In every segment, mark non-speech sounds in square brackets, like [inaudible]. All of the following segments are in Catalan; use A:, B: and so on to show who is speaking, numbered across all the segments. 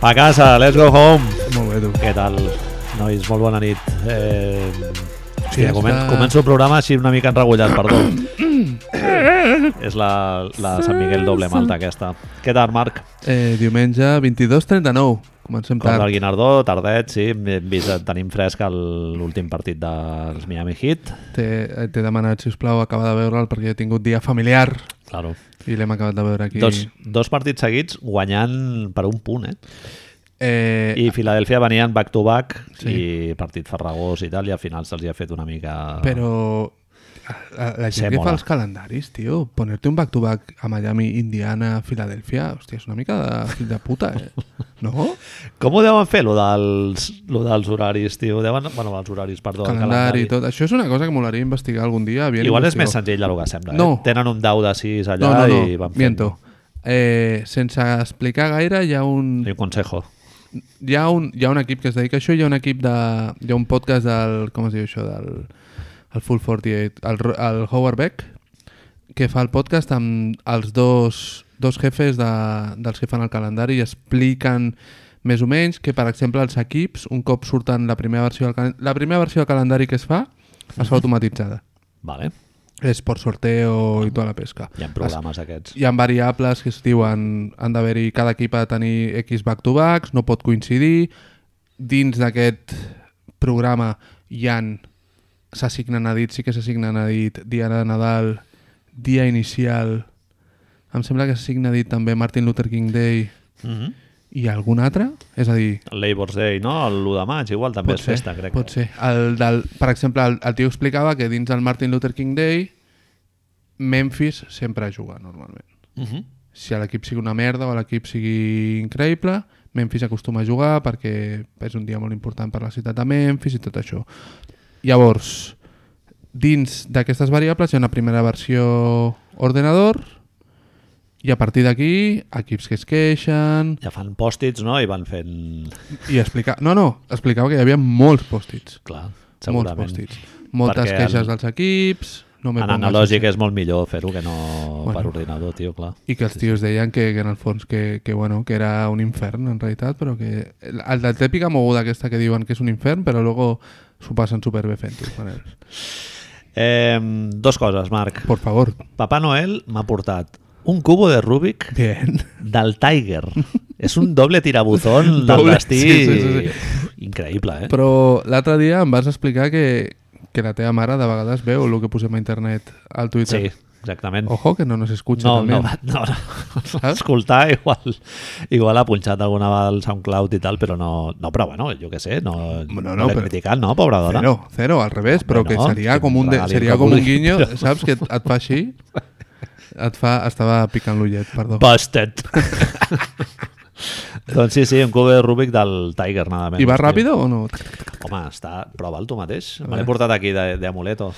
A: A casa, let's go home.
B: Molt bé, tu.
A: Què tal, nois? Molt bona nit. Eh,
B: Sí,
A: hòstia, comen
B: està-
A: començo el programa així una mica enregullat, perdó. És la, la Sant Miguel doble malta aquesta. Què tal, Marc?
B: Eh, diumenge 22.39. Comencem
A: Contra el
B: tard.
A: Guinardó, tardet, sí. Hem vist, tenim fresc el- l'últim partit dels Miami Heat.
B: T'he eh, t'he demanat, si us plau, acabar de veure'l perquè he tingut dia familiar
A: Claro.
B: i l'hem acabat de veure aquí.
A: Dos, dos partits seguits guanyant per un punt, eh?
B: Eh,
A: I Filadèlfia venien back-to-back
B: Sí.
A: i partit farragós i tal, i al final se'ls hi ha fet una mica...
B: Però la, la
A: Se
B: gent que
A: mola.
B: fa els calendaris, tio, ponerte un back-to-back a Miami, Indiana, Filadèlfia, hòstia, és una mica de fill de puta,
A: [laughs]
B: eh? No?
A: Com ho deuen fer, lo dels, lo dels horaris, tio? Deuen... Bueno, els horaris, perdó, el
B: calendari i tot. Això és una cosa que molaria investigar algun dia. Bien
A: Igual és
B: investigado.
A: més senzill del que sembla.
B: No.
A: Eh? Tenen un dau de 6 allà
B: No, no, no,
A: i van fent...
B: miento. Eh, sense explicar gaire, hi ha un...
A: Ni un consejo.
B: hi ha, un, hi ha un equip que es dedica a això, hi ha un equip de... hi ha un podcast del... com es diu això? Del, el Full 48, el, Ro- el Howard Beck, que fa el podcast amb els dos, dos jefes de, dels que fan el calendari i expliquen més o menys que, per exemple, els equips, un cop surten la primera versió del calendari, la primera versió del calendari que es fa, es fa automatitzada.
A: Vale.
B: És per sorteo i tota la pesca.
A: Hi ha programes aquests.
B: Hi ha variables que es diuen han d'haver-hi, cada equip ha de tenir X back-to-backs, no pot coincidir. Dins d'aquest programa hi han s'assignen a dit, sí que s'assignen a dit, dia de Nadal, dia inicial... Em sembla que s'assigna a dit també Martin Luther King Day
A: Mm -hmm.
B: i algun altre? És a dir,
A: Labor's Day, no? L'1 de maig, igual també és festa, crec.
B: Pot ser. El del, per exemple, el, el tio explicava que dins del Martin Luther King Day Memphis sempre juga normalment.
A: Mm
B: Mhm.
A: -hmm.
B: si l'equip sigui una merda o l'equip sigui increïble, Memphis acostuma a jugar perquè és un dia molt important per la ciutat de Memphis i tot això. Llavors, dins d'aquestes variables hi ha una primera versió ordenador i a partir d'aquí equips que es queixen
A: Ja fan pòstits, no? I van fent...
B: i explicar... No, no, explicava que hi havia molts pòstits.
A: Clar,
B: Molts
A: segurament.
B: pòstits. Moltes
A: Perquè
B: queixes
A: el-
B: dels equips... No me
A: en
B: pongas
A: analògic és molt millor fer-ho que no
B: Bueno.
A: per ordinador, tio, clar.
B: I que els tios deien que, que en el fons que, que, bueno, que era un infern en realitat, però que... El, el de típica moguda aquesta que diuen que és un infern, però luego s'ho passen superbé fent-ho. Manel.
A: Eh, dos coses, Marc.
B: Por favor.
A: Papà Noel m'ha portat un cubo de Rubik
B: Bien.
A: del Tiger. És un doble
B: [laughs]
A: tirabuzón del
B: Doble,
A: destí
B: sí, sí, sí,
A: increïble, eh?
B: Però l'altre dia em vas explicar que, que la teva mare de vegades veu el que posem a internet al Twitter.
A: Sí, exactament.
B: Ojo, que no nos escucha
A: no, no,
B: también.
A: va- no, no.
B: Ah?
A: escoltar igual, igual ha punxat alguna vegada al SoundCloud i tal, però no, no però bueno, jo què sé, no, no,
B: Bueno,
A: no,
B: no,
A: l'he
B: però-
A: criticat, no, pobra dona?
B: Cero, cero, al revés, però
A: Hombre,
B: que
A: no,
B: seria
A: que
B: com un, de,
A: regali el
B: seria
A: que
B: com un
A: vulgui,
B: guinyo,
A: però-
B: saps? Que et, et fa així,
A: [laughs]
B: et fa... Estava picant l'ullet, perdó.
A: Busted. [laughs] doncs sí, sí, un cub de Rubik del Tiger, nada menys.
B: I va
A: tio.
B: ràpido o no?
A: Home, està... prova'l tu mateix. Me l'he portat aquí de- d'amuleto.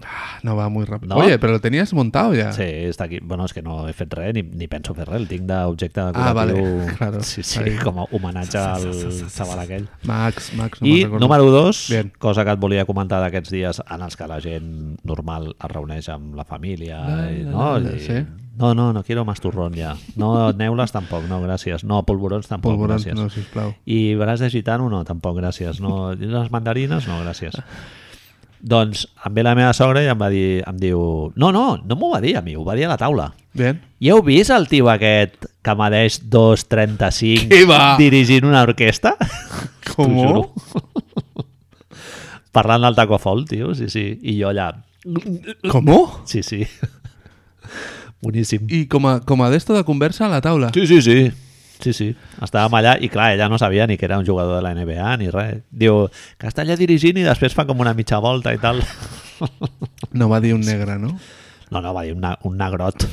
B: Ah, No va muy rápido.
A: ¿No?
B: Oye, pero lo tenías montado ya.
A: Sí, està aquí. Bueno, és que no he fet res, ni, ni penso fer res. El tinc d'objecte decoratiu.
B: Ah, vale,
A: [laughs]
B: claro.
A: Sí, sí,
B: Ahí.
A: com a homenatge al xaval aquell.
B: Max, Max, no
A: I
B: me'n recordo.
A: número dos,
B: Bien.
A: cosa que et volia comentar d'aquests dies en els que la gent normal es reuneix amb la família.
B: La,
A: i,
B: la,
A: no?
B: la, la,
A: I,
B: sí.
A: no, no, no quiero más turrón ja. No, neules tampoc, no, gràcies. No, polvorons tampoc,
B: Polvorons,
A: gràcies.
B: no, sisplau.
A: I braç de gitano, no, tampoc, gràcies. No, i les mandarines, no, gràcies. Doncs em ve la meva sogra i em va dir, em diu... No, no, no m'ho va dir a mi, ho va dir a la taula.
B: Bien.
A: Ja heu vist el tio aquest que medeix 2,35
B: Què va?
A: dirigint una orquestra? [laughs] T'ho
B: Com?
A: juro. Parlant del taco fall, tio, sí, sí. I jo allà...
B: ¿Cómo?
A: Sí, sí. [laughs] Boníssim.
B: Y como, como de esto de conversa a la taula.
A: Sí, sí, sí. Sí, sí. Estàvem allà i, clar, ella no sabia ni que era un jugador de la NBA ni res. Diu que està allà dirigint i després fa com una mitja volta i tal.
B: No va de un negra, ¿no?
A: No, no, va dir un, na un negrot.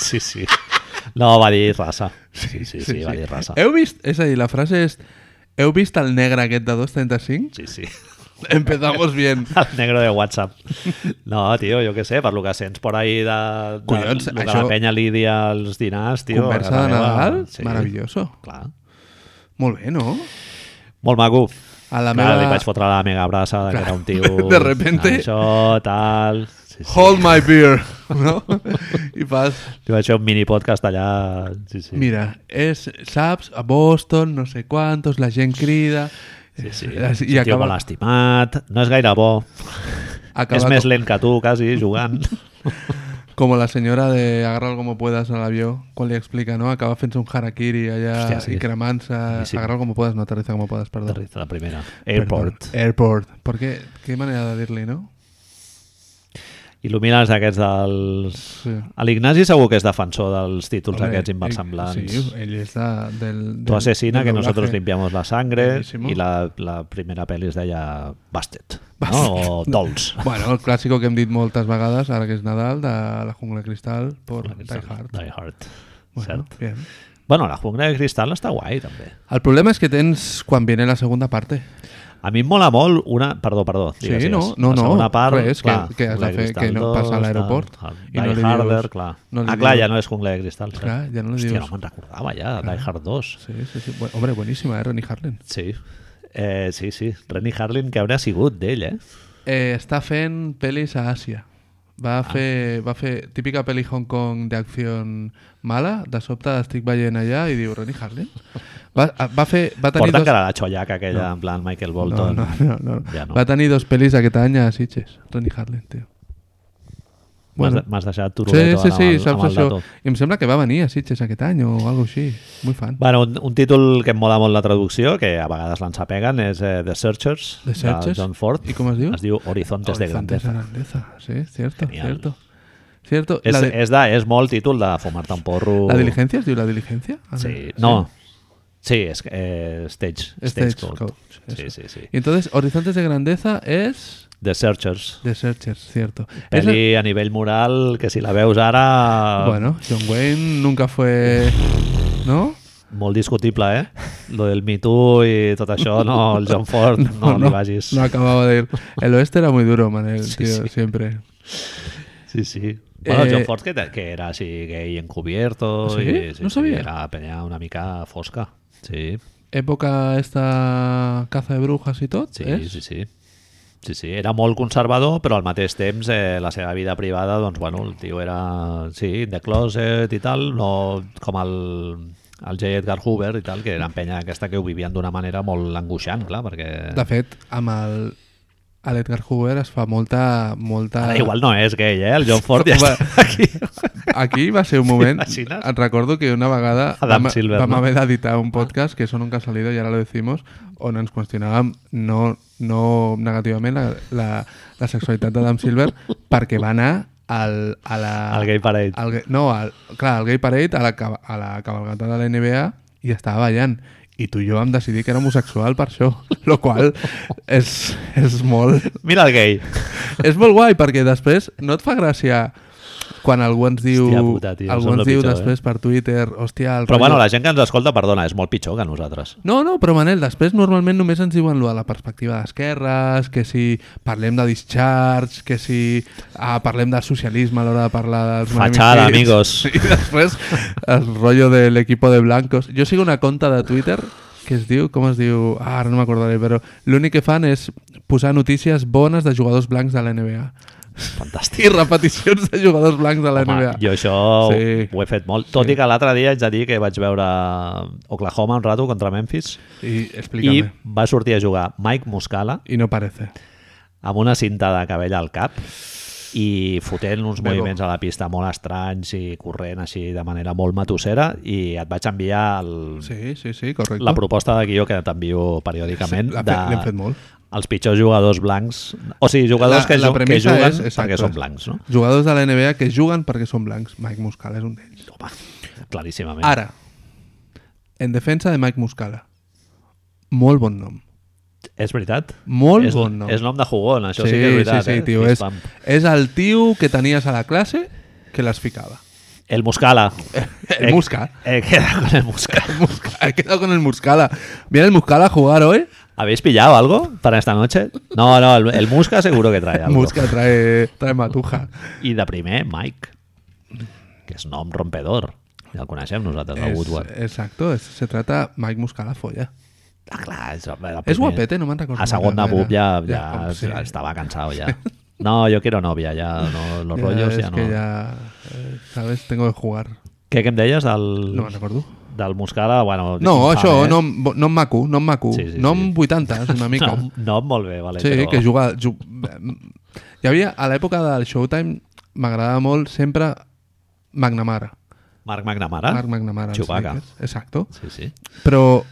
A: Sí, sí. No, va dir raça. Sí, sí, sí, sí, va dir raça.
B: Heu vist, és a dir, la frase és heu vist el negre aquest de
A: [laughs]
B: 2.35?
A: Sí, sí.
B: Empezamos bien.
A: El negro de WhatsApp. No, tio, jo què sé, per lo que sents por ahí de, de
B: Collons,
A: lo que
B: això-
A: la penya li di als dinars, tio.
B: conversa
A: a
B: de
A: la meva-
B: Nadal,
A: Sí,
B: maravilloso.
A: Clar.
B: Molt bé, no?
A: Molt maco.
B: A la
A: Clar,
B: meva- [laughs]
A: li vaig fotre la mega brasa de que era un tio...
B: De repente.
A: Això, tal... Sí, sí, sí.
B: Hold my beer, [laughs] no? I fas,
A: Jo vaig fer un mini podcast allà... Sí, sí.
B: mira, és, saps, a Boston, no sé quantos, la gent crida...
A: Sí, sí.
B: Eh,
A: I
B: I acaba,
A: molt estimat, no és gaire bo.
B: acaba
A: és més
B: com,
A: lent que tu, quasi,
B: [laughs]
A: jugant.
B: com la senyora de agarra'l com puedas a l'avió, quan li explica, no? Acaba fent un harakiri allà
A: Hòstia,
B: Hòstia,
A: sí.
B: sí. i cremant-se.
A: Sí, sí.
B: Agarra'l com puedas, no aterriza com puedas, perdó.
A: Aterriza la primera. Airport.
B: Perdó. Airport. Per què? Què manera de dir-li, no?
A: Il·lumina els aquests dels...
B: Sí.
A: A L'Ignasi segur que és defensor dels títols
B: Hombre,
A: aquests
B: ell-
A: inversemblants.
B: Sí, ell és de, del... del
A: Tu asesina,
B: del
A: que nosotros
B: doblaje.
A: limpiamos la sangre,
B: Buenísimo.
A: i la, la primera pel·li es deia Busted, no?
B: Busted.
A: o Dolls.
B: Bueno, el clàssico que hem dit moltes vegades, ara que és Nadal, de la jungla de cristal per [laughs] Die Hard.
A: Die Hard.
B: Bueno,
A: Cert.
B: bien.
A: Bueno, la jungla de cristal està guai, també.
B: El problema és que tens quan viene la segunda parte.
A: A mi em mola molt una... Perdó, perdó. Digues,
B: sí, no,
A: digues.
B: no,
A: la
B: no,
A: segona part,
B: res,
A: clar,
B: que, que has
A: Jungla
B: de
A: de
B: fer, que
A: Cristal
B: no
A: 2,
B: passa a
A: tal,
B: l'aeroport.
A: tal.
B: i
A: Die
B: no li
A: Harder,
B: dius-
A: clar.
B: no li
A: ah, clar,
B: dius-
A: ja no és Jungla de Cristal. cert.
B: Clar, ja no li
A: Hòstia,
B: dius.
A: no me'n recordava ja, Die Hard 2.
B: Sí, sí, sí. Bueno, hombre, buenísima, eh, Ronnie Harlan.
A: Sí, eh, sí, sí. Renny Harlin, que haurà sigut d'ell, eh?
B: Eh, està fent pel·lis a Àsia. Va, ah. fer, va fer típica pel·li Hong Kong d'acció mala, de sobte estic veient allà i diu Ronnie Harlan. Va, ah, va, fer, va tenir
A: Porta
B: dos...
A: encara la xollaca aquella, no. en plan Michael
B: No,
A: Bolton.
B: no, no, no.
A: Ja no.
B: Va tenir dos pel·lis aquest any a Sitges, Ronnie Harlan, tio.
A: M'has
B: Bueno.
A: de- M'has deixat
B: Sí,
A: turuleto
B: sí, sí,
A: amb el, amb
B: saps
A: el
B: això.
A: dato.
B: I em sembla que va venir a Sitges aquest any o alguna així. Muy fan.
A: Bueno, un, un títol que em mola molt la traducció, que a vegades l'ensapeguen, és eh, The Searchers,
B: The Searchers.
A: de John Ford.
B: I com es diu?
A: Es diu Horizontes, de
B: Horizontes
A: Grandeza.
B: de grandeza. Sí, cierto,
A: Genial.
B: cierto. Cierto.
A: És,
B: la, de-
A: és, de, és molt títol de fumar-te un porro.
B: la diligencia, es diu la diligencia? A
A: Sí,
B: ver,
A: no. Sí, és, eh, stage, stage,
B: Stage
A: Code.
B: Coach,
A: Sí,
B: Este eso.
A: sí, sí.
B: Y entonces, Horizontes de Grandeza es...
A: The Searchers.
B: The Searchers, cierto. Es la-
A: Pel·li a nivell moral, que si la veus ara...
B: Bueno, John Wayne nunca fue... ¿No?
A: Molt discutible, eh? Lo del Me Too i tot això, no, el John Ford,
B: [laughs]
A: no, no, li vagis.
B: no acababa de ir. El oeste era muy duro,
A: [laughs]
B: Manel,
A: Sí,
B: tío,
A: sí.
B: siempre.
A: Sí, sí. Bueno,
B: Eh,
A: John Ford, que, te- que era així gay encubierto.
B: ¿Ah, sí?
A: I,
B: No sabia.
A: era penya una mica fosca. Sí,
B: Época esta caza de brujas y todo,
A: sí,
B: ¿es?
A: sí, sí. Sí, sí, era molt conservador, però al mateix temps eh, la seva vida privada, doncs, bueno, el tio era, sí, de closet i tal, no com el, el J. Edgar Hoover i tal, que era penya aquesta que ho vivien d'una manera molt angoixant, clar, perquè...
B: De fet, amb el, a l'Edgar Hoover es fa molta... molta...
A: Ara Ah, igual no és gay, eh? El
B: [laughs]
A: John Ford ja
B: Va-
A: està
B: [laughs]
A: aquí.
B: Aquí va ser un moment...
A: T'imagines?
B: Et recordo que una vegada
A: Adam
B: vam,
A: Silver,
B: vam
A: no?
B: haver d'editar un podcast que són un ha salido i ara lo decimos, on ens qüestionàvem no, no negativament la, la, la sexualitat d'Adam Silver perquè va anar al, a la...
A: Al Gay Parade.
B: Al, ga- no, al, clar, al Gay Parade, a la, ca- a la cabalgata de la NBA i estava ballant i tu i jo vam decidir que era homosexual per això, lo qual és, és molt
A: Mira el gay.
B: és molt guai perquè després no et fa gràcia quan algú ens diu,
A: Hòstia puta, tio,
B: algú
A: som
B: ens
A: lo
B: diu
A: pitjor, eh.
B: després per Twitter, hòstia... El
A: Però bueno,
B: rotllo-
A: la gent que ens escolta, perdona, és molt pitjor que nosaltres.
B: No, no, però Manel, després normalment només ens diuen lo de la perspectiva d'esquerres, que si parlem de discharge, que si ah, parlem del socialisme a l'hora de parlar dels
A: Fachada, amigos.
B: manifestits. [laughs] I després el rotllo de l'equipo de blancos. Jo sigo una conta de Twitter que es diu, com es diu? Ah, ara no m'acordaré, però l'únic que fan és posar notícies bones de jugadors blancs de la NBA.
A: Fantàstic.
B: i repeticions de jugadors blancs de la
A: Home,
B: NBA.
A: jo això
B: Sí.
A: ho he fet molt. Tot i que l'altre dia haig de dir que vaig veure eh, Oklahoma un rato contra Memphis
B: I explícame.
A: i va sortir a jugar Mike Muscala
B: I, no parece.
A: amb una cinta de cabell al cap i fotent uns
B: Bebo.
A: moviments a la pista molt estranys i corrent així de manera molt matussera i et vaig enviar el,
B: Sí, sí, sí, correcte.
A: la proposta de guió que t'envio periòdicament
B: Sí, l'ha
A: de,
B: fet- l'hem fet molt.
A: els pitjors jugadors blancs o sigui, jugadors
B: La-
A: que,
B: la
A: ju que
B: premissa
A: juguen
B: és- exacte.
A: perquè són blancs no?
B: Jugadors de la NBA que juguen perquè són blancs. Mike Muscala és un d'ells.
A: Home, claríssimament
B: Ara, en defensa de Mike Muscala, molt bon nom.
A: és veritat?
B: Molt
A: és,
B: bon nom.
A: és nom de jugon, això sí,
B: sí,
A: que és veritat
B: sí, sí,
A: eh?
B: tio.
A: Fist
B: És,
A: bump.
B: és el tio que tenies a la classe que les ficava. [laughs]
A: el Muscala
B: El
A: Eh,
B: Musca.
A: eh, [laughs] queda con el Muscala
B: El Musca. He quedado con el Muscala. Viene el Muscala a jugar hoy.
A: ¿habéis pillado algo para esta noche? no, no, el, el Musca seguro que
B: [laughs]
A: trae algo
B: Musca trae, trae matuja.
A: i de primer Mike que és nom rompedor ja el coneixem nosaltres, el
B: Es-
A: Woodward
B: exacto, es- se trata Mike Muscala folla.
A: ah, clar, és, el
B: És
A: primer.
B: guapete, no me'n recordo.
A: a segona
B: molt bé,
A: bub ja,
B: era.
A: ja,
B: home, sí. [laughs]
A: estava cansado ja No, yo quiero novia, ya no, los rollos
B: es
A: ja no.
B: que ya, eh, ¿sabes? Tengo que jugar.
A: Què, què em deies del,
B: No me'n recordo.
A: del Muscala? Bueno, infame,
B: No, això,
A: eh?
B: nom, bo- nom maco, nom maco.
A: Sí, sí, sí.
B: nom 80, és una
A: [laughs]
B: mica.
A: Nom, nom molt bé, vale,
B: sí,
A: però...
B: que juga... Ju... Hi havia, a l'època del Showtime, m'agradava molt sempre McNamara.
A: Marc McNamara?
B: Marc McNamara. els
A: Chewbacca.
B: Lakers. Exacto.
A: Sí, sí.
B: Però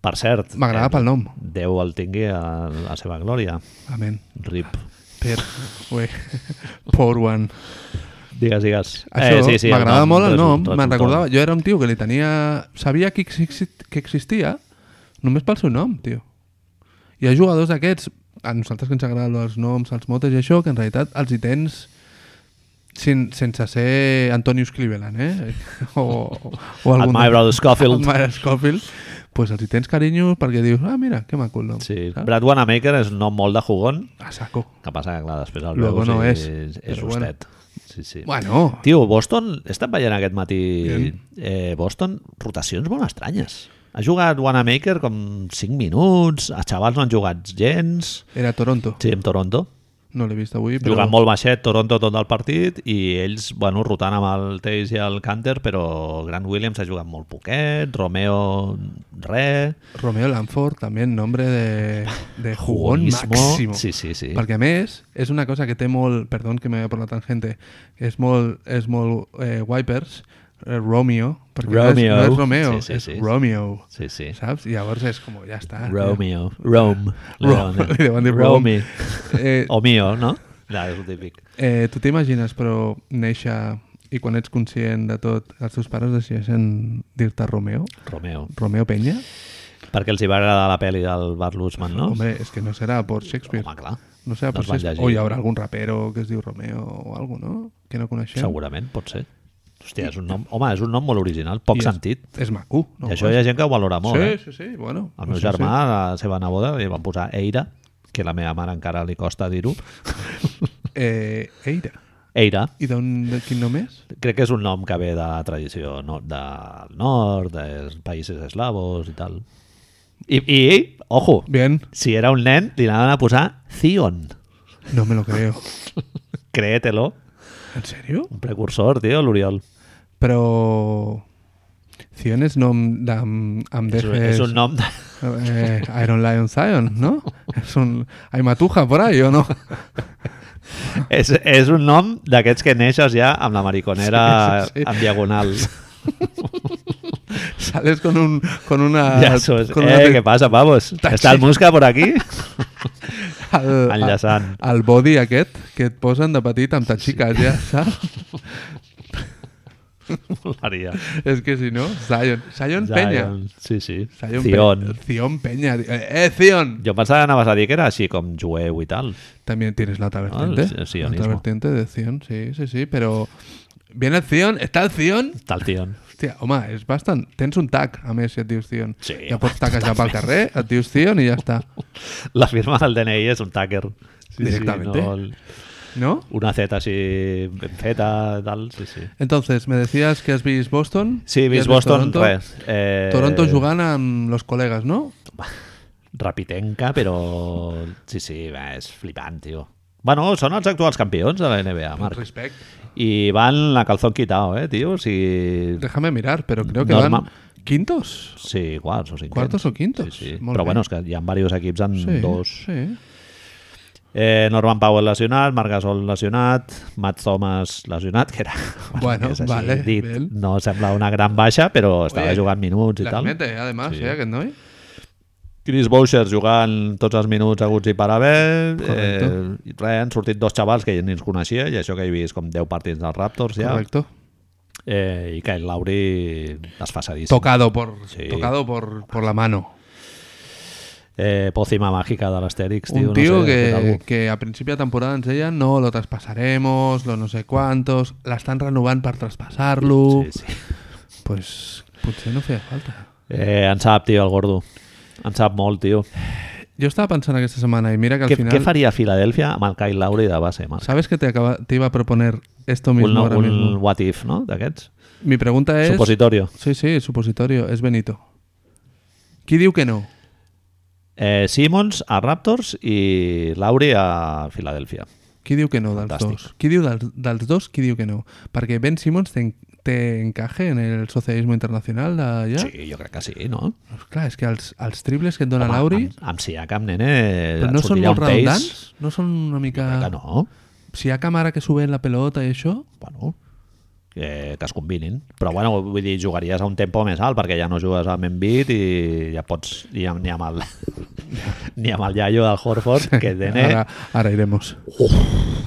A: Per cert, eh,
B: m'agrada pel nom.
A: Déu el tingui a la seva glòria.
B: Amén.
A: Rip.
B: Per... [laughs] Ue. Poor one.
A: Digues, digues.
B: Això eh, sí, sí,
A: el
B: m'agradava molt el
A: resu-
B: nom,
A: resultó.
B: me'n recordava. Jo era un tio que li tenia... Sabia que, exist... que existia només pel seu nom, tio. Hi ha jugadors d'aquests, a nosaltres que ens agraden els noms, els motes i això, que en realitat els hi tens sin, sense ser Antonius Cleveland, eh? [laughs] O, o, o
A: El
B: algun...
A: My Brother
B: El
A: Scofield.
B: Myra Scofield. Pues els hi tens carinyo perquè dius, ah, mira, que maco el nom.
A: Sí.
B: saps?
A: Brad Wanamaker és un nom molt de jugón,
B: A saco.
A: que passa que, clar, després el
B: Luego
A: veus
B: no
A: i
B: és,
A: és, és
B: però bueno.
A: justet. Sí, sí.
B: Bueno,
A: Tio, Boston, he estat veient aquest matí
B: Bien.
A: eh, Boston, rotacions molt estranyes. Ha jugat Wanamaker com 5 minuts, els xavals no han jugat gens,
B: era Toronto.
A: sí, amb Toronto.
B: No l'he vist avui, però...
A: Jugant molt baixet Toronto tot el partit i ells, bueno, rotant amb el Tays i el Canter, però Grant Williams ha jugat molt poquet, Romeo re,
B: Romeo Lanford, també en nombre de,
A: [laughs]
B: de jugón
A: Jugonismo.
B: màximo.
A: Sí, sí, sí.
B: Perquè a més, és una cosa que té molt... Perdó que m'he per la tangente. És molt, és molt eh, Wipers, eh, Romeo, perquè
A: Romeo.
B: No, és, no és Romeo,
A: Sí, sí, sí.
B: és Romeo,
A: Sí, sí.
B: saps? I llavors és com, ja està.
A: Romeo. Rome.
B: Ro- [laughs]
A: Leone.
B: li deuen dir
A: Romy.
B: Rome. Eh,
A: O mio, no? Ja, és el típic.
B: eh, tu t'imagines, però, néixer i quan ets conscient de tot, els teus pares decideixen dir-te Romeo?
A: Romeo.
B: Romeo Peña?
A: Perquè els hi va agradar la pel·li del Bart Lutzman, no?
B: Hombre, és que no serà por Shakespeare.
A: Home clar.
B: No sé, pues
A: No es
B: potser...
A: van
B: és-
A: llegir.
B: O hi haurà algun rapero que es diu Romeo o algo, no? Que no coneixem.
A: Segurament, pot ser. Hòstia, és un nom, home, és un nom molt original, poc
B: I és-
A: sentit.
B: És maco. No?
A: I això hi ha gent que ho valora molt,
B: sí,
A: eh?
B: sí, sí, bueno.
A: El meu
B: sí,
A: germà, a la seva neboda, li van posar Eira, que la meva mare encara li costa dir-ho.
B: Sí. Eh, Eira.
A: Eira,
B: I d'on, de quin nom és?
A: crec que és un nom que ve de la tradició no, del nord, dels països eslavos i tal. I, i ojo,
B: Bien.
A: si era un nen, li anaven a posar Zion.
B: No me lo creo.
A: Créetelo.
B: ¿En serio?
A: Un precursor, tio, l'Oriol.
B: Però... em Zion és nom d'am... Am
A: És, és un nom de...
B: Eh, Iron Lion Zion, ¿no? Es un... Hay matuja por ahí, ¿o no? [laughs]
A: És, és un nom d'aquests que neixes ja amb la mariconera
B: Sí, sí, sí.
A: en diagonal.
B: Sales con un... Con Ah, una...
A: ja sos,
B: con
A: eh, què passa, pavos? Està el Musca por aquí?
B: el,
A: Enllaçant.
B: El, el body aquest que et posen de petit amb taxiques,
A: [laughs]
B: sí. ja, saps?
A: Molaria.
B: És que si no, Zion. Zion, Zion. Penya.
A: Sí, sí.
B: Zion
A: Zion.
B: Pe- Zion Peña. Eh, eh, Zion.
A: Jo pensava que anaves a dir que era així com jueu i tal.
B: También tienes la otra vertiente.
A: Ah, el
B: la
A: sionismo.
B: otra vertiente de Zion, sí, sí, sí, pero... Viene el Zion, està el Zion...
A: Està el Zion.
B: Hòstia, home, és bastant... Tens un tag, a més, si et dius Zion.
A: Sí,
B: ja
A: home,
B: pots taquejar pel carrer, et dius Zion i ja està.
A: La firma del DNI és un tàquer. Sí,
B: Directamente.
A: Sí, no, el-
B: No?
A: una Z així ben feta, tal, sí, sí.
B: Entonces, me decías que has vist Boston.
A: Sí, he
B: que has
A: vist Boston,
B: Toronto.
A: res. Eh,
B: Toronto jugant amb los col·legues, no?
A: Rapitenca, però... Sí, sí, va, és flipant, tio. Bueno, són els actuals campions de la
B: Doncs
A: NBA, Marc.
B: Respect.
A: I van la calzón quitao, eh, tio? O sigui,
B: Déjame mirar, pero creo que
A: Norma-
B: van quintos.
A: Sí, quarts o cinquens.
B: Quartos o quintos?
A: Sí, sí.
B: Molt
A: Però
B: bé.
A: bueno, és que hi ha diversos equips en
B: Sí,
A: dos.
B: sí.
A: Eh, Norman Powell lesionat, Marc Gasol lesionat, Matt Thomas lesionat, [laughs] que era...
B: Bueno,
A: és així
B: vale,
A: dit,
B: bien.
A: no sembla una gran baixa, però estava
B: Oye,
A: jugant minuts i
B: Las
A: tal.
B: mete, además,
A: Sí.
B: eh, aquest noi.
A: Chris Boucher jugant tots els minuts aguts i per haver. Eh,
B: Correcto.
A: i res, han sortit dos xavals que ni ens coneixia, i això que he vist com 10 partits dels Raptors ja.
B: Correcto.
A: Eh, I Kyle Lowry desfasadíssim.
B: Tocado por,
A: Sí.
B: tocado por, por la mano.
A: Eh, pòcima màgica de l'Astèrix, tio.
B: Un tío
A: Este no sé, què tal?
B: que, que a principio de temporada ens deien no, lo traspasaremos, lo no sé cuántos, la están renovant per traspasar-lo.
A: Sí, sí.
B: Pues potser no feia falta.
A: Eh, en sap, tio, el gordo. En sap molt, tio.
B: Jo estava pensant aquesta setmana i mira que al
A: Què,
B: final...
A: què faria Filadèlfia amb el Kyle Lowry de base, Marc?
B: ¿Sabes que te, acaba, te iba a proponer esto mismo
A: Un,
B: ahora
A: un
B: mismo?
A: what if, no?, d'aquests.
B: Mi pregunta es...
A: Supositorio.
B: Sí, sí, supositorio, es Benito. Qui diu que no?
A: Eh, Simmons a Raptors i Lowry a Filadèlfia.
B: Qui diu que no dels
A: Fantàstic.
B: dos? Qui diu dels, dels dos, qui diu que no? Perquè Ben Simmons té, en- té encaje en el socialisme internacional d'allà?
A: Sí, jo crec que sí, no?
B: Clar, és que els, els triples que et dona
A: Home,
B: Lauri...
A: Amb, amb Siakam, nene,
B: Però
A: et
B: no són
A: sortirà
B: molt
A: un pace.
B: redundants? Ah. No són una mica...
A: Crec que no.
B: Si hi ha càmera que sube la pelota i això...
A: Bueno, que, que es combinin. Però, bueno, vull dir, jugaries a un tempo més alt perquè ja no jugues amb Embiid i ja pots... Ni amb, ni amb el, [laughs] ni amb el iaio del Horford, que nene...
B: Ahora, ahora iremos.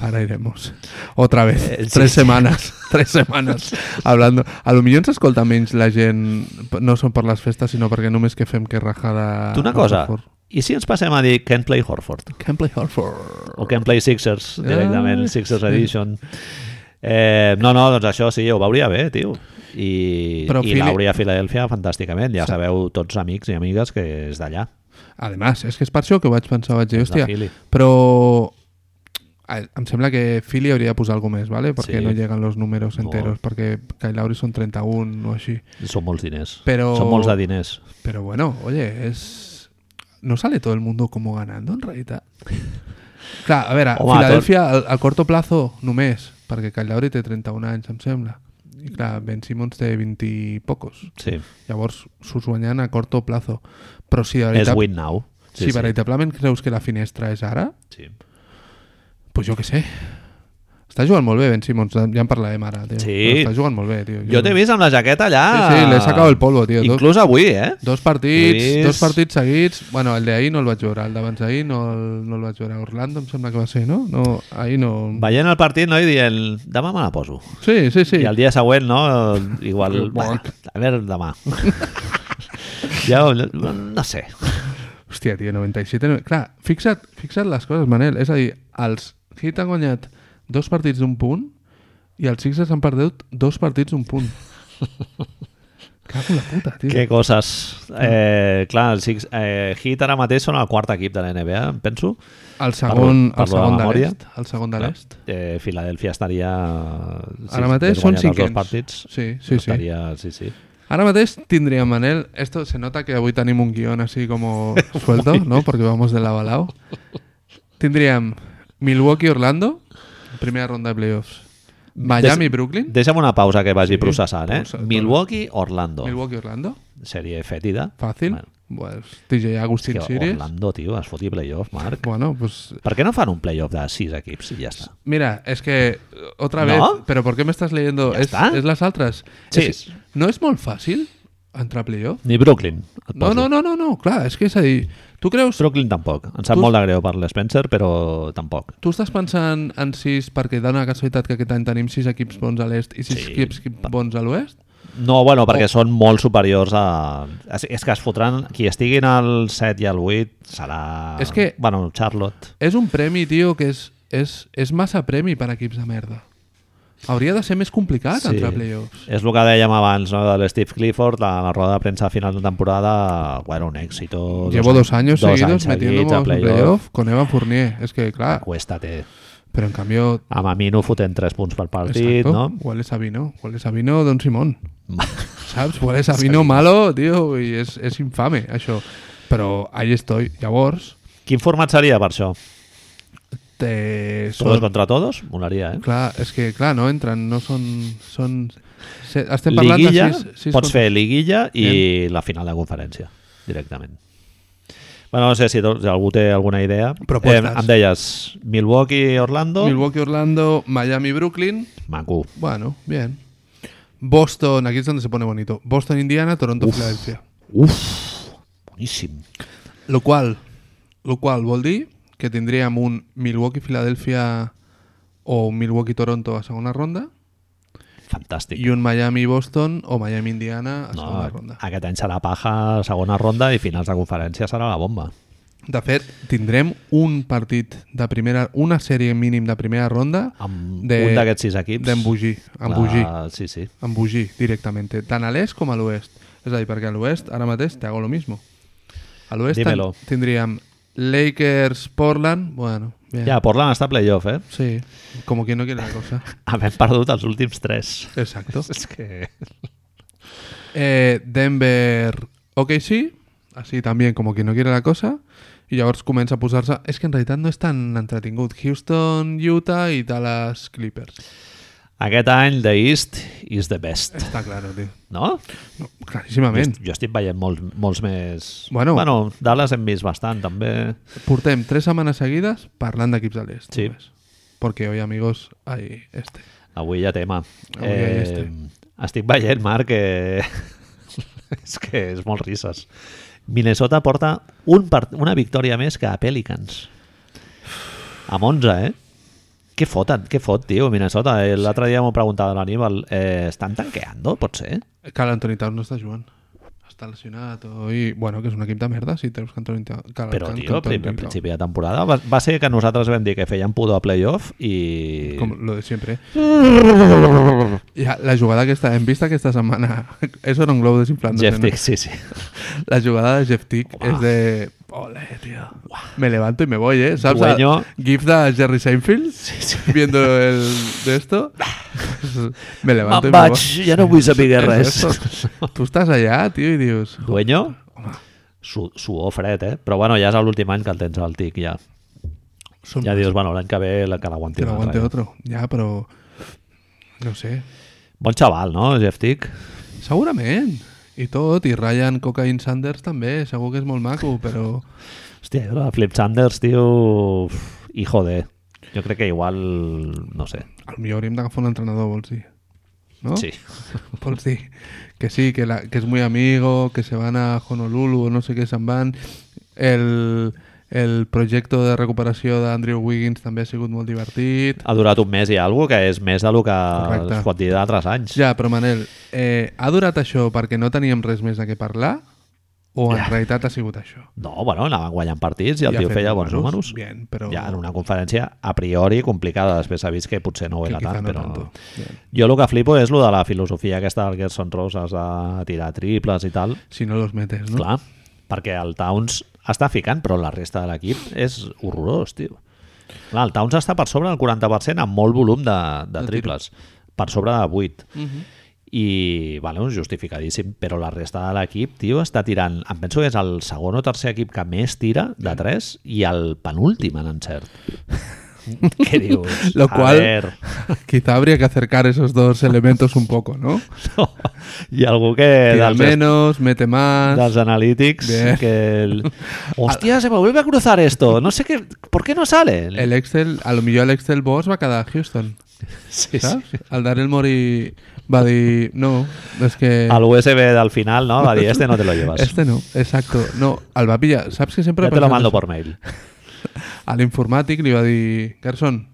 B: Ahora iremos. Otra vez.
A: Eh, sí.
B: Tres semanas. [laughs] Tres semanas. Hablando. A lo millor ens escolta menys la gent, no són per les festes, sinó perquè només que fem que rajada...
A: Tu una cosa, i si ens passem a dir Can't Play Horford?
B: Can't play Horford.
A: o Can Play Sixers, directament,
B: Ah,
A: el Sixers
B: sí.
A: Edition. Eh, no, no, doncs això sí, ho veuria bé, tio. I,
B: Però
A: i
B: Fili-
A: l'hauria a Filadèlfia fantàsticament. Ja sabeu tots amics i amigues que és d'allà.
B: Además, és que és per això que ho vaig pensar, vaig dir,
A: de
B: hòstia,
A: Philly.
B: però a- em sembla que Philly hauria de posar alguna més, ¿vale? perquè
A: Sí.
B: no lleguen los números
A: No.
B: enteros, perquè Kyle Lowry són 31 o així.
A: Són molts diners.
B: Però-
A: Són molts de diners.
B: Pero bueno, oye, es. No sale todo el mundo como ganando en realidad. Claro, a ver, a
A: Home,
B: Filadelfia al, a corto plazo només, perquè Kyle Lowry té 31 anys, em sembla. I clar, Ben Simmons té 20 i pocos.
A: Sí.
B: Llavors s'ho guanyen a corto plazo. Però si, de
A: És
B: veritat,
A: win now.
B: si
A: Sí, sí.
B: veritablement creus que la finestra és ara,
A: sí.
B: pues jo què sé. Està jugant molt bé Ben Simmons, ja en parlarem ara. Tio.
A: Sí.
B: Però Està jugant molt bé, tio.
A: Jo t'he vist amb la jaqueta allà.
B: Sí, sí, l'he sacat el polvo, tio. Dos-
A: Inclús avui, eh?
B: Dos partits,
A: He vist-
B: dos partits seguits. Bueno, el d'ahir no el vaig veure, el d'abans d'ahir no, el- no el vaig veure. Orlando em sembla que va ser, no? no ahir no...
A: Veient el partit, no? I dient, demà me la poso.
B: Sí, sí, sí.
A: I el dia següent, no? Igual...
B: Bueno.
A: a veure, demà. [laughs] ja, no, no sé.
B: Hòstia, tio, 97... no- Clar, fixa't, fixa't les coses, Manel. És a dir, els Heat han guanyat dos partits d'un punt i els Sixers han perdut dos partits d'un punt. Cago en la puta, tio.
A: Que coses.
B: Mm.
A: Eh, clar, els Six, eh, Heat ara mateix són el quart equip de la NBA, em penso.
B: El segon,
A: Parlo- parlo
B: el segon
A: de
B: de
A: memòria.
B: l'est. El segon de
A: Clar,
B: l'est.
A: Eh, Filadelfia estaria...
B: Ara mateix
A: hagués
B: són
A: guanyat els dos
B: cinquens.
A: partits,
B: Sí, sí, sí.
A: estaria, sí. sí,
B: Ahora mateix tindríem, Manel, esto se nota que hoy tenemos un guión así como
A: [laughs]
B: suelto, ¿no? Porque vamos de lado a lado. Tindríem Milwaukee-Orlando, primera ronda de playoffs. Miami-Brooklyn,
A: Deixa'm una pausa que vagi
B: Sí,
A: sí, processant, eh?
B: pausa,
A: Milwaukee-Orlando.
B: Milwaukee-Orlando,
A: Sèrie fetida.
B: fácil.
A: Bueno,
B: Bueno, TJ Agustín
A: que
B: Siris.
A: Orlando, tio, es foti playoff, Marc.
B: Bueno, pues
A: Per què no fan un playoff de sis equips i ja està?
B: mira, es que eh,
A: ¿No?
B: otra vez, pero ¿por qué me estás leyendo?
A: Ya
B: es,
A: está.
B: es las otras.
A: Sí.
B: Es- ¿No es muy fácil entrar a playoff?
A: Ni Brooklyn. et
B: No,
A: poso.
B: no, no, no, no, claro, es que es ahí. ¿Tú crees
A: Brooklyn tampoc. Em sap
B: Tu-
A: molt de greu per l'Spencer, però tampoc.
B: Tu estàs pensant en sis perquè dona la casualitat que aquest any tenim sis equips bons a l'est i sis
A: Sí.
B: equips bons a l'oest?
A: No, bueno,
B: Oh.
A: perquè són molt superiors a... És, és que es fotran... Qui estiguin al 7 i al 8 serà...
B: És que-
A: Bueno, Charlotte.
B: És un premi, tio, que és, és, és massa premi per a equips de merda. Hauria de ser més complicat
A: Sí.
B: entrar a playoffs.
A: És el que dèiem abans, no?, de l'Steve Clifford, a la roda de premsa a final de temporada, bueno, un éxito.
B: Llevo dos años
A: dos
B: seguidos
A: anys seguits
B: metiéndonos
A: a
B: en
A: playoff.
B: playoff con Evan Fournier. És que, clar,
A: Acuéstate.
B: però en canvi...
A: A Mamino fotent 3 punts per partit,
B: Exacto. [laughs]
A: no?
B: Huele Sabino. Huele Sabino Don Simón. Saps? Huele Sabino malo, tio, i és, és infame, això. Però ahí estoy. Llavors,
A: Quin format seria per això?
B: te...
A: Todos contra todos? Molaria, eh?
B: Clar, és que, clar, no entren, no són... són... Se, estem parlant
A: Liguilla,
B: de sis... sis
A: pots
B: contra-
A: fer liguilla i la final de conferència, directament. Bueno, no sé si, tot, si algú té alguna idea.
B: Propostes.
A: em deies Milwaukee, Orlando,
B: Milwaukee, Orlando, Miami, Brooklyn...
A: maco.
B: Bueno, bien. Boston, aquí es donde se pone bonito. Boston, Indiana, Toronto, Filadelfia.
A: Uf, boníssim.
B: Lo cual, lo cual vol dir que tindríem un Milwaukee, Filadelfia o un Milwaukee, Toronto a segona ronda
A: Fantàstic.
B: i un Miami, Boston o Miami, Indiana a
A: no,
B: segona ronda.
A: aquest any serà paja, segona ronda i finals de conferència serà la bomba.
B: De fet, tindrem un partit de primera, una sèrie mínim de primera ronda
A: Amb
B: de,
A: un d'aquests sis equips.
B: d'embogir,
A: la-
B: embogir,
A: Sí, sí.
B: embogir directament, tant a l'est com a l'oest. És a dir, perquè a l'oest ara mateix te hago lo mismo. A l'oest tan-
A: Dímelo.
B: tindríem Lakers, Portland, bueno, bien.
A: Ja, Portland està a playoff, eh?
B: Sí, como quien no quiere la
A: [laughs]
B: cosa.
A: Havent perdut els últims tres.
B: Exacto.
A: És que...
B: Eh, Denver, OKC, así también como quien no quiere la cosa. i llavors comença a posar-se... És que en realitat no és tan entretingut. Houston, Utah i Dallas Clippers.
A: Aquest any, The East is the best,
B: Està clar, tio.
A: no?
B: No,
A: Jo,
B: claríssimament.
A: est- jo estic veient molts, molts més...
B: Bueno.
A: bueno, Dallas hem vist bastant, també.
B: Portem tres setmanes seguides parlant d'equips de l'est.
A: Sí.
B: només. Perquè hoy, amigos, hay este.
A: Avui hi ha tema. Eh,
B: Avui hi ha este.
A: estic veient, Marc, que... [laughs] és que és molt risses. Minnesota porta un part... una victòria més que a Pelicans. Amb 11, eh? Què foten? Què fot, tio, Minnesota? Eh, L'altre dia m'ho preguntava l'Aníbal. Eh, estan tanqueando, pot ser?
B: Cal Anthony Towns no està jugant. Està lesionat o... I, bueno, que és un equip de merda si treus que Anthony Towns... Cal,
A: Però,
B: Cal-
A: tio,
B: Anthony
A: prim- al
B: Towns.
A: principi de temporada va, va ser que nosaltres vam dir que feien pudor a playoff i...
B: Com lo de siempre.
A: [laughs]
B: Ja, la jugada aquesta, hem vist aquesta [laughs] setmana, és un globo desinflándose,
A: Jeff
B: no?
A: Tick, sí, sí.
B: La jugada de Jeff Tick és de... Ole, tío. Me levanto y me voy, ¿eh? ¿Sabes?
A: Dueño.
B: GIF de Jerry Seinfeld viendo
A: [laughs]
B: el de esto. me levanto
A: Me'n
B: y me
A: vaig,
B: voy.
A: ja no vull saber [laughs] res.
B: Tú estás allá, tío, y dius...
A: Dueño, su, suor fred, eh? Però bueno, ja és l'últim any que el tens al tic, ja.
B: Som,
A: Ja dius, bueno, l'any que ve la que l'aguanti.
B: Doncs que lo
A: un
B: aguante
A: altre, eh? ja.
B: otro. Ja, però... No sé.
A: Bon xaval, no, Jeff Tick?
B: Segurament. I tot, i Ryan Cocaine Sanders també, segur que és molt maco, però...
A: Hòstia, jo, la Flip Sanders, tio... uf, Hijo de... Jo crec que igual... No sé.
B: Al millor hauríem d'agafar un entrenador, vols dir? No?
A: Sí.
B: [laughs] Vols dir que sí, que, la, que es muy amigo, que se van a Honolulu o no sé què se'n van. El, el projecte de recuperació d'Andrew Wiggins també ha sigut molt divertit.
A: Ha durat un mes i alguna que és més del que
B: Correcte.
A: es pot dir d'altres anys.
B: Ja, però Manel, eh, ha durat això perquè no teníem res més de què parlar o en realitat ha sigut això?
A: No, bueno, anaven guanyant partits i el
B: I ha
A: tio
B: fet
A: feia bons números.
B: números. Bien, però-
A: Ja en una conferència a priori complicada, després s'ha vist que potser no ho
B: Que
A: era
B: quizá
A: tant,
B: no
A: però...
B: tanto. Bien.
A: Jo el que flipo és lo de la filosofia aquesta del Gerson Roses de tirar triples i tal.
B: Si no los metes, no?
A: Clar, perquè el Towns està ficant, però la resta de l'equip és horrorós, tio. Clar, el Towns està per sobre del 40% amb molt volum de, de triples, per sobre de 8. I, vale, un justificadíssim, però la resta de l'equip, tio, està tirant... Em penso que és el segon o tercer equip que més tira de 3 i el penúltim en encert. Què dius?
B: Lo
A: A
B: cual-
A: ver...
B: [laughs] Quizá habría que acercar esos dos elementos un poco, ¿no?
A: No. Hi ha algú que...
B: Tira
A: dels
B: menos, mete más...
A: dels analítics
B: Bien.
A: que el... Hostia, se me vuelve a cruzar esto. No sé qué... ¿Por qué no sale?
B: El Excel, a lo millor el Excel Boss va quedar a Houston,
A: sí, sí.
B: saps? El Daryl Morey va dir, no, és que...
A: El USB del final, ¿no? Va dir, este no te lo llevas.
B: Este no, exacto. No, el va pillar. Saps que sempre...
A: ya
B: he
A: te lo
B: pensat
A: mando
B: això?
A: por mail.
B: A l'informàtic li va dir, Gerson,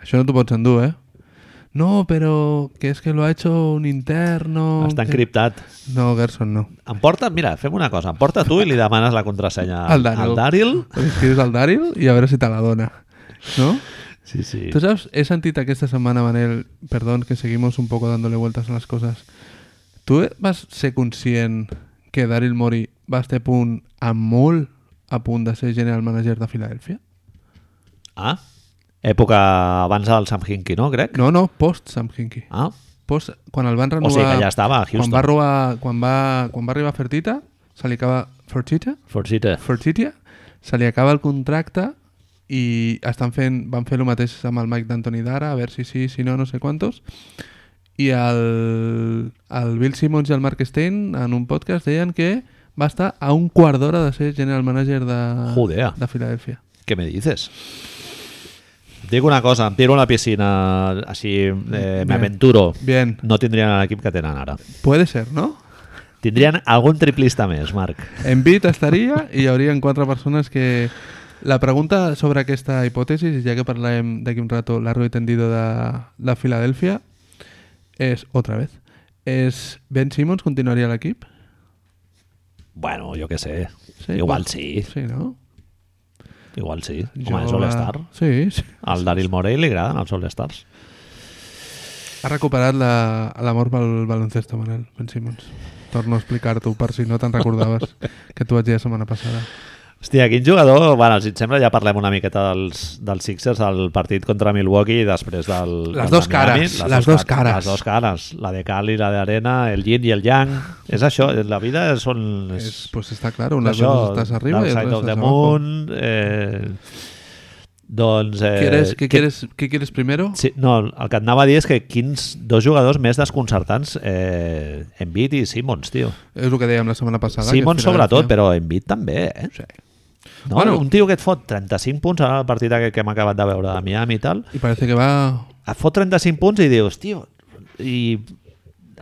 B: això no t'ho pots endur, eh? No, però que és que lo ha hecho un interno...
A: Està
B: que-"
A: encriptat.
B: No, Gerson, no.
A: Em porta, mira, fem una cosa. Em porta tu i li demanes la contrasenya
B: Al Daryl.
A: Al Daryl.
B: Li escrius al Daryl i a veure si te la dona. No?
A: Sí, sí.
B: Tú sabes, he sentido que esta semana, Manel, perdón que seguimos un poco dándole vueltas a las cosas. ¿Tú vas ser conscient que Daryl Mori va estar a punt, a molt a punt de ser general manager de Filadèlfia?
A: Ah, època abans del Sam Hinkie, no, crec?
B: No, no, post Sam Hinkie.
A: Ah,
B: Post, quan el van renovar...
A: o sigui que ja estava a
B: Quan va,
A: Houston.
B: robar, quan va, quan va arribar a Fertita, se li acaba... Fertita?
A: Forcita.
B: Fertitia, se li acaba el contracte i estan fent, van fer el mateix amb el Mike d'Antoni Dara, a veure si sí, si no, no sé quantos. I el, el Bill Simmons i el Mark Stein en un podcast deien que va estar a un quart d'hora de ser general manager de,
A: Joder.
B: de Filadèlfia.
A: ¿Qué me dices? Dic una cosa, em tiro a la piscina així, eh, me aventuro.
B: Bien,
A: No tindrien l'equip que tenen ara.
B: puede ser, no?
A: Tindrien algun triplista més, Marc.
B: En Bit estaria i hi haurien quatre persones que... La pregunta sobre aquesta hipòtesi, ja que parlem d'aquí un rato largo i tendido de, de Filadèlfia, és, otra vez, és Ben Simmons continuaria a l'equip?
A: Bueno, jo què sé.
B: Sí,
A: Sí, igual
B: pues-
A: sí,
B: Sí, no?
A: igual sí. Home, és
B: eh,
A: All-Star.
B: Sí, sí.
A: Al Daryl Morey li agraden els All-Stars.
B: Ha recuperat la- l'amor la, pel baloncesto, Manel,
A: [laughs]
B: Ben Simmons. Torno a explicar-t'ho per si no te'n recordaves que t'ho vaig dir la setmana passada.
A: Hòstia, quin jugador... Bueno, si et sembla ja parlem una miqueta dels, dels Sixers al partit contra Milwaukee i després del... del
B: Les dos
A: Miami.
B: cares, les dos
A: car-
B: cares.
A: Les dos cares, la de cal i la d'arena, el yin i el yang. És això, la vida són... És,
B: És, pues està clar,
A: és
B: un les dos estàs arriba
A: Dark
B: i
A: Side
B: l'altre
A: of
B: estàs
A: the
B: abajo.
A: Moon... Eh, doncs... Eh,
B: ¿Quieres, ¿qué,
A: que-
B: quieres, ¿Qué quieres primero?
A: Sí, no, el que et anava a dir és que quins dos jugadors més desconcertants eh, Embiid i Simmons, tio.
B: És el que dèiem la setmana passada. que
A: Simon sobretot,
B: Filadèlfia-
A: però Embiid també, eh?
B: Sí.
A: No,
B: Bueno.
A: bueno, un tio que et fot 35 punts ara el partit aquest que hem acabat de veure de Miami i tal,
B: I parece que va...
A: et fot 35 punts i dius, tio, i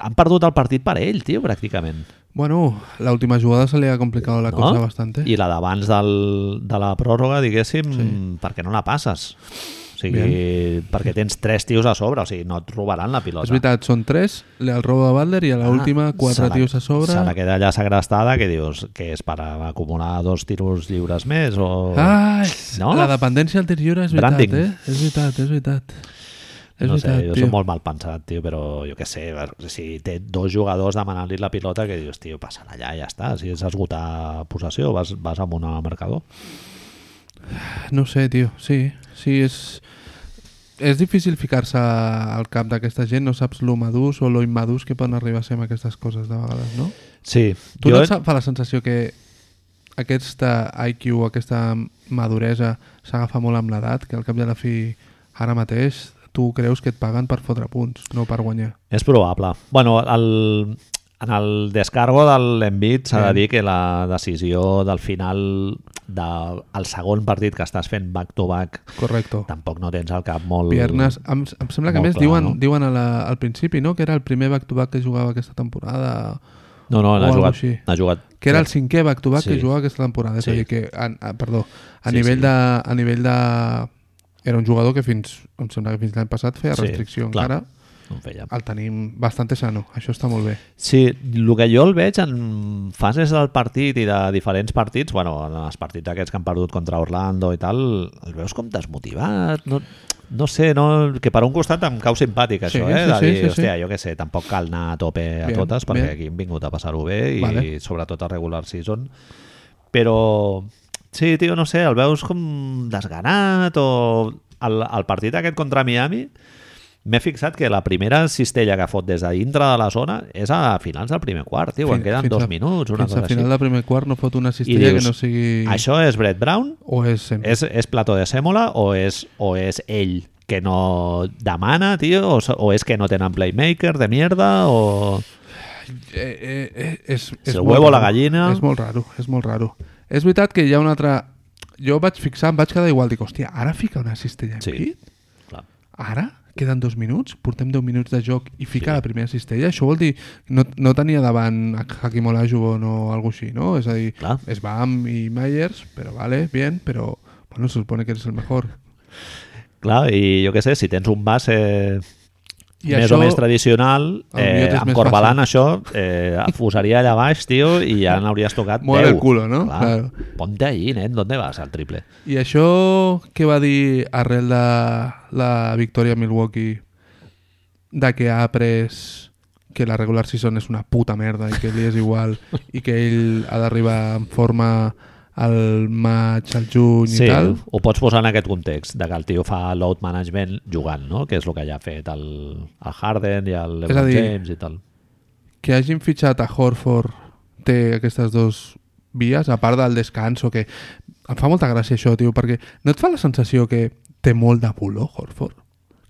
A: han perdut el partit per ell, tio, pràcticament.
B: Bueno, la última jugada se le ha complicado la cosa bastante.
A: I la d'abans del- de la pròrroga, diguéssim, sí. perquè no la passes. O sigui, perquè tens tres tios a sobre, o sigui, no et robaran la pilota.
B: És veritat, són tres, el robo de Butler i a l'última
A: Ah, se
B: quatre
A: la-
B: tios a sobre.
A: Se la queda allà segrestada que dius que és per acumular dos tiros lliures més o...
B: Ai,
A: No?
B: la dependència al tir lliure és veritat,
A: Branding.
B: eh? És veritat, és veritat. És
A: no
B: veritat,
A: sé, jo
B: tio.
A: soc molt mal pensat, tio, però jo què sé, si té dos jugadors demanant-li la pilota que dius, tio, passen allà i ja està, si és esgotar possessió, vas, vas amb un marcador.
B: No sé, tio, sí. Sí, és... És difícil ficar-se al cap d'aquesta gent, no saps lo madurs o lo immadurs que poden arribar a ser amb aquestes coses de vegades, no?
A: Sí,
B: Tu
A: jo,
B: no et sa- fa la sensació que aquesta IQ, aquesta maduresa s'agafa molt amb l'edat, que al cap i a la fi ara mateix tu creus que et paguen per fotre punts, no per guanyar.
A: és probable. bueno, el, en el descargo de l'envit s'ha de dir que la decisió del final del el segon partit que estàs fent back-to-back
B: Correcto.
A: tampoc no tens el cap molt...
B: Piernas, em, em sembla que a
A: Molt
B: més
A: clar,
B: diuen,
A: no?
B: diuen a la, al principi no? que era el primer back-to-back que jugava aquesta temporada
A: No, no,
B: o
A: n'ha
B: algo
A: jugat,
B: així.
A: n'ha jugat...
B: que era el cinquè back-to-back
A: Sí.
B: que jugava aquesta temporada és
A: Sí.
B: a dir que, a, a, perdó, a,
A: Sí,
B: nivell
A: sí.
B: De, a nivell de era un jugador que fins em sembla que fins l'any passat feia
A: Sí,
B: restricció
A: clar.
B: encara
A: No en feia.
B: el tenim bastant sano, això està molt bé
A: Sí, el que jo el veig en fases del partit i de diferents partits, bueno, en els partits aquests que han perdut contra Orlando i tal, el veus com desmotivat, no, no sé, no, que per un costat em cau simpàtic
B: Sí,
A: això, eh?
B: sí,
A: de
B: sí,
A: dir,
B: sí, sí.
A: hòstia, jo què sé, tampoc cal anar a tope a
B: Bien,
A: totes perquè
B: bien.
A: aquí hem vingut a passar-ho bé i
B: Vale.
A: sobretot a regular season, però sí, tio, no sé, el veus com desganat o... El, el partit aquest contra Miami M'he fixat que la primera cistella que fot des de dintre de la zona és a finals del primer quart, tio, en
B: Fin-
A: queden
B: fins
A: dos
B: a-
A: minuts, una
B: fins
A: cosa
B: al
A: així.
B: final del primer quart no fot una cistella que no sigui
A: això és Brett Brown,
B: o és sempre
A: és, és plató de sèmola o és, o és ell que no demana, tio, o, s- o és que no tenen playmaker de mierda, o...
B: eh, eh, eh, és, és
A: el
B: molt
A: huevo o la
B: raro.
A: gallina.
B: és molt raro, és molt raro és veritat que hi ha una altra jo vaig fixar, em vaig quedar igual dic, hòstia, ara fica una cistella en
A: Sí, clar.
B: ara? Queden dos minuts? Portem 10 minuts de joc i fica la primera cistella? Això vol dir no, no tenia davant a Hakim Olajuwon o alguna així, no? És a dir,
A: Clar.
B: es Bam i Myers, però vale, bien, però bueno, se supone que eres el mejor.
A: Clar, i jo què sé, si tens un base
B: I
A: més
B: això-
A: o més tradicional,
B: el millor
A: eh,
B: t'és
A: amb
B: més
A: Corbalan això eh, afusaria allà baix, tio, i
B: [laughs]
A: ja n'hauries tocat
B: Mueve
A: 10.
B: el culo, no?
A: Clar.
B: Claro.
A: Ponte ahí, nen, ¿dónde vas al triple?
B: I això què va dir arrel de la victòria a Milwaukee de que ha après que la regular season és una puta merda i que li és igual i que ell ha d'arribar en forma al maig, al juny i tal
A: ho pots posar en aquest context, de que el tio fa load management jugant, no? que és el que ja ha fet el, el Harden i el
B: És a
A: LeBron
B: dir,
A: James i tal.
B: que hagin fitxat a Horford té aquestes dues vies, a part del descanso, que em fa molta gràcia això, tio, perquè no et fa la sensació que té molt de puló, Horford?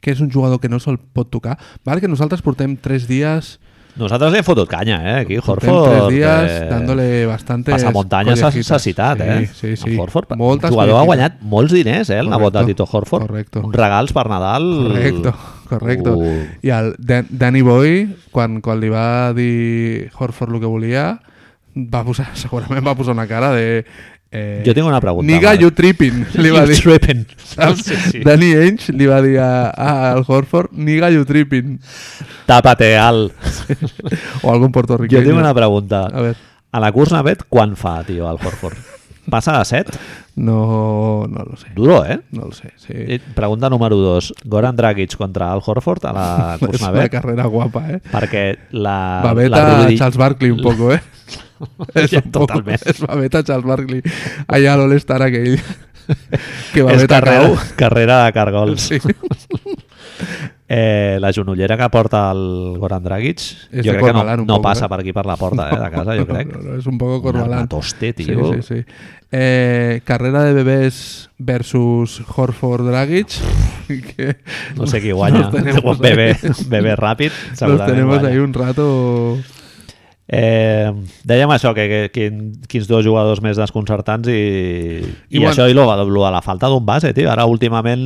B: Que és un jugador que no se'l pot tocar? Val que nosaltres portem tres dies...
A: Nosaltres li hem fotut canya, eh? Aquí,
B: portem
A: Horford...
B: tres dies
A: eh,
B: dándole bastantes...
A: Passamuntanyes s'ha
B: collejitas.
A: s'ha citat,
B: sí,
A: eh?
B: Sí, sí.
A: El Horford,
B: Moltes
A: un jugador ha
B: collejitas.
A: guanyat molts diners, eh? El nebot de
B: Correcto,
A: Tito Horford.
B: correcto.
A: Uns regals per Nadal...
B: Correcto, correcto.
A: Uh.
B: I el Dan Danny Boy, quan, quan li va dir Horford el que volia, va posar, [laughs] segurament va posar una cara de... Eh,
A: Jo tinc una pregunta,
B: Niga,
A: Marc.
B: you
A: [laughs]
B: tripping, li va dir.
A: Tripping.
B: Saps? Sí, sí. Danny Ainge li va dir a, a, al Horford, niga, you tripping.
A: Tàpate, Al.
B: O algun puertorriqueño.
A: Jo tinc una pregunta.
B: A veure,
A: A la curs Navet, quan fa, tio, el Horford? Passa de 7?
B: no, no lo sé.
A: Duro, eh?
B: No lo sé, sí.
A: Eh, Pregunta número 2. Goran Dragic contra el Horford a la
B: [laughs] És una
A: Kursnavet.
B: carrera guapa, eh?
A: perquè la...
B: Babeta,
A: la Rudy- [laughs]
B: Charles Barkley un poco, eh? És
A: Ja,
B: un poc-
A: totalment.
B: Es va vetar Charles Barkley allà a l'All-Star
A: [laughs]
B: aquell que va
A: és
B: vetar
A: carrera,
B: Cau.
A: [laughs] carrera de cargols.
B: Sí.
A: Eh, la genollera que porta el Goran Dragic,
B: És de
A: jo crec que no,
B: Corbalan, un
A: no
B: poc,
A: passa
B: eh?
A: per aquí per la porta eh, de casa, jo crec.
B: No, no, és un poco
A: Una
B: corbalant.
A: toste,
B: Sí,
A: tio.
B: sí, sí. Eh, carrera de bebès versus Horford Dragic. [laughs] Que
A: No sé qui guanya.
B: Nos
A: [laughs]
B: tenemos
A: Bebé,
B: ahí-
A: bebé ràpid,
B: Los
A: segurament
B: tenemos
A: guanya.
B: ahí un rato...
A: Eh, dèiem això, que, que, quin, quins dos jugadors més desconcertants i, i,
B: I bueno-
A: això i lo, lo de la falta d'un base, tio. Ara últimament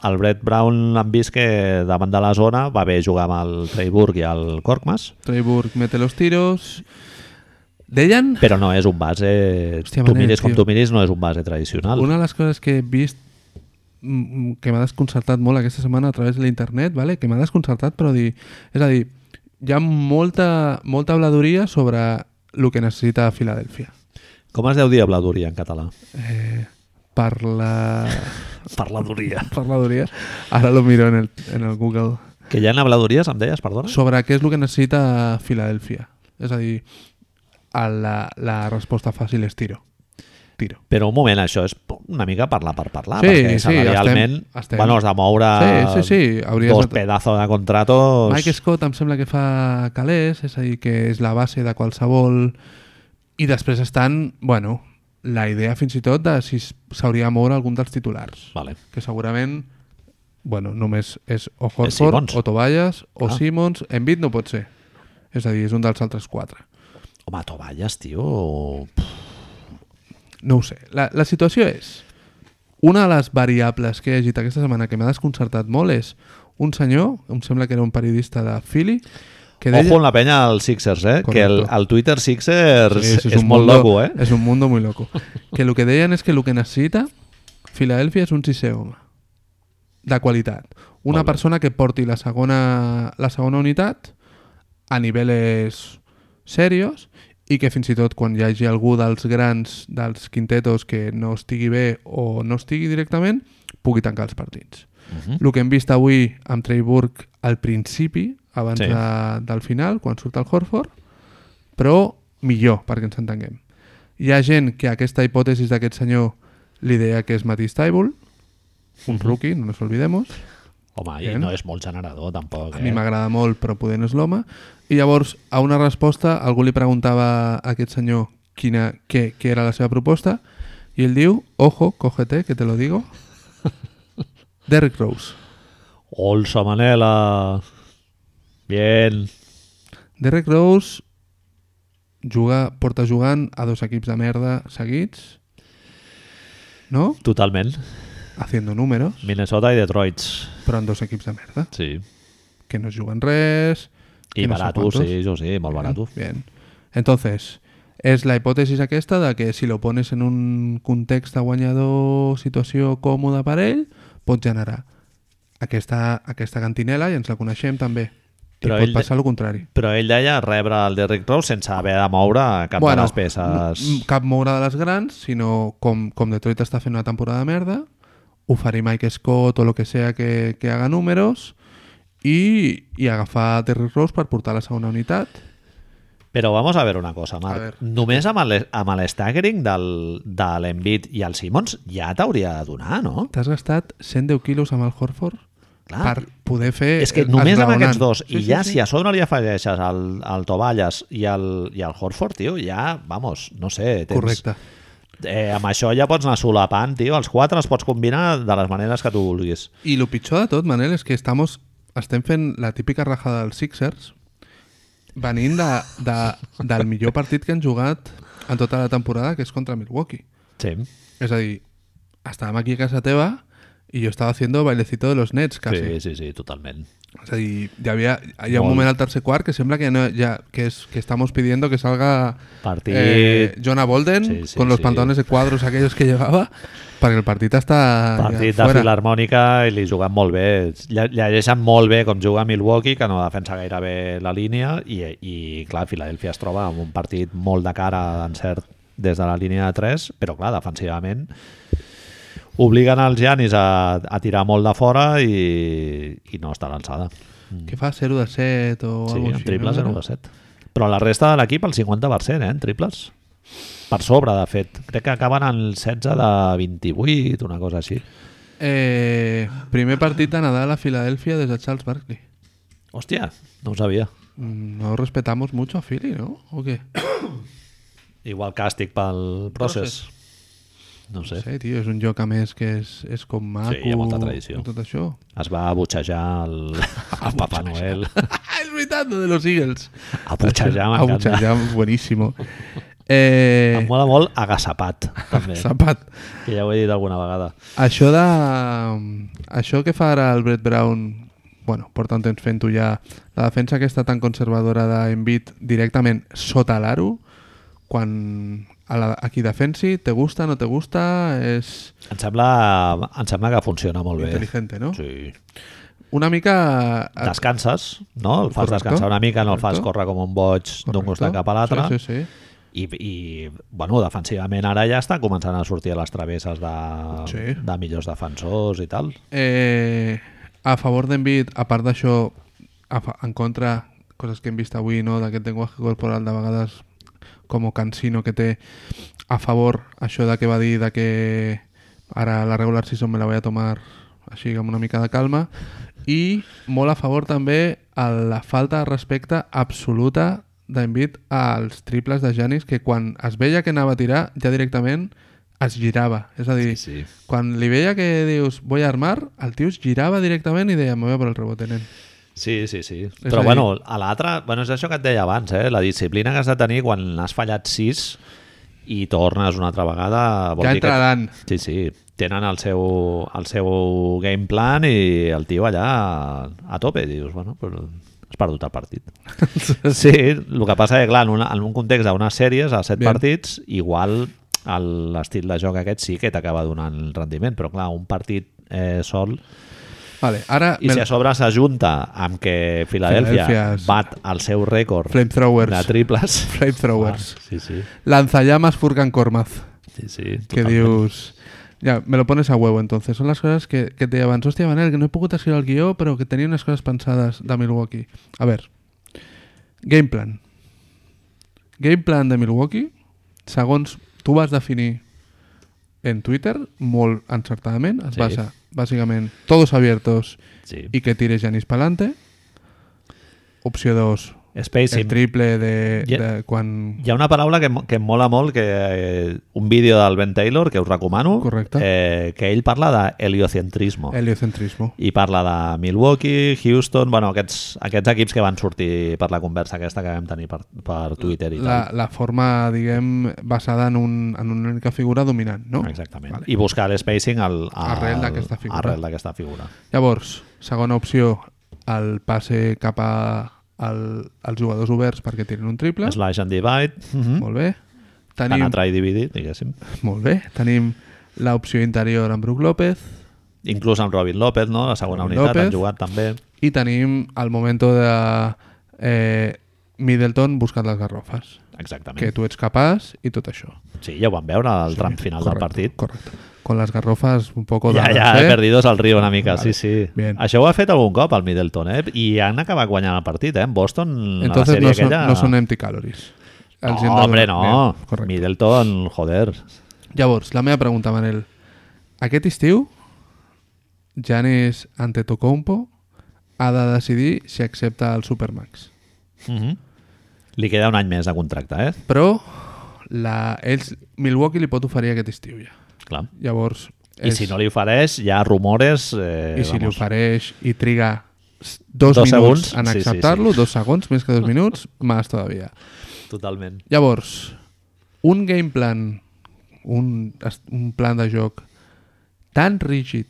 A: el Brett Brown l'han vist que davant de la zona va bé jugar amb el Treyburg i el Korkmaz,
B: Trey Burke mete los tiros. Deien,
A: però no és un base...
B: Hòstia,
A: tu
B: Manel,
A: miris com
B: tio.
A: tu miris, no és un base tradicional.
B: una de les coses que he vist mm, que m'ha desconcertat molt aquesta setmana a través de l'internet, vale? que m'ha desconcertat, però dir... És a dir, hi ha molta, molta habladoria sobre el que necessita Filadèlfia.
A: Com es deu dir habladoria en català?
B: Eh, per la...
A: Parladoria.
B: Per l'habladoria. Ara lo miro en el, en el Google.
A: Que hi ha habladories, em deies, perdona?
B: sobre què és el que necessita Filadèlfia. És a dir, a la, la resposta fàcil és tiro. Tiro.
A: Però un moment, això és una mica parlar per parlar,
B: Sí,
A: perquè
B: sí,
A: salarialment
B: estem- estem-
A: Bueno, has de moure
B: Sí, sí, sí, hauries
A: dos
B: de-
A: pedazos de contratos...
B: Mike Scott em sembla que fa calés, és a dir, que és la base de qualsevol... I després estan, bueno, la idea fins i tot de si s- s'hauria de moure algun dels titulars.
A: Vale.
B: Que segurament, bueno, només és o
A: És
B: Horford,
A: Simmons.
B: o Tobias, o
A: Ah.
B: Simmons, Embiid no pot ser. És a dir, és un dels altres quatre.
A: Home, tovalles, tio... Pff,
B: No ho sé. La, la situació és... Una de les variables que he llegit aquesta setmana que m'ha desconcertat molt és un senyor, em sembla que era un periodista de Philly, que deia...
A: Ojo amb la penya als Sixers, eh?
B: Correcto.
A: Que el, el Twitter Sixers
B: Sí,
A: sí,
B: sí,
A: és, és molt
B: mundo-
A: loco, eh?
B: És un mundo muy loco. Que el que deien és que el que necessita Filadèlfia és un sisè home. De qualitat. Una
A: Molt bé.
B: persona que porti la segona, la segona unitat a nivells serios i que fins i tot quan hi hagi algú dels grans, dels quintetos que no estigui bé o no estigui directament, pugui tancar els partits.
A: Uh -huh.
B: El que hem vist avui amb Trey Burke al principi, abans
A: Sí.
B: sí. de, del final, quan surt el Horford, però millor, perquè ens entenguem. Hi ha gent que aquesta hipòtesi d'aquest senyor li deia que és Matisse Taibul, un rookie, no nos olvidemos,
A: Home, i
B: Bien.
A: no és molt generador, tampoc,
B: a
A: eh?
B: mi m'agrada molt, però poder no és l'home, i llavors a una resposta algú li preguntava a aquest senyor quina, què, què era la seva proposta, i ell diu, ojo, cógete, que te
A: [laughs]
B: lo digo, Derrick Rose.
A: Olso Manela... Bien...
B: Derrick Rose juga, porta jugant a dos equips de merda seguits, no?
A: Totalment.
B: Haciendo números,
A: Minnesota i Detroit.
B: però en dos equips de merda,
A: Sí.
B: que no es juguen res...
A: I
B: que no sé
A: barato,
B: quantos. Eh,
A: sí, jo sí, molt barato.
B: Bien. Entonces, es la hipótesis aquesta de que si lo pones en un context de guanyador, situació còmoda per ell, pot generar aquesta, aquesta cantinela i ens la coneixem també. I
A: Però
B: Però pot
A: ell-
B: passar el contrari.
A: Però ell deia rebre el Derrick Rose sense haver de moure cap de les peces.
B: no- Cap moure de les grans, sinó com, com Detroit està fent una temporada de merda, oferir Mike Scott o lo que sea que, que haga números i, i agafar Terry Rose per portar la segona unitat.
A: Però vamos a veure una cosa,
B: A veure.
A: Marc. Només amb el- amb el staggering del, de l'Envit i el Simons ja t'hauria de donar, no?
B: T'has gastat 110 quilos amb el Horford
A: Clar.
B: per poder fer...
A: És que
B: el-
A: només amb
B: Eh, esglaonant.
A: aquests dos, i ja si a sobre li afegeixes el, el Tovalles i el, i el Horford, tio, ja, vamos, no sé, tens...
B: Correcte.
A: Eh, amb això ja pots anar solapant, tio, els quatre els pots combinar de les maneres que tu vulguis.
B: I el pitjor de tot, Manel, és que estamos, estem fent la típica rajada dels Sixers venint de, de, del millor partit que han jugat en tota la temporada, que és contra Milwaukee.
A: Sí.
B: És a dir, estàvem aquí a casa teva i jo estava haciendo bailecito de los nets,
A: Sí,
B: quasi. Sí.
A: sí, sí, totalment.
B: És a dir, hi, havia, hi ha un
A: Molt.
B: moment al tercer quart que sembla que, no, ja, que, es, que estamos pidiendo que salga eh,
A: Partit.
B: Jonah Bolden
A: Sí, sí,
B: con los
A: sí.
B: pantalones de cuadros aquellos que llevaba perquè el partit està
A: Partit de
B: Ah, ja fora.
A: Filarmònica i li juguen molt bé. Lle- Llegeixen molt bé com juga Milwaukee, que no defensa gaire bé la línia, i, i clar, Filadelfia es troba amb un partit molt de cara d'encert des de la línia de 3, però clar, defensivament obliguen els Janis a, a tirar molt de fora i, i no està a l'alçada.
B: Que fa 0 de 7 o
A: Mm. Sí,
B: alguna
A: en triple 0 de 7. Però la resta de l'equip, el 50%, eh, en triples. Per sobre, de fet. Crec que acaben en el 16 de 28, una cosa així.
B: Eh, primer partit de Nadal a Filadèlfia des de Charles Barkley.
A: Hòstia, no ho sabia.
B: Mm, No respetamos mucho a Philly, ¿no? ¿O qué?
A: Igual càstig pel procés. No
B: No
A: sé.
B: sé, tio, és un joc a més que és, és com maco.
A: hi ha molta tradició.
B: i Tot això. [laughs]
A: Es va abutxejar el, el Papa Noel.
B: és veritat, lo de los Eagles.
A: Abutxejar,
B: A
A: m'encanta.
B: Buchayam,
A: [laughs]
B: buenísimo. Eh,
A: Em mola molt agassapat, també, eh?
B: Zapat.
A: que ja ho he dit alguna vegada.
B: Això de... mm, Això que fa ara el Brett Brown, bueno, porta un temps fent-ho ja, la defensa aquesta tan conservadora d'Envit directament sota l'aro, quan a, la, a qui defensi, te gusta, no te gusta, és
A: Em sembla, em sembla que funciona molt bé.
B: intel·ligente, no?
A: Sí.
B: Una mica...
A: Descanses, no? El fas
B: Correcto,
A: descansar una mica, no el fas
B: correcto.
A: córrer com un boig d'un costat cap a l'altre.
B: Sí, sí, sí.
A: I, I, bueno, defensivament ara ja està començant a sortir a les travesses de,
B: Sí.
A: de millors defensors i tal.
B: Eh, a favor d'Envit, a part d'això, a fa- en contra, coses que hem vist avui, no? d'aquest llenguatge corporal de vegades com o cansino que té, a favor això de que va dir de que ara la regular season me la voy a tomar així amb una mica de calma i molt a favor també a la falta de respecte absoluta d'envit als triples de Janis que quan es veia que anava a tirar ja directament es girava és a dir,
A: Sí, sí.
B: quan li veia que dius voy a armar, el tio es girava directament i deia me voy a por el rebote, nen.
A: Sí, sí, sí.
B: És
A: Però
B: a dir-
A: bueno, a l'altre, bueno, és això que et deia abans, eh? la disciplina que has de tenir quan has fallat sis i tornes una altra vegada... Vol
B: Ja
A: dir que-
B: entraran.
A: Sí, sí, tenen el seu, el seu game plan i el tio allà a tope, dius, bueno, però has perdut el
B: [laughs]
A: partit. Sí, el que passa és que, clar, en, una, en un context d'unes sèries a set
B: Bien.
A: partits, igual el- l'estil de joc aquest sí que t'acaba donant rendiment, però clar, un partit eh, sol
B: Vale, ara
A: i
B: me-
A: si a sobre s'ajunta amb que Filadèlfia
B: Filadèlfia és-
A: bat el seu rècord
B: Flamethrowers.
A: de triples
B: Flamethrowers.
A: Ah, sí, sí,
B: lanzallamas Furkan Kormaz.
A: sí, sí
B: que
A: totalment.
B: dius... Ja, me lo pones a huevo, entonces. Són les coses que, que et deia abans. Hòstia, Manel, que no he pogut escriure el guió, però que tenia unes coses pensades de Milwaukee. A veure. Game plan. Game plan de Milwaukee, segons tu vas definir en Twitter, molt encertadament, es
A: Sí.
B: sí. basa, bàsicament, todos abiertos
A: sí.
B: y que tires Janis pa'lante. Opció 2,
A: Spacing.
B: el triple de,
A: Ja-
B: de quan...
A: Hi ha una paraula que, mo- que em mola molt, que eh, un vídeo del Ben Taylor, que us recomano,
B: Correcte.
A: eh, que ell parla d'heliocentrismo. El...
B: Heliocentrismo.
A: I parla de Milwaukee, Houston, bueno, aquests, aquests equips que van sortir per la conversa aquesta que vam tenir per, per Twitter i
B: la, la forma, diguem, basada en, un, en una única figura dominant, no?
A: tal. Exactament. Vale. I buscar l'spacing al, al,
B: Arrel d'aquesta figura.
A: Arrel d'aquesta figura.
B: Llavors, segona opció, el passe cap a el, als jugadors oberts perquè tiren un triple.
A: Slash and divide. Mm -hmm.
B: Molt bé.
A: Tenim...
B: Mhm. Tenim,
A: Penetrar i dividir, diguéssim.
B: molt bé. Tenim l'opció interior amb Brook López
A: Inclús amb Robin López, no? La segona
B: Robin
A: unitat
B: López.
A: han jugat també.
B: i tenim el moment de eh, Middleton buscant les garrofes.
A: Exactament.
B: Que tu ets capaç i tot això.
A: Sí, ja ho vam veure al tram final del
B: correcte,
A: partit.
B: Correcte. Con las garrofas un poco
A: Ja,
B: dadas,
A: ja,
B: eh?
A: perdidos al riu una mica, sí, sí.
B: Bien.
A: Això ho ha fet algun cop al Middleton, eh? I han acabat guanyant el partit, eh? En Boston, a la
B: Entonces
A: sèrie
B: no son,
A: aquella...
B: no son empty calories. Els hi hem
A: no,
B: de
A: hombre,
B: donar-
A: no.
B: Bien, correcte.
A: Middleton, joder.
B: Llavors, la meva pregunta, Manel. Aquest estiu, Janis Antetokounmpo ha de decidir si accepta el Supermax.
A: Uh
B: Mhm.
A: -huh. Li queda un any més de contracte, eh?
B: Però la, ells, Milwaukee li pot oferir aquest estiu ja.
A: Clar.
B: Llavors,
A: I si no li ofereix, hi ha rumores... Eh,
B: i si li
A: vamos.
B: ofereix i triga s- dos,
A: Dos
B: dos minuts
A: segons,
B: en
A: sí, sí,
B: acceptar-lo,
A: sí.
B: dos segons, més que dos minuts, [laughs] més todavía.
A: Totalment.
B: Llavors, un game plan, un, es- un plan de joc tan rígid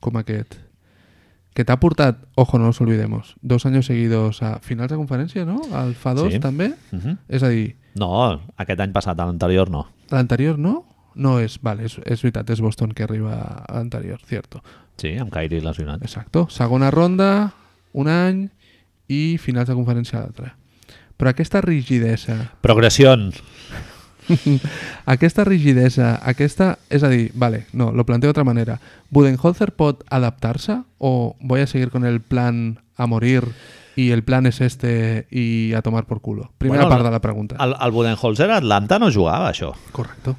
B: com aquest, que t'ha portat, ojo, no nos olvidemos, dos anys seguidos a finals de conferència, no? Al FA2
A: Sí.
B: sí. també?
A: Uh -huh.
B: És a dir,
A: No, aquest any passat, l'anterior no.
B: l'anterior no? No és, vale, és, és veritat, és Boston que arriba a l'anterior, cierto.
A: Sí, amb Kyrie lesionat.
B: Exacto. Segona ronda, un any, i finals de conferència l'altre. Però aquesta rigidesa
A: Progression.
B: aquesta rigidesa, aquesta... És a dir, vale, no, lo planteo de otra manera. ¿Budenholzer pot adaptar-se o voy a seguir con el plan a morir y el plan es este y a tomar por culo. Primera
A: Bueno,
B: part de la pregunta.
A: El, el Budenholzer a Atlanta no jugava, això.
B: Correcte.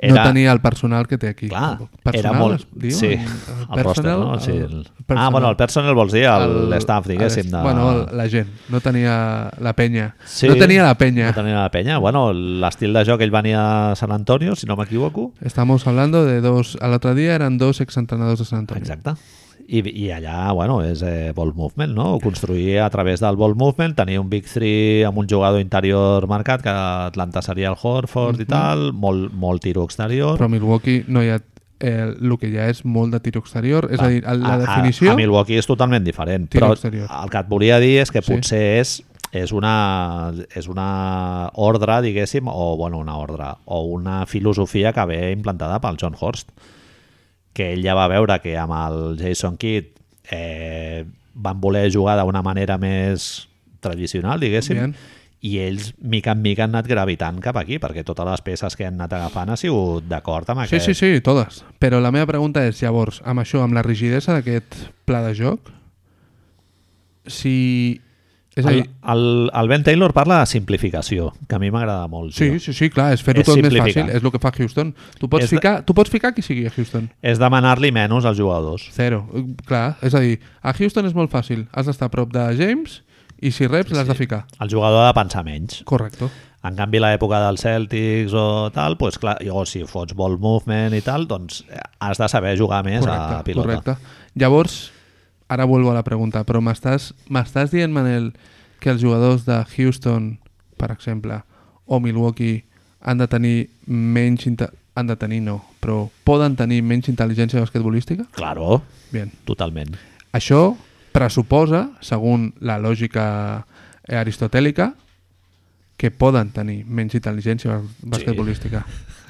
A: Era-
B: No tenia el personal que té aquí.
A: Clar,
B: tampoc.
A: era
B: personal,
A: molt...
B: es diu?
A: Sí,
B: El
A: el roster,
B: personal,
A: no? Sí,
B: el
A: el... Ah,
B: personal.
A: bueno, el personal vols dir
B: El-
A: l'estaf, diguéssim.
B: el-
A: De...
B: Bueno, el- la gent. No tenia la penya.
A: Sí.
B: No tenia la penya.
A: No tenia la penya. Bueno, l'estil de joc ell venia a San Antonio, si no m'equivoco.
B: Estamos hablando de dos... Al otro día eran dos exentrenadores de San Antonio.
A: Exacte. I, I allà, bueno, és eh, ball movement, no? Construir a través del ball movement, tenir un big three amb un jugador interior marcat, que a Atlanta seria el Horford i tal, molt, molt tiro exterior.
B: Mm-hmm. Però a Milwaukee no hi ha... Eh, el que ja és molt de tiro exterior. És a dir, el- la
A: a,
B: definició...
A: A, a Milwaukee és totalment diferent,
B: Tiro
A: però
B: exterior.
A: el que et volia dir és que
B: Sí.
A: potser és, és, una, és una ordre, diguéssim, o bueno, una ordre, o una filosofia que ve implantada pel John Horst, que ell ja va veure que amb el Jason Kidd eh, van voler jugar d'una manera més tradicional, diguéssim,
B: Bien.
A: i ells, mica en mica, han anat gravitant cap aquí, perquè totes les peces que han anat agafant ha sigut d'acord amb
B: Sí,
A: aquest...
B: sí, sí, totes. Però la meva pregunta és, llavors, amb això, amb la rigidesa d'aquest pla de joc, si... És a
A: El,
B: dir,
A: el, el Ben Taylor parla de simplificació, que a mi m'agrada molt.
B: sí,
A: tio.
B: sí, sí, clar, és fer-ho
A: És
B: tot més
A: simplificar.
B: fàcil. És el que fa Houston. Tu pots,
A: És de-
B: ficar, tu pots ficar qui sigui a Houston.
A: És demanar-li menys als jugadors.
B: Zero. Eh, Clar, és a dir, a Houston és molt fàcil. Has d'estar a prop de James i si reps l'has de ficar.
A: El jugador ha de pensar menys.
B: Correcte.
A: En canvi, l'època dels Celtics o tal, pues, clar, o si fots ball movement i tal, doncs eh, has de saber jugar més eh, a
B: Correcte,
A: pilota.
B: correcte. Llavors, ara vuelvo a la pregunta, però m'estàs m'estàs dient, Manel, que els jugadors de Houston, per exemple, o Milwaukee han de tenir menys... inte- Han de tenir, no, però poden tenir menys intel·ligència basquetbolística?
A: Claro,
B: Bien.
A: totalment.
B: Això pressuposa, segons la lògica eh, aristotèlica, que poden tenir menys intel·ligència bas- basquetbolística.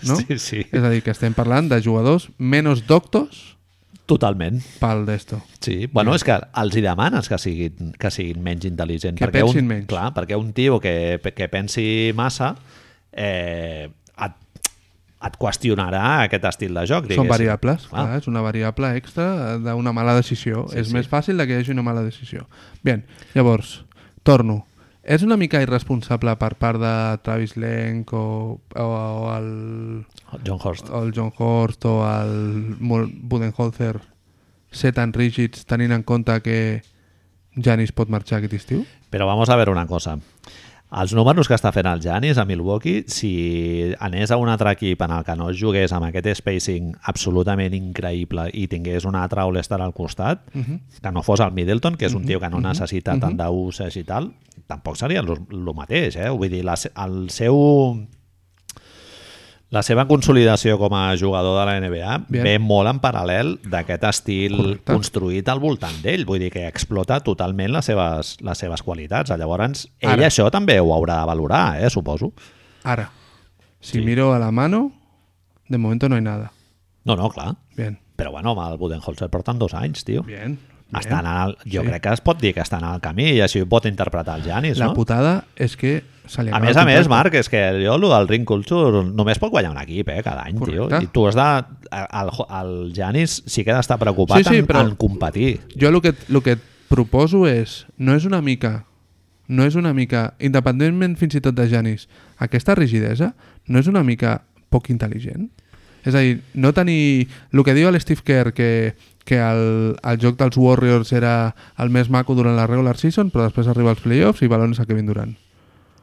B: No?
A: Sí, sí,
B: És a dir, que estem parlant de jugadors menos doctos
A: totalment.
B: pel d'esto.
A: Sí, bueno, és que els hi demanes que siguin, que siguin menys intel·ligents.
B: Que
A: perquè
B: pensin
A: un,
B: menys.
A: Clar, perquè un tio que, que pensi massa eh, et, et qüestionarà aquest estil de joc, diguéssim.
B: Són variables,
A: Clar.
B: clar. és una variable extra eh, d'una mala decisió. Sí, és sí. més fàcil de que hi hagi una mala decisió. Bien, llavors, torno. És una mica irresponsable per part de Travis Lenk o, o, o el,
A: John Horst.
B: o el John Horst o el Mul- Budenholzer ser tan rígids tenint en compte que Janis pot marxar aquest estiu?
A: Però vamos a veure una cosa. Els números que està fent el Janis a Milwaukee, si anés a un altre equip en el que no es jugués amb aquest spacing absolutament increïble i tingués un altre All-Star al costat, uh
B: Mhm.
A: -huh. que no fos el Middleton, que és un tio que no necessita uh -huh. tant d'uses i tal, tampoc seria el mateix, eh? Vull dir, la, se- el seu... La seva consolidació com a jugador de la NBA
B: Bien.
A: ve molt en paral·lel d'aquest estil
B: Correcte.
A: construït al voltant d'ell, vull dir que explota totalment les seves, les seves qualitats. Llavors, ell
B: Ara.
A: això també ho haurà de valorar, eh, suposo.
B: Ara,
A: Sí.
B: si sí. miro a la mano, de momento no hay nada.
A: No, no, clar.
B: Bien,
A: Però bueno, amb el Budenholzer porten dos anys, tio.
B: bien. bien.
A: Estan al, jo
B: Sí.
A: crec que es pot dir que estan al camí i així ho pot interpretar el Janis,
B: La
A: no?
B: putada és que se li
A: A
B: acaba
A: més
B: el
A: a més,
B: contracte.
A: Marc, és que jo, el del Ring Culture, només pot guanyar un equip, eh, cada any, tio.
B: Correcte.
A: I tu has de... El, el Janis sí que ha d'estar preocupat
B: Sí, sí,
A: en,
B: però-
A: en competir.
B: Jo el que, et- el que et proposo és, no és una mica, no és una mica, independentment fins i tot de Janis, aquesta rigidesa no és una mica poc intel·ligent? És a dir, no tenir... El que diu l'Steve Kerr, que, que el, el joc dels Warriors era el més maco durant la regular season, però després arriba als playoffs i balons a Kevin Durant.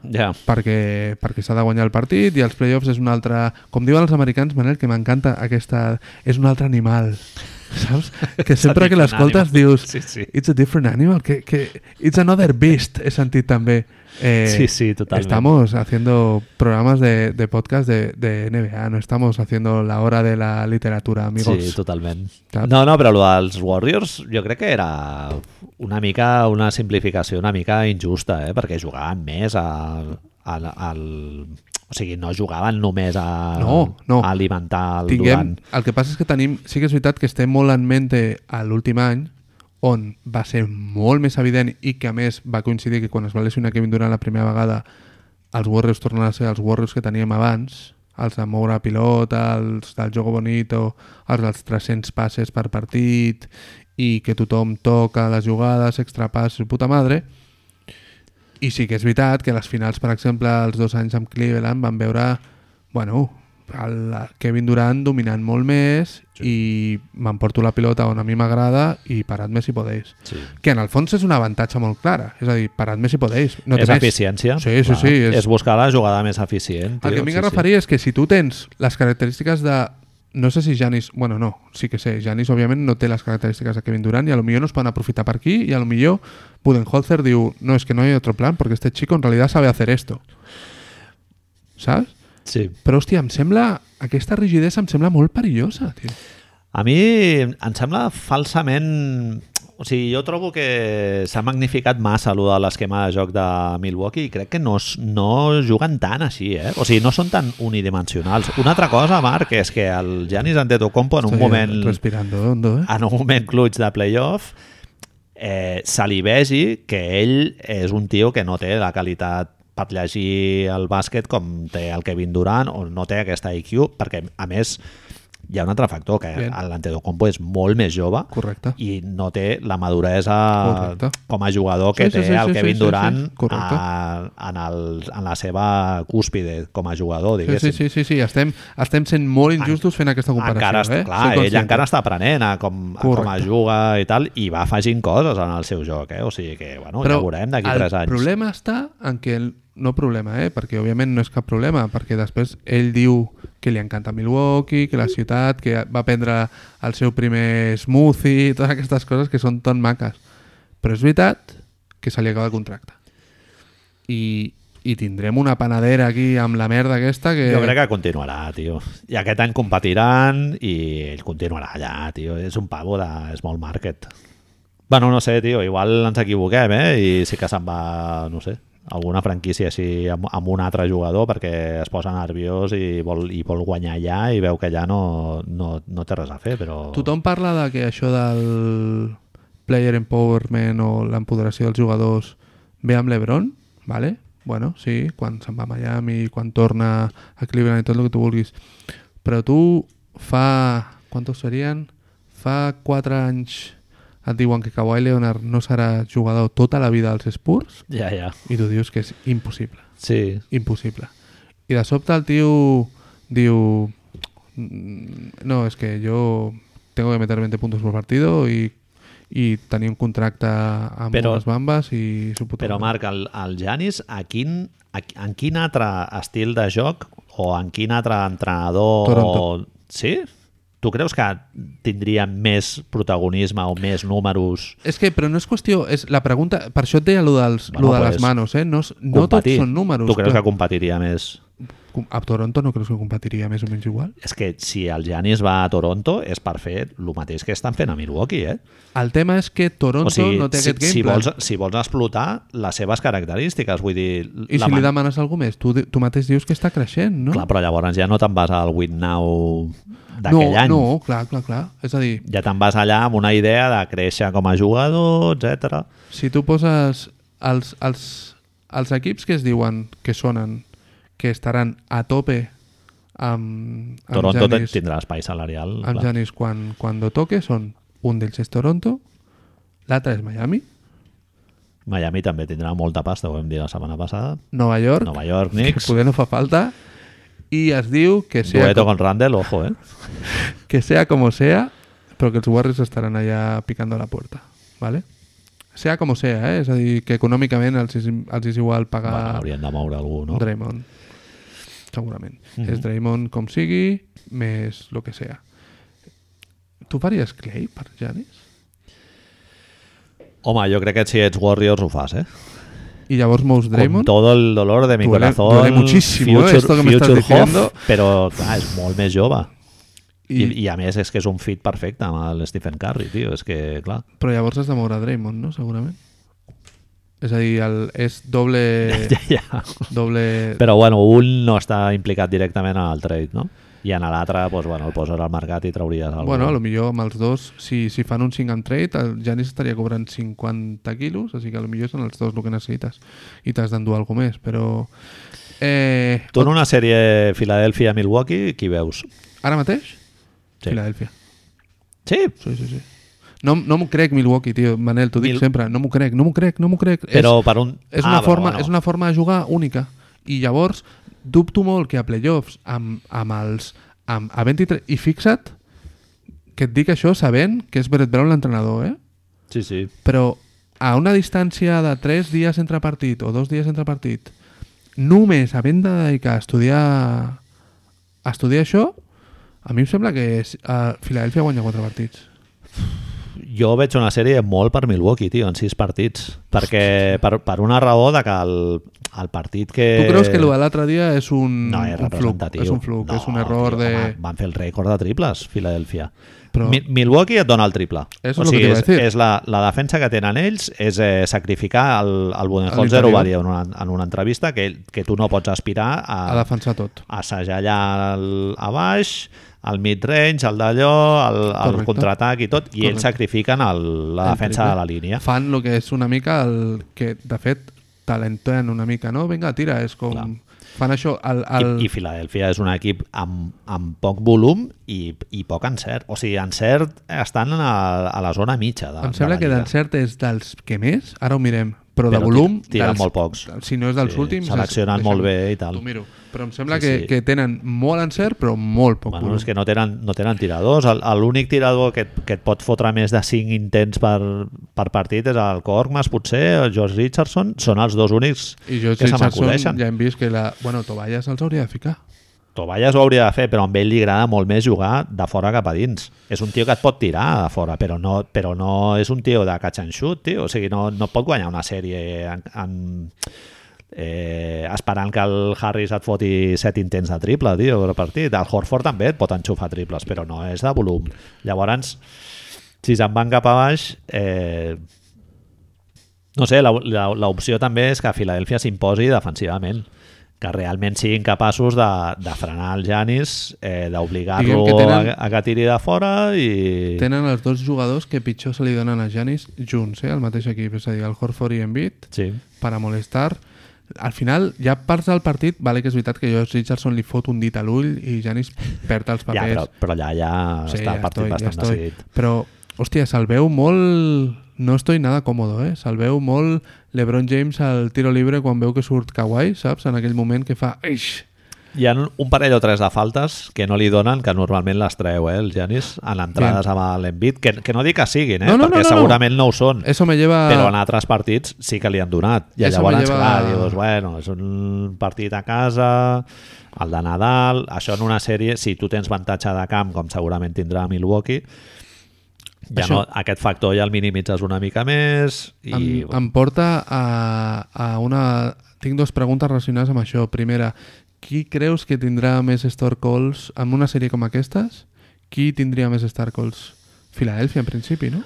A: Ja.
B: perquè, perquè s'ha de guanyar el partit i els playoffs és un altre... Com diuen els americans, Manel, que m'encanta aquesta... És un altre animal, [laughs] saps? Que sempre que
A: different
B: l'escoltes
A: animal.
B: dius
A: Sí, sí.
B: It's a different animal, que, que It's another beast, he sentit també. Eh,
A: Sí, sí, totalment.
B: Estamos haciendo programas de, de podcast de, de NBA, no estamos haciendo la hora de la literatura, amigos.
A: Sí, totalment.
B: Saps?
A: No, no, però el dels Warriors jo crec que era una mica una simplificació una mica injusta, eh? perquè jugaven més a, a, al... O sigui, no jugaven només a,
B: No, no.
A: a alimentar el
B: tinguem,
A: Durant.
B: el que passa és que tenim, sí que és veritat que estem molt en mente a l'últim any on va ser molt més evident i que a més va coincidir que quan es va lesionar Kevin Durant la primera vegada els Warriors tornen a ser els Warriors que teníem abans els de moure pilota, els del Jogo Bonito, els dels 300 passes per partit i que tothom toca les jugades, extrapass, puta madre I sí que és veritat que les finals, per exemple, els dos anys amb Cleveland van veure, bueno, el Kevin Durant dominant molt més sí. i m'emporto la pilota on a mi m'agrada i parat-me si podeu.
A: Sí.
B: Que en el fons és un avantatge molt clara. És a dir, parat-me si podeu. No
A: No
B: té
A: és
B: més.
A: eficiència.
B: Sí, sí, sí,
A: És...
B: és-
A: és buscar la jugada més eficient. tio,
B: El que m'hi
A: sí,
B: sí, referir és que si tu tens les característiques de... No sé si Janis... Bueno, no, sí que sé. Janis, òbviament, no té les característiques de Kevin Durant i a lo millor no es van aprofitar per aquí i a lo millor Budenholzer diu no, es que no hay otro plan porque este chico en realidad sabe hacer esto. Saps?
A: Sí. sí.
B: Però, hòstia, em sembla... Aquesta rigidesa em sembla molt perillosa, tio.
A: A mi em sembla falsament... O sigui, jo trobo que s'ha magnificat massa allò de l'esquema de joc de Milwaukee i crec que no, es- no juguen tant així, eh? O sigui, no són tan unidimensionals. Una altra cosa, Marc, és que el Giannis Antetokounmpo en un
B: Estoy
A: moment Ah,
B: Respirando hondo, eh?
A: en un moment clutch de playoff eh, se li vegi que ell és un tio que no té la qualitat per llegir el bàsquet com té el Kevin Durant o no té aquesta IQ perquè a més hi ha un altre factor que
B: Bien.
A: l'Antetokounmpo és molt més jove
B: Correcte.
A: i no té la maduresa
B: Correcte.
A: com a jugador que
B: Sí, sí,
A: té
B: sí,
A: el
B: sí,
A: Kevin
B: sí, sí,
A: Durant
B: sí. Correcte.
A: a, en, el, en la seva cúspide com a jugador,
B: Sí, sí,
A: diguéssim.
B: sí, sí, sí. Estem, estem sent molt injustos fent aquesta comparació.
A: encara està,
B: eh?
A: clar,
B: Soc
A: ell
B: conscient.
A: encara està aprenent a com, a com es
B: Correcte.
A: juga i tal, i va afegint coses en el seu joc, eh? o sigui que bueno, ja veurem d'aquí
B: el
A: 3 anys.
B: problema està en que... El, no problema, eh? Perquè, òbviament, no és cap problema, perquè després ell diu que li encanta Milwaukee, que la ciutat, que va prendre el seu primer smoothie, totes aquestes coses que són tan maques. Però és veritat que se li acaba el contracte. I, i tindrem una panadera aquí amb la merda aquesta que...
A: Jo crec que continuarà, tio. I aquest any competiran i ell continuarà allà, tio. És un pavo de small market. Bueno, no sé, tio, igual ens equivoquem, eh? I sí que se'n va, no sé, alguna franquícia així amb, amb un altre jugador perquè es posa nerviós i vol, i vol guanyar allà i veu que allà no, no, no té res a fer, però...
B: Tothom parla de que això del player empowerment o l'empoderació dels jugadors ve amb l'Ebron, vale? Bueno, sí, quan se'n va a Miami, quan torna a Cleveland i tot el que tu vulguis. Però tu fa... Quantos serien? Fa 4 anys et diuen que Kawhi Leonard no serà jugador tota la vida als Spurs
A: Ja, ja.
B: i tu dius que és impossible
A: Sí,
B: impossible. I de sobte el tio diu... "Mm, No, es que yo tengo que meter 20 puntos por partido y, y tenir un contracte amb
A: Però-
B: però, unes bambes i su puta
A: Però
B: mare.
A: Marc, el, el Janis, a quin, a, en quin altre estil de joc o en quin altre entrenador...
B: Toronto.
A: O... Sí? Tu creus que tindria més protagonisme o més números?
B: És que, però no és qüestió... És la pregunta... Per això et deia allò dels,
A: Bueno,
B: bueno, de
A: pues,
B: les manos, eh? No, és- no tots
A: Competir.
B: són números.
A: Tu creus que
B: clar.
A: competiria més?
B: Com- A Toronto no creus que competiria més o menys igual?
A: És que si el Janis va a Toronto és per fer el mateix que estan fent a Milwaukee, eh?
B: El tema és que Toronto
A: o sigui,
B: no té
A: si,
B: aquest game
A: si,
B: plan.
A: vols, si vols explotar les seves característiques, vull dir...
B: I si
A: man-
B: li demanes algú més? Tu, di- tu mateix dius que està creixent, no?
A: Clar, però llavors ja no te'n vas al Win Now d'aquell
B: no,
A: any.
B: No, clar, clar, clar. És a dir,
A: ja te'n vas allà amb una idea de créixer com a jugador, etc.
B: si tu poses els, els, els equips que es diuen que sonen, que estaran a tope amb, amb
A: Toronto
B: Giannis,
A: tindrà espai salarial.
B: amb
A: clar.
B: Giannis quan, quan toque són un d'ells és Toronto, l'altre és Miami,
A: Miami també tindrà molta pasta, ho vam dir la setmana passada.
B: Nova York,
A: Nova York,
B: que
A: Knicks,
B: poder no fa falta, i es diu que sea,
A: dueto
B: com,
A: con Randall, ojo, eh?
B: que sea como sea, però que els Warriors estaran allà picando la puerta, ¿vale? Sea como sea, eh? és a dir, que econòmicament els, és- els és igual pagar...
A: Bueno, haurien de moure algú, no? Mhm.
B: Draymond. Segurament. És Draymond com sigui, més lo que sea. Tu faries Clay per Janis?
A: Home, jo crec que si ets Warriors ho fas, eh?
B: I llavors mous Draymond?
A: Con todo el dolor de mi
B: Duele-
A: corazón.
B: duele muchísimo, eh,
A: future,
B: esto que me estás
A: future Hoff,
B: diciendo.
A: Però, clar, és molt més jove. I,
B: I, I,
A: I, a més és que és un fit perfecte amb el Stephen Curry, tio. És que, clar, [laughs]
B: Però llavors has de moure Draymond, no? Segurament. És a dir, el, és
A: [laughs]
B: doble...
A: ja, ja.
B: doble...
A: Però bueno, un no està implicat directament en el trade, no? I en l'altre, doncs, bueno, el poses al mercat i trauries alguna
B: Bueno, a lo millor amb els dos, si, si fan un 5 and trade, el Janis estaria cobrant 50 quilos, així que a lo millor són els dos el que necessites i t'has d'endur alguna més, però... Eh,
A: Tu en una sèrie Filadèlfia-Milwaukee, qui veus?
B: ara mateix?
A: Sí.
B: Filadèlfia.
A: Sí,
B: Sí, sí, sí. No, no m'ho crec, Milwaukee, tio. Manel, t'ho dic
A: Mil-
B: sempre. No m'ho crec, no m'ho crec, no m'ho crec.
A: Però
B: és,
A: per un-
B: És
A: Ah,
B: una,
A: però
B: forma,
A: bueno.
B: és una forma de jugar única. I llavors, dubto molt que a playoffs, amb, amb els... Amb, a 23... I fixa't que et dic això sabent que és Brett Brown l'entrenador, eh?
A: Sí, sí.
B: però a una distància de 3 dies entre partit o 2 dies entre partit només havent de dedicar a estudiar a estudiar això a mi em sembla que és, a Filadèlfia guanya 4 partits
A: Jo veig una sèrie molt per Milwaukee, tio, en sis partits. Perquè per, per una raó de que el, el partit que...
B: tu creus que el de l'altre dia és un,
A: Eh, no és
B: Mm, un fluc,
A: representatiu.
B: és un, fluc,
A: no,
B: és un error
A: tio,
B: de...
A: home, van fer el rècord de triples, Filadèlfia.
B: Però-
A: Però... Mi Milwaukee et dona el triple.
B: Eso
A: o
B: es lo
A: sigui,
B: que te iba a
A: és,
B: decir.
A: és la, la defensa que tenen ells és eh, sacrificar el, el Budenholzer,
B: l'interior.
A: ho va dir en una, en una entrevista, que, ell- que tu no pots aspirar a,
B: a defensar tot
A: assajar allà al, a baix, al mid-range, al d'allò, al, al
B: Correcte.
A: contraatac i tot, i
B: Correcte.
A: ells sacrifican el, la
B: El
A: defensa
B: triple.
A: de la línia.
B: fan el que és una mica el que de fet talenten una mica no? vinga tira és com
A: Clar.
B: fan això el, el...
A: I, I Filadèlfia és un equip amb, amb poc volum i, i poc encert. O sigui, encert eh, estan a, a la zona mitja de,
B: Em
A: de
B: sembla que
A: la lliga.
B: d'encert és dels que més, ara ho mirem, però, de
A: Però
B: volum...
A: ti- tiren
B: dels-
A: molt pocs.
B: Si no és dels
A: Sí,
B: últims...
A: seleccionen
B: és-
A: molt
B: deixa'm-
A: bé i tal.
B: T'ho miro. Però em sembla
A: Sí,
B: que,
A: sí.
B: que tenen molt encert, però molt poc
A: Bueno,
B: volum.
A: és que no tenen, no tenen tiradors. El- L'únic tirador que, et- que et pot fotre més de 5 intents per, per partit és el Corkmas, potser, el George Richardson. Són els dos únics
B: I jo,
A: que se
B: Richardson,
A: m'acudeixen.
B: ja hem vist que la... Bueno, Tobias els hauria de ficar.
A: Tovalles ho hauria de fer, però amb ell li agrada molt més jugar de fora cap a dins. És un tio que et pot tirar de fora, però no, però no és un tio de catch and shoot, tio. O sigui, no, no pot guanyar una sèrie en, en, eh, esperant que el Harris et foti set intents de triple, tio, per partit. El Horford també et pot enxufar triples, però no és de volum. Llavors, si se'n van cap a baix... Eh, no sé, la- la- l'opció també és que Filadèlfia s'imposi defensivament que realment siguin capaços de, de frenar el Janis, eh, d'obligar-lo
B: Diguem que tenen-
A: a, a que tiri de fora i...
B: Tenen els dos jugadors que pitjor se li donen a Janis junts, eh? el mateix equip, és a dir, el Horford i Embiid,
A: Sí.
B: per a molestar. Al final, hi ha parts del partit, vale que és veritat que jo a Richardson li fot un dit a l'ull i Janis perd els
A: [laughs] Ja,
B: papers.
A: però, però allà ja està el partit bastant decidit.
B: Però, hòstia, se'l veu molt... No estoy nada còmodo, eh? Se'l veu molt LeBron James al tiro libre quan veu que surt Kawhi, saps? En aquell moment que fa... Eix!
A: Hi ha un parell o tres de faltes que no li donen, que normalment les treu, eh, el Janis, en entrades amb l'Envit, que, que no dic que siguin, eh,
B: No, no, no,
A: perquè
B: no.
A: segurament no ho són.
B: Eso me lleva...
A: però en altres partits sí que li han donat i
B: Eso
A: llavors
B: Ah. me lleva-
A: clar, dius, bueno, és un partit a casa el de Nadal, això en una sèrie si tu tens avantatge de camp com segurament tindrà Milwaukee ja
B: Això-
A: no, aquest factor ja el minimitzes una mica més i
B: em, em porta a, a una... Tinc dues preguntes relacionades amb això. Primera, qui creus que tindrà més store calls amb una sèrie com aquestes? Qui tindria més star calls? Filadelfia, en principi, no?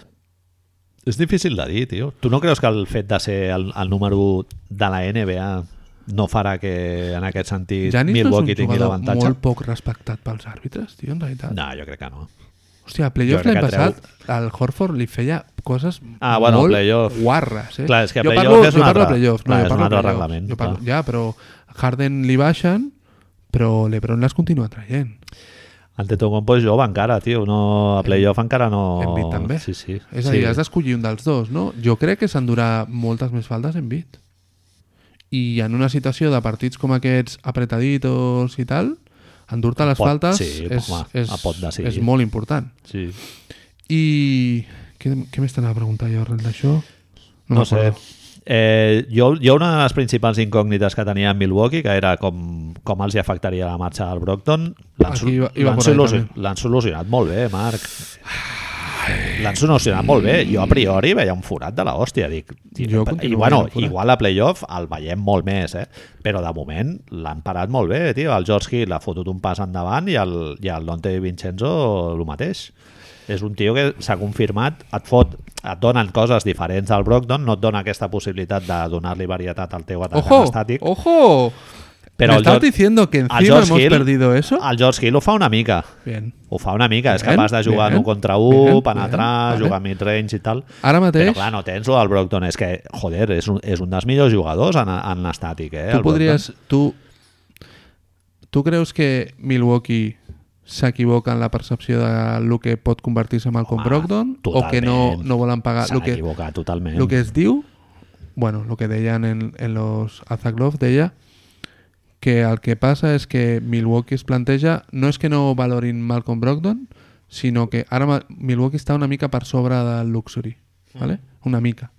A: és difícil de dir, tio tu no creus que el fet de ser el, el número 1 de la NBA no farà que en aquest sentit
B: Janis no
A: Milwaukee
B: és un
A: tingui
B: jugador
A: l'avantatge?
B: molt poc respectat pels àrbitres, tio, en realitat.
A: No, jo crec que no.
B: Hòstia, a
A: Jo
B: playoff
A: crec
B: l'any
A: que treu-
B: passat al Horford li feia coses
A: Ah, bueno, a
B: molt
A: playoff.
B: guarres, eh?
A: Clar, és que a
B: jo
A: playoff
B: parlo,
A: és
B: jo
A: un
B: parlo a
A: altre-
B: playoff, no,
A: clar,
B: jo
A: és
B: parlo
A: un altre
B: a playoff.
A: reglament,
B: Jo parlo,
A: clar.
B: ja, però Harden li baixen, però l'Ebron les continua traient.
A: El Tetocompo és jove encara, tio. No, a playoff encara no...
B: En Bit també.
A: Sí, sí.
B: És a
A: sí.
B: dir, has d'escollir un dels dos, no? Jo crec que s'endurà moltes més faltes en Bit. I en una situació de partits com aquests apretaditos i tal, endur-te les
A: Pot-
B: faltes
A: sí,
B: és,
A: home,
B: és,
A: pot decidir.
B: és molt important.
A: Sí.
B: I què, què més t'anava a preguntar jo arrel d'això?
A: No, sé.
B: m'acordo.
A: Eh, jo, jo una de les principals incògnites que tenia en Milwaukee, que era com, com els hi afectaria la marxa del Brockton, l'han sol-
B: Aquí iba- iba
A: l'han
B: por ahí
A: solucio-
B: també.
A: l'han solucionat molt bé, Marc. L'han solucionat molt bé. Jo a priori veia un forat de l'hòstia. Dic,
B: Jo
A: I
B: continuo
A: bueno,
B: veient el forat.
A: igual a playoff el veiem molt més, eh? però de moment l'han parat molt bé. Tio. El George Hill ha fotut un pas endavant i el, i el Dante Vincenzo el mateix. És un tio que s'ha confirmat, et, fot, et donen coses diferents al Brogdon, no et dona aquesta possibilitat de donar-li varietat al teu atacant
B: Ojo,
A: estàtic.
B: ojo.
A: Pero
B: ¿Me
A: el
B: estás
A: George-
B: diciendo que
A: el
B: encima
A: George
B: hemos
A: Hill- Ah.
B: perdido eso?
A: El George Hill ho fa una mica.
B: Bien.
A: Ho fa una mica, és
B: Bien,
A: capaç de jugar en
B: bien,
A: un contra un,
B: bien,
A: penetrar,
B: bien,
A: jugar mid-range i tal.
B: Ara mateix,
A: Però clar, no tens lo del Brogdon, és que, joder, és un, és un dels millors jugadors en, en estàtic, eh?
B: tu
A: el
B: podries... Tu, tu creus que Milwaukee s'equivoca en la percepció de lo que pot convertir-se en Malcolm
A: Home,
B: Brogdon o que no,
A: totalment.
B: no volen pagar
A: S'ha
B: el que,
A: equivocat totalment.
B: lo que es diu bueno, lo que deien en, en los Azaglov deia que el que passa és que Milwaukee es planteja no és que no valorin Malcolm Brogdon sinó que ara Ma- Milwaukee està una mica per sobre del luxury ¿vale? una mica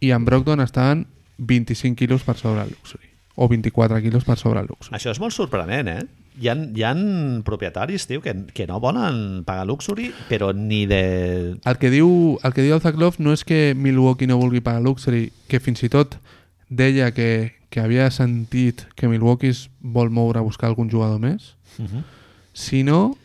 B: i en Brogdon estaven 25 quilos per sobre el luxury o 24 quilos per sobre el luxury
A: Això és molt sorprenent, eh? Hi ha, hi ha propietaris, tio, que, que no volen pagar luxury, però ni de...
B: El que diu el, que diu el Zaglov no és que Milwaukee no vulgui pagar Luxury, que fins i tot deia que, que havia sentit que Milwaukee es vol moure a buscar algun jugador més,
A: Uh -huh.
B: sinó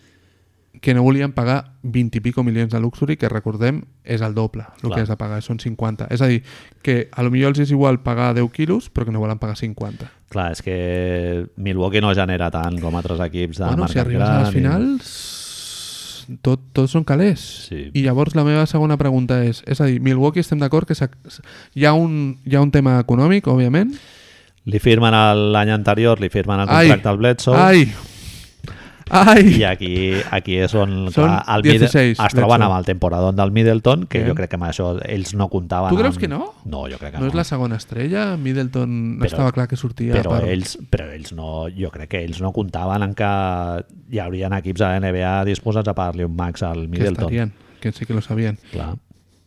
B: que no volien pagar 20 i pico milions de Luxury, que recordem és el doble el
A: Clar.
B: que has de pagar, són 50. És a dir, que a lo millor els és igual pagar 10 quilos, però que no volen pagar 50.
A: Clar, és que Milwaukee no genera tant com altres equips de
B: bueno,
A: mercat
B: si arribes
A: gran.
B: a les
A: i-
B: finals tot, tots són calés
A: Sí.
B: i llavors la meva segona pregunta és és a dir, Milwaukee estem d'acord que s'ac- s- hi ha, un, hi ha un tema econòmic òbviament
A: Li firmen el- l'any anterior, li firmen el
B: Ai.
A: contracte al Bledsoe,
B: ai,
A: i
B: ai
A: aquí, aquí és on
B: Són
A: clar, el Middle-
B: 16,
A: es troben
B: Bledsoe.
A: amb el temporador del Middleton, que
B: Bien.
A: jo crec que amb això ells no comptaven
B: Tu creus
A: amb...
B: que no?
A: No, jo crec que
B: no és la segona estrella Middleton
A: Però-
B: no estava clar que sortia
A: però,
B: per-
A: ells, però ells no, jo crec que ells no comptaven en que hi haurien equips a la NBA disposats a pagar-li un max al
B: que
A: Middleton.
B: estarien, que sí que lo sabien
A: Clar.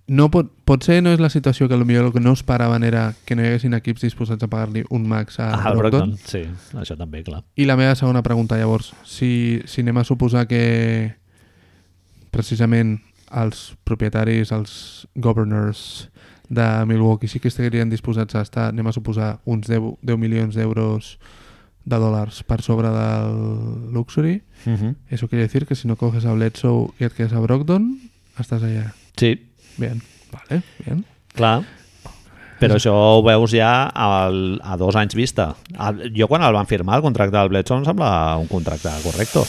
B: no pot, potser no és la situació que potser el que no esperaven era que no hi haguessin equips disposats a pagar-li un max a
A: Ah, el
B: Brogdon
A: Brogdon, sí, això també, clar.
B: I la meva segona pregunta, llavors, si, si anem a suposar que precisament els propietaris, els governors de Milwaukee sí que estarien disposats a estar, anem a suposar, uns 10, 10 milions d'euros de dòlars per sobre del luxury,
A: Uh -huh.
B: eso quiere decir que si no coges a Bledsoe i et quedes a Brogdon, estàs allà.
A: Sí,
B: Bien, vale, bien.
A: clar. Però això ho veus ja al, a dos anys vista. El, jo quan el van firmar, el contracte del Bledsoe, em sembla un contracte correcte.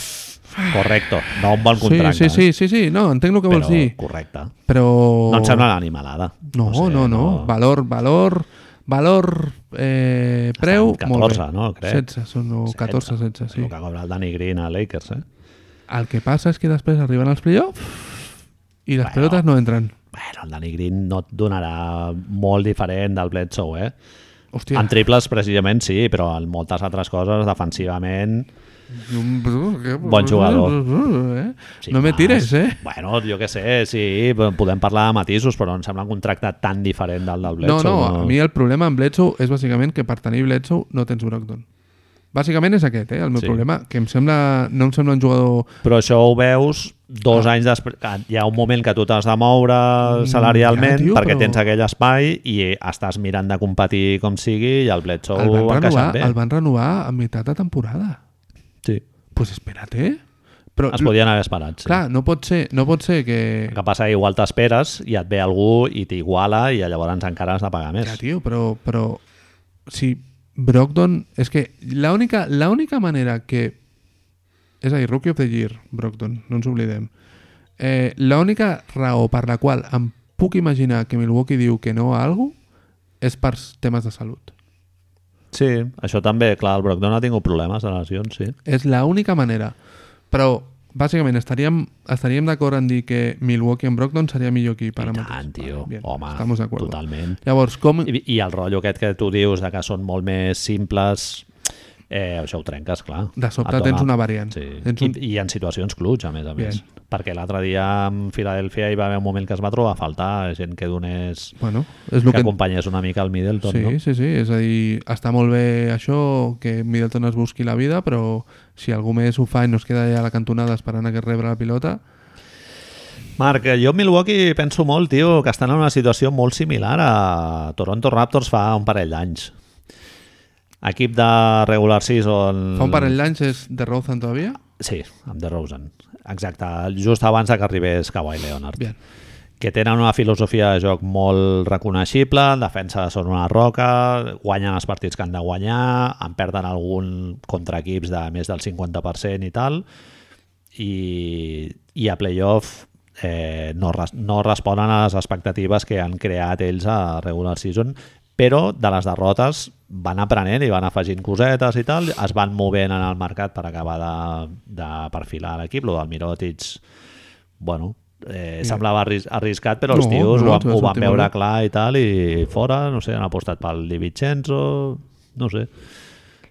A: Correcte, no un bon
B: Sí,
A: contracte. eh?
B: sí, sí, sí, sí, no, entenc el que
A: però
B: vols dir,
A: correcte.
B: però...
A: No em sembla una animalada.
B: No, no,
A: sé,
B: no, Valor, valor, valor, eh, preu...
A: Estan
B: molt bé.
A: 14, no? Crec.
B: 16, són o 14, 16, sí.
A: El que cobra el Danny Green a Lakers, eh?
B: El que passa és que després arriben els playoffs i les
A: Bueno.
B: pelotes no entren.
A: Bueno, el Danny Green no et donarà molt diferent del Bledsoe, eh?
B: Hòstia,
A: En triples, precisament, sí, però en moltes altres coses, defensivament...
B: bon
A: Bon jugador.
B: Eh?
A: sí,
B: no me
A: clar,
B: tires, eh?
A: Bueno, jo què sé, sí, podem parlar de matisos, però em sembla un contracte tan diferent del del
B: No,
A: Bledsoe.
B: no, a mi el problema amb Bledsoe és bàsicament que per tenir Bledsoe no tens Brogdon. Bàsicament és aquest, eh, el meu
A: Sí.
B: problema, que em sembla, no em sembla un jugador...
A: Però això ho veus dos
B: Ah.
A: anys després. que Hi ha un moment que tu t'has de moure salarialment
B: Mm, ja, tio,
A: perquè
B: però-
A: tens aquell espai i estàs mirant de competir com sigui i el Bledsoe ho
B: El
A: ha
B: van, renovar,
A: encaixat bé.
B: el van renovar a meitat de temporada.
A: Sí.
B: pues espérate. Però,
A: Es podien haver esperat, sí.
B: clar, no pot ser, no pot ser que...
A: El que passa igual t'esperes i et ve algú i t'iguala i llavors encara has de pagar més.
B: Ja, tio, però, però si Brogdon... És que l'única l'única manera que... És a dir, Rookie of the Year, Brogdon, no ens oblidem. Eh, l'única raó per la qual em puc imaginar que Milwaukee diu que no a algú és per temes de salut.
A: Sí, això també, clar, el Brogdon ha tingut problemes de lesions, sí.
B: És l'única manera. Però, bàsicament, estaríem, estaríem d'acord en dir que Milwaukee en Brogdon seria millor equip
A: I
B: ara mateix.
A: tant, tio.
B: Vale, bien,
A: Home,
B: estamos de acuerdo.
A: totalment.
B: Llavors, com...
A: I, I el rotllo aquest que tu dius de que són molt més simples, eh, això ho trenques, clar.
B: De sobte
A: Et dona-
B: tens una variant.
A: Ah, Sí.
B: Tens un...
A: I, I en situacions clutch, a més a més.
B: Bien.
A: Perquè l'altre dia en Filadèlfia hi va haver un moment que es va trobar a faltar gent que donés...
B: Bueno, és
A: que,
B: el que...
A: acompanyés una mica el Middleton,
B: Sí,
A: no?
B: sí, sí, és a dir, està molt bé això, que Middleton es busqui la vida, però si algú més ho fa i no es queda allà a la cantonada esperant a que rebre la pilota...
A: Marc, eh, jo a Milwaukee penso molt, tio, que estan en una situació molt similar a Toronto Raptors fa un parell d'anys. Equip de regular season...
B: Fa un parell d'anys és de Rozan todavía?
A: Sí, amb DeRozan. Exacte, just abans de que arribés Kawhi Leonard.
B: Bien.
A: Que tenen una filosofia de joc molt reconeixible, en defensa són una roca, guanyen els partits que han de guanyar, en perden algun contra equips de més del 50% i tal, i, i a playoff eh, no, res, no responen a les expectatives que han creat ells a regular season però de les derrotes van aprenent i van afegint cosetes i tal, es van movent en el mercat per acabar de, de perfilar l'equip, lo del Mirotic bueno, eh, semblava arris- arriscat però els
B: No,
A: tios
B: no,
A: ho, van- ho
B: t'ho vas
A: van
B: sortir molt
A: veure
B: bé.
A: clar i tal i fora, no sé, han apostat pel Di Vincenzo no sé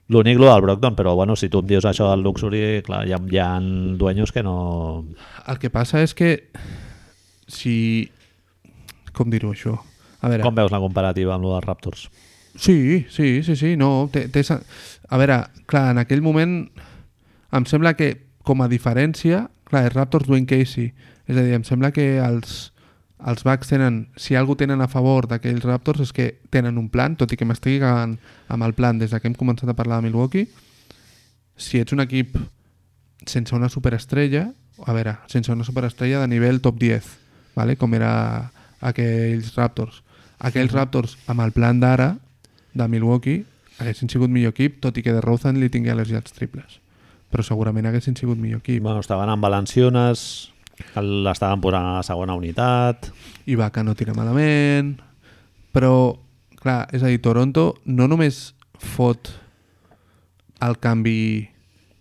A: L'únic, lo del Brockton, però bueno, si tu em dius això del Luxury, clar, hi ha, hi ha dueños que no...
B: El que passa és que si... Com dir-ho, això? A veure...
A: Com veus la comparativa amb lo dels Raptors?
B: Sí, sí, sí, sí, no. Té, té... sen- A veure, clar, en aquell moment em sembla que, com a diferència, clar, els Raptors Dwayne Casey. És a dir, em sembla que els, els Bucks tenen, si alguna tenen a favor d'aquells Raptors és que tenen un plan, tot i que m'estigui cagant amb el plan des de que hem començat a parlar de Milwaukee, si ets un equip sense una superestrella, a veure, sense una superestrella de nivell top 10, ¿vale? com era aquells Raptors. Aquells Raptors, amb el plan d'ara, de Milwaukee, haguessin sigut millor equip, tot i que de Rozan li tingui al·lesiats triples. Però segurament haguessin sigut millor
A: I,
B: equip.
A: bueno, estaven en Valenciunes, que l'estaven posant a la segona unitat...
B: I va que no tira malament... Però, clar, és a dir, Toronto no només fot el canvi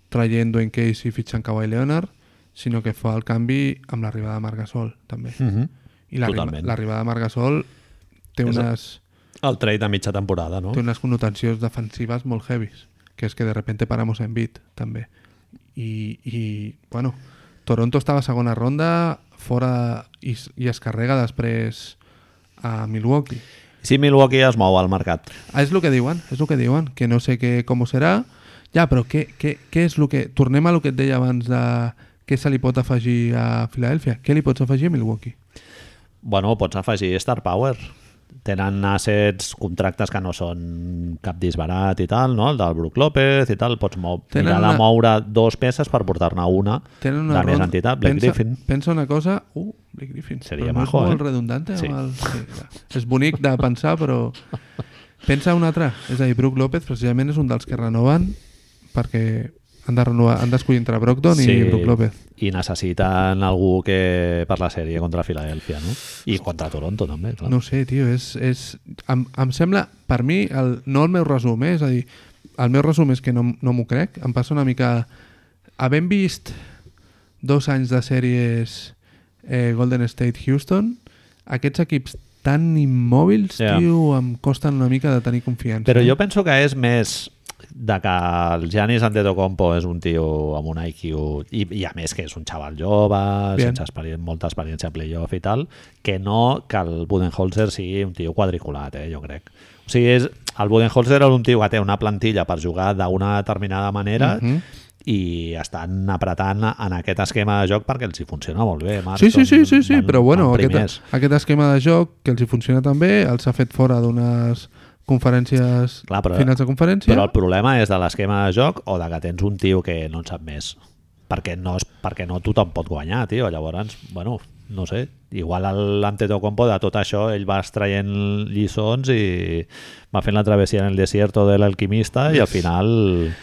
B: traient Dwayne Casey i fitxant Kawhi Leonard, sinó que fa el canvi amb l'arribada de Marc Gasol, també.
A: Mm -hmm.
B: I l'arribada
A: Totalment.
B: l'arribada de Marc Gasol té
A: És el-
B: unes...
A: El trade a mitja temporada, no?
B: té unes connotacions defensives molt heavies, que és que de repente paramos en bit, també. I, i bueno, Toronto estava a segona ronda, fora i, s- i es carrega després a Milwaukee.
A: Si Milwaukee es mou al mercat.
B: Ah, és el que diuen, és el que diuen, que no sé què, com ho serà. Ja, però què, què, què és el que... Tornem a el que et deia abans de què se li pot afegir a Filadèlfia. Què li pots afegir a Milwaukee?
A: Bueno, pots afegir Star Power. Tenen assets, contractes que no són cap disbarat i tal, no? El del Brook López i tal. Pots mou...
B: Tenen
A: mirar de
B: una-
A: moure dos peces per portar-ne una,
B: Tenen una
A: de més
B: ronda-
A: entitat. Blake
B: pensa,
A: Griffin.
B: Pensa una cosa... Uh, Blake Griffin.
A: Seria
B: però
A: majo,
B: no és molt
A: eh?
B: redundante
A: Sí.
B: sí. amb el... Sí, clar. és bonic de pensar, però... Pensa un altre. És a dir, Brook López precisament és un dels que renoven perquè han de renovar, han d'escollir entre Brogdon sí. i Brook López.
A: I necessiten algú que per la sèrie contra Filadèlfia, no? I contra Toronto, també, clar.
B: No ho sé, tio, és... és em, em sembla, per mi, el, no el meu resum, eh? és a dir, el meu resum és que no, m- no m'ho crec, em passa una mica... Havent vist dos anys de sèries eh, Golden State-Houston, aquests equips tan immòbils,
A: Ja.
B: yeah. tio, em costen una mica de tenir confiança. eh?
A: Però jo penso que és més de que el Giannis Antetokounmpo és un tio amb un IQ i, i a més que és un xaval jove
B: Bien.
A: sense experi molta experiència a playoff i tal que no que el Budenholzer sigui un tio quadriculat, eh, jo crec o sigui, és, el Budenholzer era un tio que té una plantilla per jugar d'una determinada manera
B: Mhm.
A: i estan apretant en aquest esquema de joc perquè els hi funciona molt bé Marc,
B: Sí, sí, sí,
A: són-
B: sí, sí
A: van-
B: però bueno,
A: van primers.
B: aquest, aquest esquema de joc que els hi funciona també, els ha fet fora d'unes conferències,
A: Clar, però-
B: finals de conferència.
A: Però el problema és de l'esquema de joc o de que tens un tio que no en sap més. Perquè no, es, perquè no tothom pot guanyar, tio. Llavors, bueno, no sé. Igual l'Antetokounmpo de tot això, ell va extraient lliçons i va fent la travessia en el desierto de l'alquimista i al final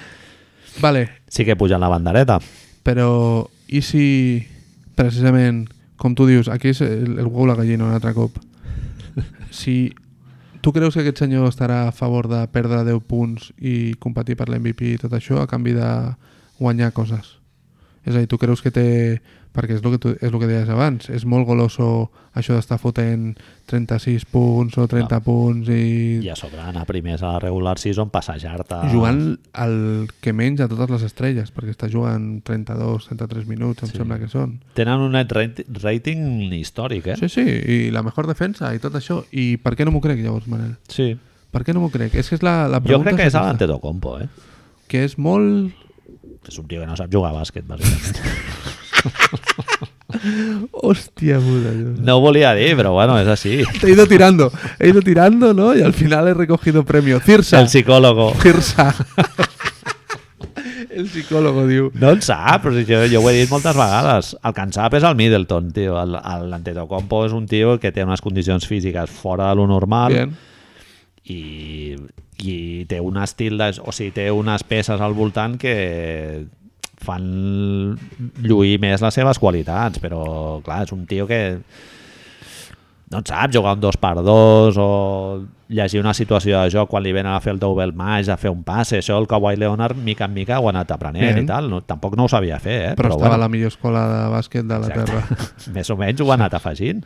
B: Vale,
A: sí que puja en la bandereta.
B: Però, i si precisament, com tu dius, aquí és el, el huevo la gallina un altre cop. Si tu creus que aquest senyor estarà a favor de perdre 10 punts i competir per l'MVP i tot això a canvi de guanyar coses. És a dir, tu creus que té... Perquè és el que, tu, és el que deies abans. És molt goloso això d'estar fotent 36 punts o 30
A: Clar.
B: punts i...
A: I a sobre anar primers a la regular season, passejar-te...
B: Jugant el que menys a totes les estrelles, perquè està jugant 32, 33 minuts, em sí. sembla que són.
A: Tenen un net rate- rating històric, eh?
B: Sí, sí, i la millor defensa i tot això. I per què no m'ho crec, llavors, Manel?
A: sí.
B: Per què no m'ho crec? És que és la, la
A: Jo
B: pregunta...
A: crec que és
B: aquesta,
A: l'Antetokounmpo, eh?
B: Que és molt...
A: És un tio que no sap jugar a bàsquet, bàsicament.
B: [laughs] Hòstia puta, Dios.
A: No ho volia dir, però bueno, és així.
B: Te he ido tirando, he ido tirando, ¿no? Y al final he recogido premio. Cirsa,
A: El psicòlogo.
B: Cirsa. el psicólogo, diu.
A: No en sap, però si jo, jo ho he dit moltes vegades. El que en sap és el Middleton, tio. El- el- L'Antetokounmpo és un tio que té unes condicions físiques fora de lo normal
B: Bien.
A: i, i té un estil, de, o sigui, té unes peces al voltant que fan lluir més les seves qualitats, però clar, és un tio que no en saps, jugar un 2 per 2 o llegir una situació de joc quan li venen a fer el double match, a fer un passe, això el Kawhi Leonard mica en mica ho ha anat aprenent
B: Bien.
A: i tal, no, tampoc no ho sabia fer, eh?
B: però, estava a la millor escola de bàsquet de la Terra.
A: Exacte. Més o menys ho ha anat afegint,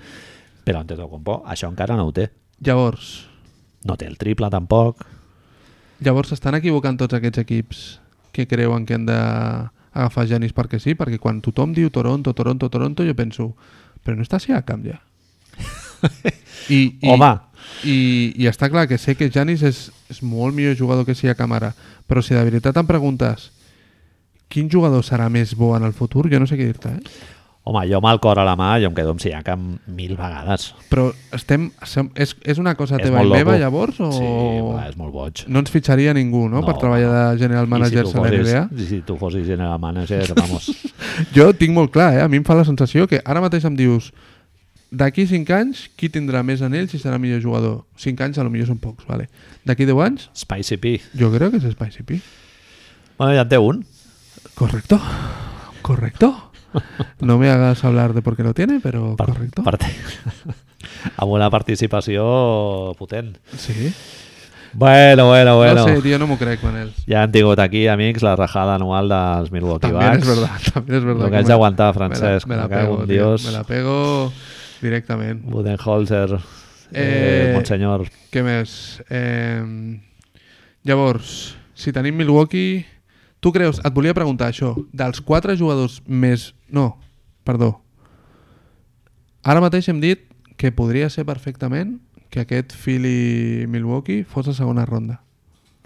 A: però Antetokounmpo això encara no ho té.
B: Llavors,
A: No té el triple
B: [laughs]
A: tampoc.
B: llavors s'estan equivocant tots aquests equips que creuen que han d'agafar Janis perquè sí, perquè quan tothom diu Toronto, Toronto, Toronto, jo penso, però no està Siakam ja. I, i,
A: Home.
B: I, I està clar que sé que Janis és, és molt millor jugador que Siakam ara, però si de veritat em preguntes quin jugador serà més bo en el futur, jo no sé què dir-te, eh?
A: Home, jo amb el cor a la mà jo em quedo amb Siakam mil vegades.
B: Però estem, sem- és, és una cosa
A: És
B: teva i
A: molt
B: meva,
A: loco.
B: llavors? O...
A: Sí, va, és molt boig.
B: No ens fitxaria ningú, no?,
A: No,
B: per treballar de general
A: I
B: manager a la
A: tu
B: NBA.
A: fossis, si tu fossis general manager, vamos, [laughs]
B: Jo tinc molt clar, eh? A mi em fa la sensació que ara mateix em dius d'aquí 5 anys, qui tindrà més anells i serà millor jugador? 5 anys, a lo millor són pocs, vale. D'aquí 10 anys,
A: Spicy P.
B: jo crec que és Spicy P.
A: Bueno, ja en té un.
B: Correcto. Correcto. No me hagas hablar de por qué lo tiene, pero
A: Per-
B: correcto.
A: per te- [laughs] amb una participació potent.
B: Sí.
A: Bueno, bueno, bueno.
B: No sé, tío, no me creo, Manel.
A: Ja han tingut aquí, amics, la rajada anual dels Milwaukee
B: También es
A: Bucks.
B: verdad, [laughs] también es verdad.
A: Lo que
B: me-
A: has de aguantar,
B: me la-
A: Francesc,
B: Me la,
A: me cago
B: pego,
A: en
B: tío,
A: Dios.
B: Me la pego directamente.
A: Budenholzer, eh...
B: Eh,
A: Monsenyor.
B: Què més? Eh, llavors, si tenim Milwaukee... Tu creus, et volia preguntar això, dels quatre jugadors més... No, perdó. Ara mateix hem dit que podria ser perfectament que aquest Philly-Milwaukee fos a segona ronda,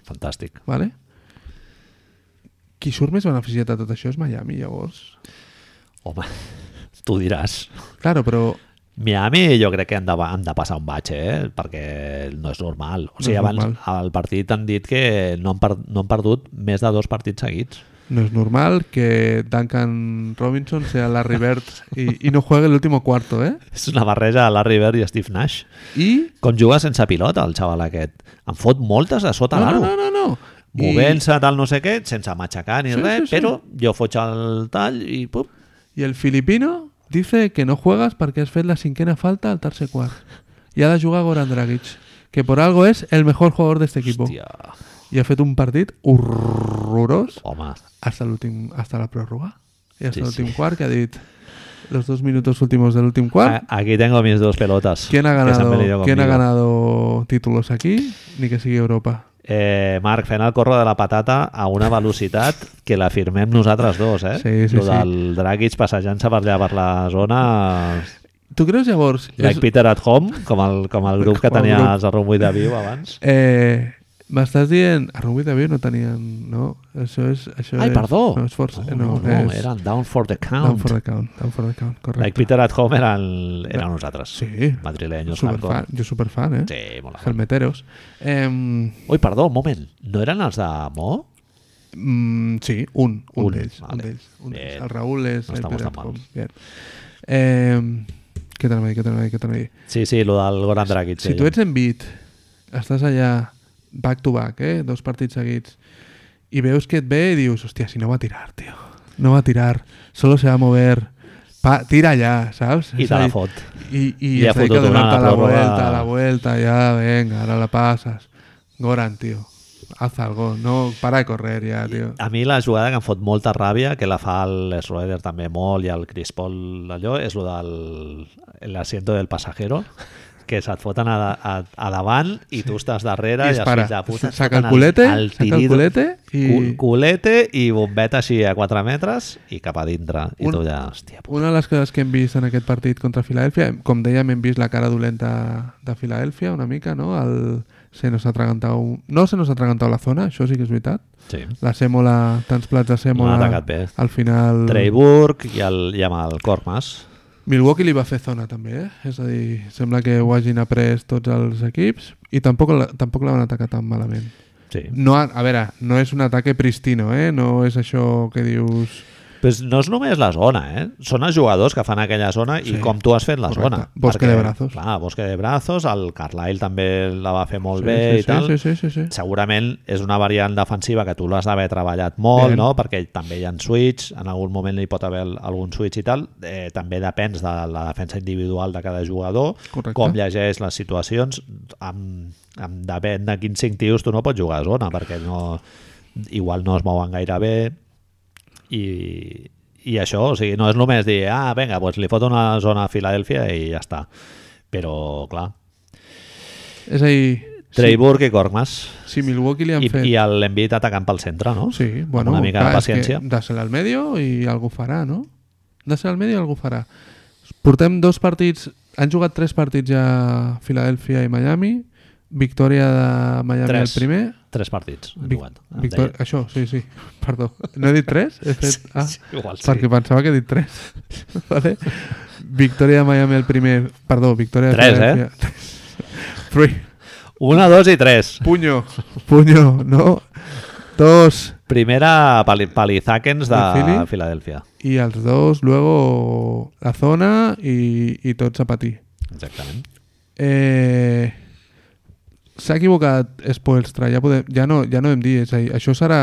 A: Fantàstic.
B: vale? Qui surt més beneficiat de tot això és Miami, llavors.
A: Home, [laughs] tu diràs.
B: Claro, però
A: Miami jo crec que han de, han de passar un batxe, eh? perquè no és normal. O sigui,
B: No és
A: no abans
B: normal.
A: al partit han dit que no han, per, no han perdut més de dos partits seguits. [laughs]
B: no és normal que Duncan Robinson sea Larry Bird i, i no juegue el último cuarto, eh?
A: És una barreja de Larry Bird i Steve Nash.
B: I
A: Com juga sense pilota, el xaval aquest. En fot moltes a sota
B: No,
A: l'aro.
B: no, no, no, no.
A: Movent-se, tal, no sé què, sense matxacar ni
B: Sí,
A: sí, res,
B: sí, sí.
A: sí, sí. però jo foig el tall i pup,
B: I, I el filipino dice que no juegas perquè has fet la cinquena falta al tercer quart. I ha de jugar Goran Dragic, que por algo és el mejor jugador d'aquest equip.
A: hòstia,
B: I ha fet un partit horrorós
A: home,
B: hasta, l'últim- hasta la pròrroga. I hasta
A: Sí,
B: l'últim
A: sí.
B: quart, que ha dit los dos minutos últimos del últim quart.
A: a- aquí tengo mis dos pelotas.
B: ¿Quién ha,
A: Ah, que se han venido
B: ganado, ¿Quién ha
A: conmigo.
B: ganado títulos aquí? Ni que sigui Europa.
A: Eh, Marc, fent el corro de la patata a una velocitat que la firmem nosaltres dos, eh?
B: Sí, sí,
A: Lo
B: sí.
A: del Dragic passejant-se per allà per la zona...
B: Tu creus llavors...
A: Like
B: és-
A: Peter at Home, com el, com el grup que
B: Com el
A: tenia
B: grup.
A: els Arrumbull de Viu abans.
B: Eh, M'estàs dient... A Rubí també no tenien... No, això és... Això
A: Ai,
B: és,
A: perdó!
B: No, és força...
A: no, no, no,
B: és,
A: eren Down for the
B: Down
A: Count.
B: for the count. Down for the count, correcte.
A: Like Peter at Home eren, eren nosaltres.
B: Sí.
A: Madrileños,
B: Superfan,
A: hardcore.
B: jo superfan, eh?
A: Sí, molt hardcore.
B: Helmeteros. Eh, mm,
A: Ui, perdó, un moment. No eren els de Mo?
B: mm, sí, un, un,
A: Un,
B: d'ells.
A: vale.
B: Un d'ells. Un
A: Bien.
B: d'ells. El Raúl és...
A: No
B: el
A: estamos
B: Peter
A: tan
B: Home.
A: mal.
B: Bien. Eh, què t'anava a dir, què t'anava a dir, què t'anava a dir?
A: Sí, sí, lo del Goran Dragic.
B: Si tu ets en bit, estàs allà back to back, eh? dos partits seguits, i veus que et ve i dius, hòstia, si no va a tirar, tio. No va a tirar, solo se va a mover. Pa, tira allà, saps?
A: I
B: És
A: te
B: a
A: la
B: dir,
A: fot.
B: I, i
A: I ha
B: és a dir,
A: fotut una a la
B: que donar-te la
A: pròrroga.
B: vuelta, la vuelta, ja, venga, ara la passes. Goran, tio, haz algo, no, para de correr ja, tio.
A: A mi la jugada que em fot molta ràbia, que la fa el Schroeder també molt i el Chris Paul allò, és lo del l'asiento del passajero, que se't foten a, a, a davant i tu estàs darrere
B: I
A: i,
B: es
A: els
B: para.
A: fills de puta et
B: Saca el
A: foten
B: culete, saca el
A: tirido-
B: culete i-
A: cul- culete i bombeta així a 4 metres i cap a dintre. I
B: Un-
A: tu ja, hòstia, puta.
B: Una de les coses que hem vist en aquest partit contra Filadèlfia, com dèiem, hem vist la cara dolenta de Filadèlfia una mica, no? El... Se nos ha atragantado... un- No se nos ha atragantado la zona, això sí que és veritat.
A: Sí.
B: La sèmola, tants plats de sèmola...
A: No ha atacat bé.
B: Al final...
A: Treiburg i, el, i amb el Cormas.
B: Milwaukee li va fer zona també, eh? És a dir, sembla que ho hagin après tots els equips i tampoc la, tampoc la van atacar tan malament.
A: Sí.
B: No, ha- a veure, no és un ataque pristino, eh? No és això que dius...
A: Pues no és només la zona, eh? Són els jugadors que fan aquella zona sí. i
B: Sí.
A: com tu has fet la
B: Correcte.
A: zona.
B: Bosque de brazos.
A: Clar, Bosque de Brazos, el Carlisle també la va fer molt
B: Sí,
A: bé i
B: sí,
A: tal.
B: sí, sí, sí, sí, sí.
A: Segurament és una variant defensiva que tu l'has d'haver treballat molt,
B: Ben.
A: no? perquè també hi ha switch, en algun moment hi pot haver algun switch i tal. Eh, també depens de la defensa individual de cada jugador,
B: Correcte.
A: com llegeix les situacions. Amb, amb depèn de quins cinc tios tu no pots jugar a zona, perquè no, igual no es mouen gaire bé i, i això, o sigui, no és només dir, ah, vinga, doncs li foto una zona a Filadèlfia i ja està. Però, clar,
B: És a dir,
A: Trey Burke i Corkmas
B: si, si Milwaukee li han
A: i,
B: fet...
A: i l'envit atacant pel centre, no?
B: Sí, bueno,
A: una mica
B: clar,
A: de
B: és que
A: paciència.
B: De ser al medio i algú farà, no? De ser al medio i algú farà. Portem dos partits... Han jugat tres partits ja a Filadèlfia i Miami. Victòria de Miami
A: Tres. Ah,
B: el primer.
A: Tres partits. han
B: Vic-
A: jugat. Em
B: Victòria...
A: deia.
B: Això, sí, sí. Perdó. No he dit tres? He fet... Ah,
A: Sí, Igual sí.
B: perquè pensava que he dit tres. [laughs] vale? Victòria de Miami el primer... Perdó, victòria de
A: Tres, eh?
B: Filadèlfia. Three.
A: Una, dos i tres.
B: Puño. Puño, no? Dos.
A: Primera pali Palizacens de,
B: De Philly.
A: Filadèlfia.
B: Y a los dos, luego la zona y, y tot zapatí.
A: Exactament.
B: Eh, S'ha equivocat Spoelstra, ja, podem, ja, no, ja no hem dit, és a dir, això serà,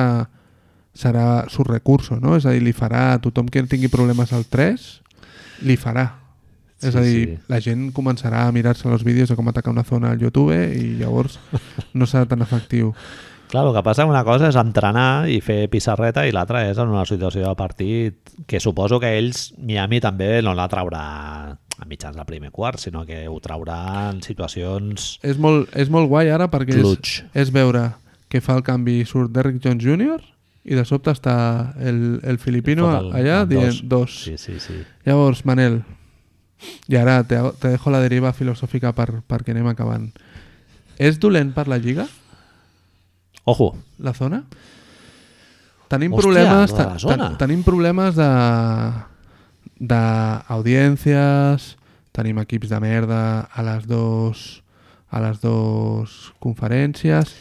B: serà su recurso, no? És a dir, li farà a tothom que tingui problemes al 3, li farà.
A: Sí,
B: és a dir,
A: sí.
B: la gent començarà a mirar-se els vídeos de com atacar una zona al YouTube i llavors no serà tan efectiu.
A: Clar, el que passa una cosa és entrenar i fer pissarreta i l'altra és en una situació de partit que suposo que ells, Miami també no la traurà a mitjans del primer quart, sinó que ho traurà en situacions...
B: és molt, és molt guai ara perquè és,
A: Clutch.
B: és veure que fa el canvi i surt Derrick Jones Jr. i de sobte està el, el filipino
A: Fot el-
B: allà
A: el
B: dient dos.
A: Sí, sí, sí.
B: Llavors, Manel, i ara te, hago- te dejo la deriva filosòfica per, perquè anem acabant. És dolent per la Lliga,
A: Ojo,
B: la zona? Tenim
A: Hòstia,
B: problemes,
A: lo de la
B: te-
A: zona.
B: te- tenim problemes de d'audiències, tenim equips de merda a les dos a les dues conferències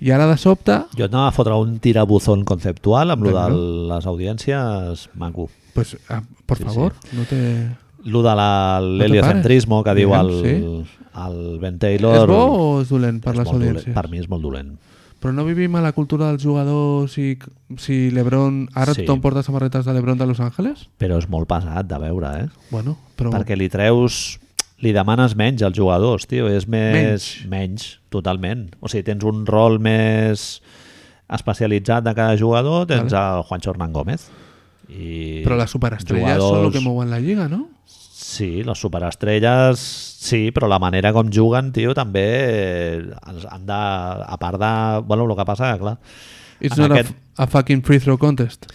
B: i ara de sobte
A: jo et anava a fotre un tirabuzón conceptual amb lo de
B: Vinga.
A: les audiències maco.
B: pues, ah, por
A: Sí,
B: favor, no te...
A: Lo de la- l'heliocentrismo que diu el,
B: Digue'm,
A: el Ben
B: és
A: Taylor...
B: bo o és dolent per
A: és
B: les
A: molt dolent.
B: audiències?
A: Per mi és molt dolent.
B: Però no vivim a la cultura dels jugadors i si LeBron... Ara
A: Sí.
B: sí. tothom porta samarretes de LeBron de Los Angeles?
A: Però és molt pesat de veure, eh?
B: Bueno, però...
A: perquè li treus li demanes menys als jugadors, tio, és més... Menys.
B: Menys.
A: menys, totalment. O sigui, tens un rol més especialitzat de cada jugador, tens el Juancho Hernán Gómez. I
B: Però les superestrelles són el que mouen la lliga, no?
A: Sí, les superestrelles, sí, però la manera com juguen, tio, també eh, els han de... A part de... Bueno, el que passa, clar...
B: It's
A: En
B: not
A: aquest-
B: aquest... a, fucking free throw contest.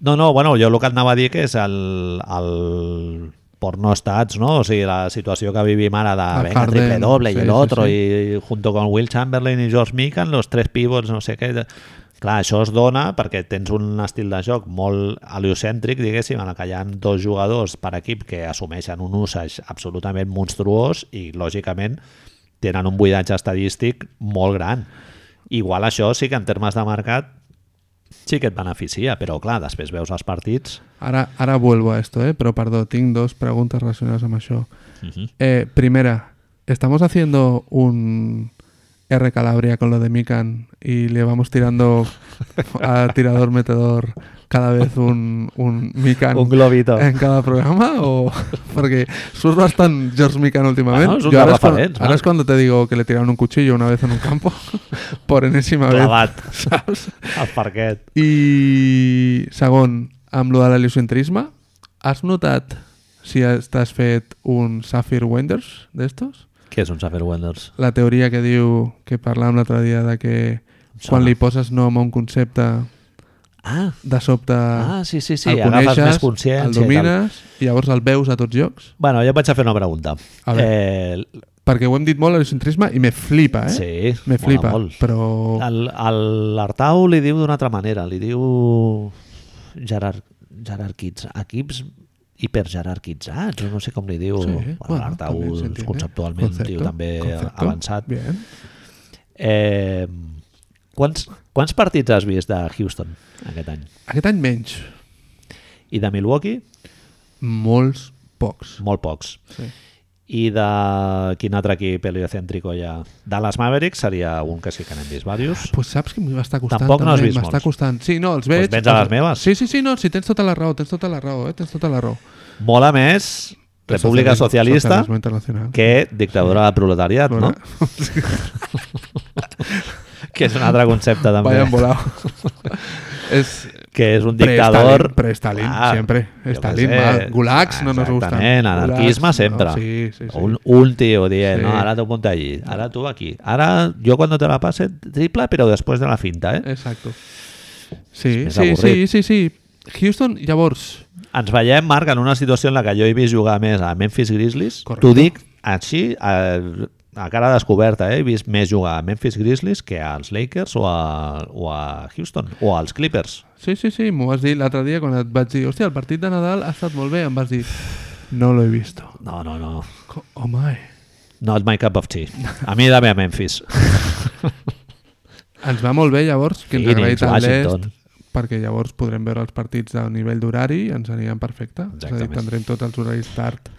A: No, no, bueno, jo el que et anava a dir que és el, el porno estats, no? O sigui, la situació que vivim ara de
B: El
A: venga,
B: Harden,
A: triple doble
B: sí,
A: i
B: sí,
A: el otro
B: sí.
A: i junto con Will Chamberlain i George Mikan, los tres pivots, no sé què... Clar, això es dona perquè tens un estil de joc molt heliocèntric, diguéssim, en el que hi ha dos jugadors per equip que assumeixen un usage absolutament monstruós i, lògicament, tenen un buidatge estadístic molt gran. Igual això sí que en termes de mercat sí que et beneficia, però clar, després veus els partits...
B: Ara, ara vuelvo a esto, eh? però perdó, tinc dos preguntes relacionades amb això.
A: Uh -huh.
B: Eh, primera, ¿estamos haciendo un R Calabria con lo de Mikan y le vamos tirando a tirador metedor cada vez un, un Mikan
A: Un globito.
B: en cada programa? O... [laughs] Porque surt bastant George Mikan últimamente.
A: Bueno, és un
B: Yo ahora,
A: dels
B: es cuando,
A: referents,
B: ahora es
A: Marc.
B: cuando te digo que le tiraron un cuchillo una vez en un campo [laughs] por enésima vez. [laughs]
A: Clavat
B: ¿sabes?
A: al parquet.
B: I segon, amb lo de l'heliocentrisme, has notat si estàs fet un Sapphire Wenders d'estos?
A: Què és un Safer Wenders?
B: La teoria que diu que parlàvem l'altre dia de que quan li poses nom a un concepte
A: Ah,
B: de sobte
A: ah sí, sí, sí,
B: el
A: agafes més
B: coneixes,
A: consciència
B: el
A: i tal.
B: domines i llavors el veus a tots llocs
A: Bueno, jo et vaig a fer una pregunta.
B: A
A: eh,
B: perquè ho hem dit molt l'heliocentrisme i me flipa eh?
A: Sí,
B: me
A: mola
B: flipa, Oh.
A: molt.
B: però
A: El- el- L'Artau li diu d'una altra manera, li diu gerar, jerarquits, equips hiperjerarquitzats, o no sé com li diu. bueno, L'Artau
B: també
A: és
B: s'entén, eh?
A: conceptualment un tio
B: Concepto,
A: també
B: concepto.
A: avançat.
B: Bien.
A: Eh, quants, quants partits has vist de Houston aquest any?
B: Aquest any menys.
A: I de Milwaukee,
B: Molts pocs.
A: molt pocs.
B: Sí.
A: I de quin altre equip heliocèntrico hi ha? Dallas Mavericks seria un que sí que n'hem vist diversos.
B: Pues saps que m'està costant
A: Tampoc no has
B: també,
A: vist
B: m'està
A: molts.
B: costant. Sí, no, els veig.
A: Doncs vens a les meves.
B: Sí, sí, sí, no, sí, tens tota la raó, tens tota la raó, eh? Tens tota la raó.
A: Mola més República
B: Socialisme-
A: Socialista
B: Socialisme internacional.
A: que dictadura del proletariat, no?
B: Bueno,
A: Que és un altre concepte també.
B: Vaya volado. es
A: Que és un
B: dictador
A: dictador...
B: pre-Stalin,
A: Clar,
B: siempre.
A: jo
B: Stalin,
A: què sé.
B: mal. gulags no nos gustan.
A: Exactament, anarquisme
B: Gulags,
A: sempre.
B: no, sí, sí, sí.
A: Un, un tío dient,
B: Sí.
A: no, ara tu punta allí, ara tu aquí. Ara, jo quan te la passe, triple, però després de la finta, eh?
B: Exacto. Sí,
A: més
B: sí, sí,
A: avorrit.
B: sí, sí. Houston, llavors,
A: Ens veiem, Marc, en una situació en la que jo he vist jugar més a Memphis Grizzlies.
B: Correcte.
A: T'ho dic així, a, a cara descoberta, eh? he vist més jugar a Memphis Grizzlies que als Lakers o a, o a Houston, o als Clippers.
B: Sí, sí, sí, m'ho vas dir l'altre dia quan et vaig dir hòstia, el partit de Nadal ha estat molt bé, em vas dir no lo he visto.
A: No, no, no.
B: Co- Home, eh.
A: Not my cup of tea. A mi dame a
B: [laughs]
A: Memphis.
B: ens va molt bé llavors que ens
A: Phoenix,
B: agradi tant l'est
A: Washington.
B: perquè llavors podrem veure els partits a nivell d'horari i ens aniran perfecte. És a dir,
A: Exactament.
B: tindrem tots els horaris tard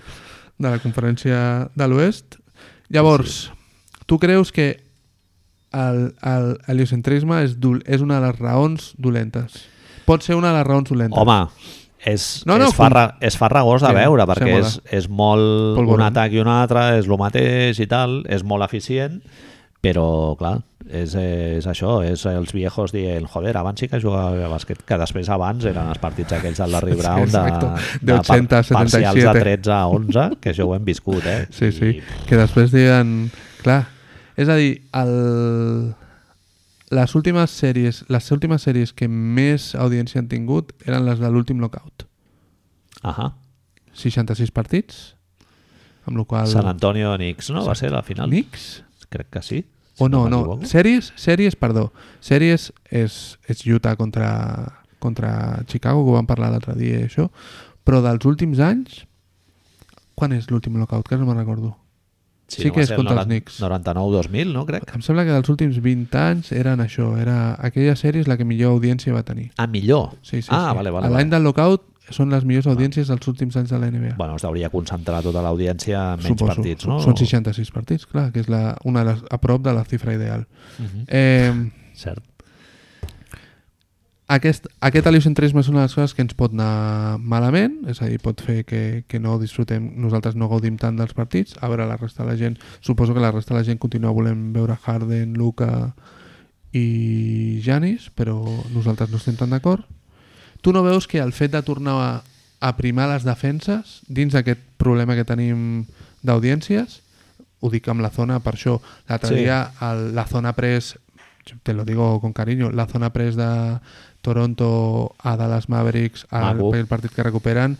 B: de la conferència de l'oest. Llavors, tu creus que el- el- l'heliocentrisme és, dol- és una de les raons dolentes? Pot ser una de les raons dolentes.
A: Home, és,
B: No,
A: no,
B: no,
A: no, és, farra, és farragós de
B: Sí,
A: veure, perquè
B: sembla.
A: és, és molt
B: Polvorón.
A: un atac i un altre, és el mateix i tal, és molt eficient, però, clar, és, és això, és els viejos dient, joder, abans sí que jugava a bàsquet, que després abans eren els partits aquells del Larry
B: [laughs] Sí,
A: Brown de,
B: exacto.
A: de,
B: De 80 a 77.
A: parcials de 13 a 11, que això ho hem viscut, eh?
B: [laughs] Sí, sí.
A: I,
B: Que després diguen... Clar, és a dir, el... les últimes sèries, les últimes sèries que més audiència han tingut eren les de l'últim lockout.
A: ahà,
B: 66 partits, amb la qual
A: San Antonio Knicks, no? Va ser la final?
B: Knicks?
A: Crec que sí.
B: O no, no.
A: m'equivoco.
B: Sèries, sèries, perdó. Sèries és, és Utah contra, contra Chicago, que ho vam parlar l'altre dia, i això. Però dels últims anys... Quan és l'últim lockout? Que no me'n recordo. sí
A: no,
B: que
A: va
B: és
A: ser el
B: contra
A: 90
B: els Knicks.
A: 99-2000, no? Crec.
B: Em sembla que dels últims 20 anys eren això, era aquella sèrie és la que millor audiència va tenir.
A: Ah, millor.
B: Sí, sí,
A: ah,
B: sí.
A: vale, vale.
B: A L'any
A: vale. Ah.
B: del lockout són les millors audiències dels últims anys de la NBA.
A: Bueno, es deuria concentrar tota l'audiència en menys partits, no?
B: Són 66 partits, clar, que és la, una de les, a prop de la xifra ideal.
A: Mhm.
B: Eh,
A: Cert.
B: aquest, aquest heliocentrisme és una de les coses que ens pot anar malament, és a dir, pot fer que, que no disfrutem, nosaltres no gaudim tant dels partits, a veure la resta de la gent, suposo que la resta de la gent continua volent veure Harden, Luca i Janis, però nosaltres no estem tan d'acord. Tu no veus que el fet de tornar a, a primar les defenses dins d'aquest problema que tenim d'audiències, ho dic amb la zona per això, l'altre
A: Sí.
B: sí. dia el, la zona pres te lo digo con cariño, la zona pres de Toronto a Dallas Mavericks al
A: Maco.
B: el partido que recuperan,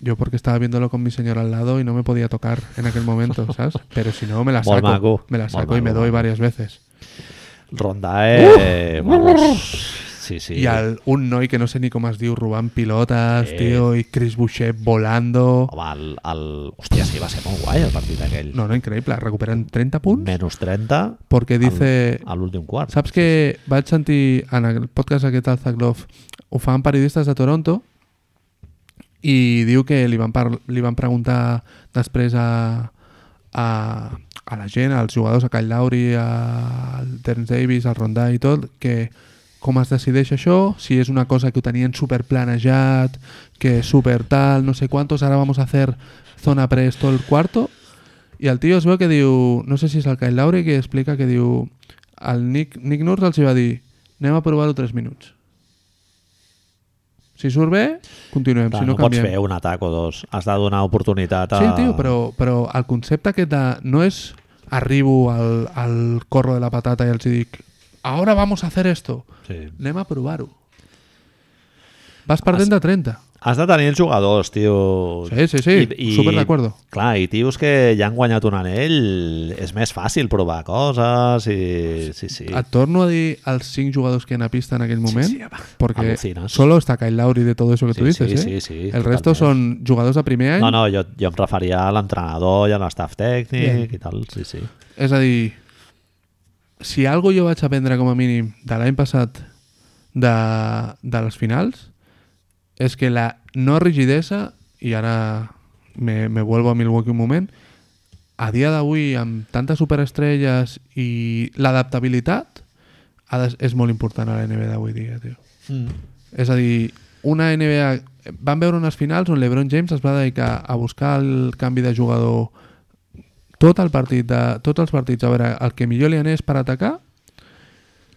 B: yo porque estaba viéndolo con mi señora al lado y no me podía tocar en aquel momento, ¿sabes? Pero si no, me la
A: Molt
B: saco,
A: maco.
B: me la
A: Molt
B: saco y
A: maco,
B: me doy
A: maco.
B: varias veces.
A: Ronda,
B: Uh!
A: eh...
B: E!
A: vamos. Sí, sí.
B: Y al un noi que no sé ni cómo has diu, Rubán pilotas,
A: Sí.
B: tío, y Chris Boucher volando.
A: Home, el, el... Hòstia, sí, va ser molt guai el partit aquell.
B: No, no, increíble, recuperan 30 puntos
A: Menys 30
B: porque dice...
A: a l'últim quart.
B: Saps que vaig sentir en el podcast aquest al Zaglov, ho fan periodistes de Toronto i diu que li van, par li van preguntar després a, a, a la gent, als jugadors, a Kyle Lowry, a al Terence Davis, al Rondà i tot, que com es decideix això, si és una cosa que ho tenien super planejat, que super tal, no sé quantos, ara vamos a hacer zona press todo el cuarto, i el tio es veu que diu... No sé si és el Kyle Lowry que explica que diu... El Nick, Nick Nurse els hi va dir anem a provar-ho 3 minuts. Si surt bé, continuem.
A: Clar,
B: si no,
A: no pots
B: canviem.
A: fer un atac o dos. Has de donar oportunitat a...
B: Sí, tio, però, però el concepte aquest de... No és arribo al, al corro de la patata i els hi dic ahora vamos a hacer esto.
A: Sí.
B: Anem a provar-ho. Vas perdent de 30.
A: Has de tenir els jugadors, tio.
B: Sí, sí, sí, super d'acuerdo.
A: Clar, i tios que ja han guanyat un anell, és més fàcil provar coses i... Sí, sí.
B: Et torno a dir els 5 jugadors que han a pista en aquell moment,
A: sí, va.
B: porque
A: Alucinas.
B: solo está Kyle Lowry de todo eso que tú
A: Sí,
B: dices,
A: sí,
B: ¿eh?
A: sí, sí,
B: El
A: totalmente.
B: resto son jugadores de primer any,
A: No, no, jo, jo em referia a l'entrenador i a l'estaf tècnic
B: Bien.
A: i tal, sí, sí.
B: és a dir, si algo jo vaig aprendre com a mínim de l'any passat de, de les finals és que la no rigidesa, i ara me, me vuelvo a Milwaukee un moment, a dia d'avui, amb tantes superestrelles i l'adaptabilitat, ha de- és molt important a la NBA d'avui dia, tio. És a dir, una NBA... Van veure unes finals on l'Ebron James es va dedicar a buscar el canvi de jugador tot el partit de, tots els partits a veure el que millor li anés per atacar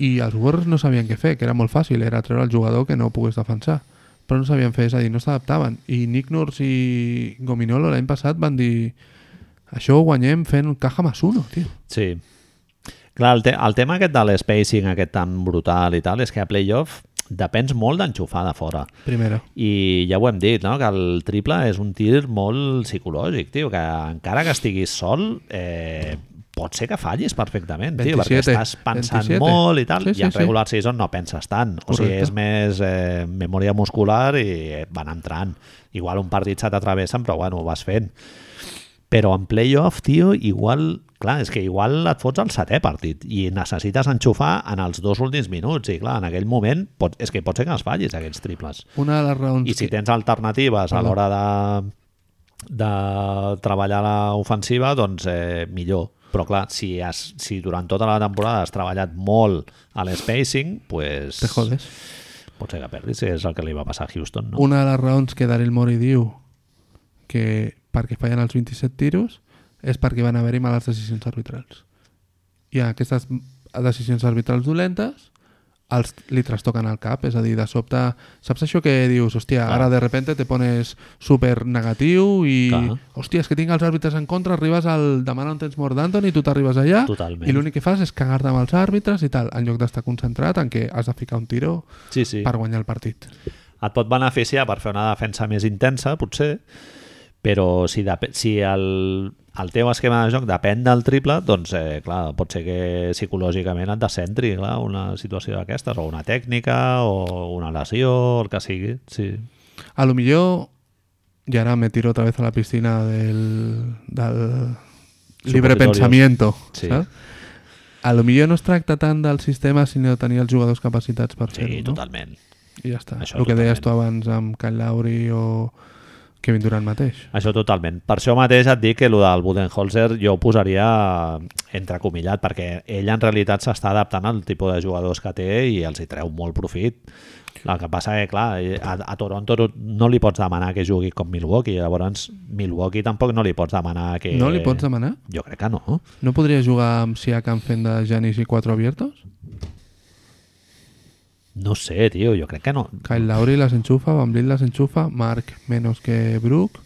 B: i els Warriors no sabien què fer, que era molt fàcil, era treure el jugador que no pogués defensar però no sabien fer, és a dir, no s'adaptaven i Nick Nurse i Gominolo l'any passat van dir això ho guanyem fent caja más uno, tio
A: Sí. Clar, el, te el tema aquest de l'spacing aquest tan brutal i tal és que a playoff depens molt d'enxufar de fora.
B: primera
A: I ja ho hem dit, no? que el triple és un tir molt psicològic, tio, que encara que estiguis sol, eh, pot ser que fallis perfectament, tio, perquè
B: 27,
A: estàs pensant
B: 27.
A: molt i tal,
B: Sí,
A: sí,
B: sí,
A: i en
B: sí.
A: regular season no penses tant. O sigui,
B: Correcte.
A: és més eh, memòria muscular i eh, van entrant. Igual un partit se t'atravessen, però bueno, ho vas fent. Però en playoff, tio, igual... Clar, és que igual et fots al setè partit i necessites enxufar en els dos últims minuts i clar, en aquell moment pot, és que pot ser que els fallis aquests triples
B: una de les raons
A: i si
B: que-
A: tens alternatives a
B: Perdó.
A: l'hora de, de treballar l'ofensiva, doncs eh, millor. Però clar, si, has, si durant tota la temporada has treballat molt a l'spacing, pues,
B: te jodes
A: potser que perdis, és el que li va passar a Houston. No?
B: Una de les raons que Daryl Morey diu que perquè fallen els 27 tiros és perquè van haver-hi males decisions arbitrals. I aquestes decisions arbitrals dolentes els, li trastoquen al cap, és a dir, de sobte... Saps això que dius, hòstia,
A: Clar.
B: ara de repente te pones super negatiu i...
A: Clar.
B: Hòstia, és que tinc els àrbitres en contra, arribes al... Demà no en tens mort d'Anthony, tu t'arribes allà
A: Totalment.
B: i l'únic que fas és cagar-te amb els àrbitres i tal, en lloc d'estar concentrat en que has de ficar un tiro
A: Sí, sí.
B: per guanyar el partit.
A: et pot beneficiar per fer una defensa més intensa, potser, però si, dep- si el, el teu esquema de joc depèn del triple, doncs eh, clar, pot ser que psicològicament et descentri clar, una situació d'aquestes, o una tècnica, o una lesió, o el que sigui. Sí.
B: A lo millor, y ahora me tiro otra vez a la piscina del, del libre
A: Supositorios.
B: pensamiento.
A: Sí.
B: saps? A lo millor no es tracta tant del sistema, sinó de tenir els jugadors capacitats per
A: Sí,
B: fer-ho, no?
A: totalment.
B: I ja està.
A: Això
B: el que deies
A: totalment.
B: tu abans amb Kyle Lowry o Kevin Durant mateix.
A: Això totalment. Per això mateix et dic que el del Budenholzer jo ho posaria entrecomillat, perquè ell en realitat s'està adaptant al tipus de jugadors que té i els hi treu molt profit. El que passa que, clar, a, a Toronto no li pots demanar que jugui com Milwaukee, llavors Milwaukee tampoc no li pots demanar que...
B: No li pots demanar?
A: Jo crec que no.
B: No podria jugar amb Siakam fent de Janis i quatre abiertos?
A: No sé, tio, jo crec que no.
B: Kyle Lowry les enxufa, Van Vliet les enxufa, Marc menos que Brook,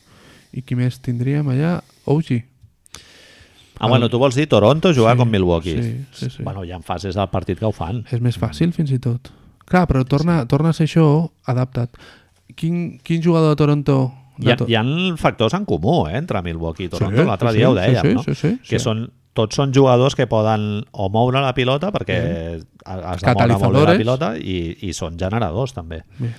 B: i qui més tindríem allà? OG.
A: Ah, bueno, tu vols dir Toronto jugar
B: Sí,
A: com Milwaukee.
B: sí, sí, sí.
A: Bueno, hi ha fases del partit que ho fan.
B: És més fàcil, fins i tot. Clar, però torna, torna a ser això adaptat. Quin, quin jugador de Toronto...
A: Hi
B: De
A: ha,
B: to-
A: hi ha factors en comú eh, entre Milwaukee i Toronto,
B: Sí,
A: sí, l'altre
B: sí,
A: dia ho
B: sí,
A: dèiem,
B: sí,
A: no?
B: sí, sí,
A: que
B: sí.
A: són, tots són jugadors que poden o moure la pilota, perquè has de moure molt bé la
B: Catalitzadores.
A: pilota, i, i són generadors també.
B: Bé.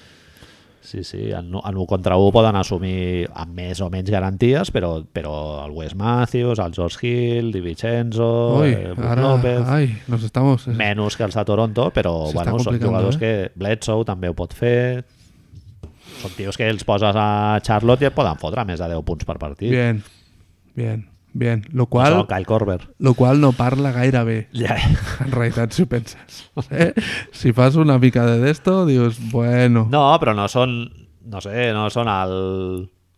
A: Sí, sí, en, en un contra un poden assumir amb més o menys garanties, però, però el Wes Matthews, el George Hill, Di Vincenzo,
B: Ui,
A: eh, Brook
B: ara...
A: López...
B: Ai, nos estamos...
A: Menys que els de Toronto, però
B: S'està
A: bueno, són
B: complicant,
A: jugadors
B: eh?
A: que Bledsoe també ho pot fer. Són tios que els poses a Charlotte i et poden fotre més de 10 punts per partit.
B: Bien, bien, bien. Lo
A: Qual?
B: qual,
A: Kyle Korver.
B: lo qual no parla gaire bé.
A: Ja.
B: En realitat, si ho penses. Eh? Si fas una mica de d'esto, dius, bueno...
A: No, però no són, no sé, no són el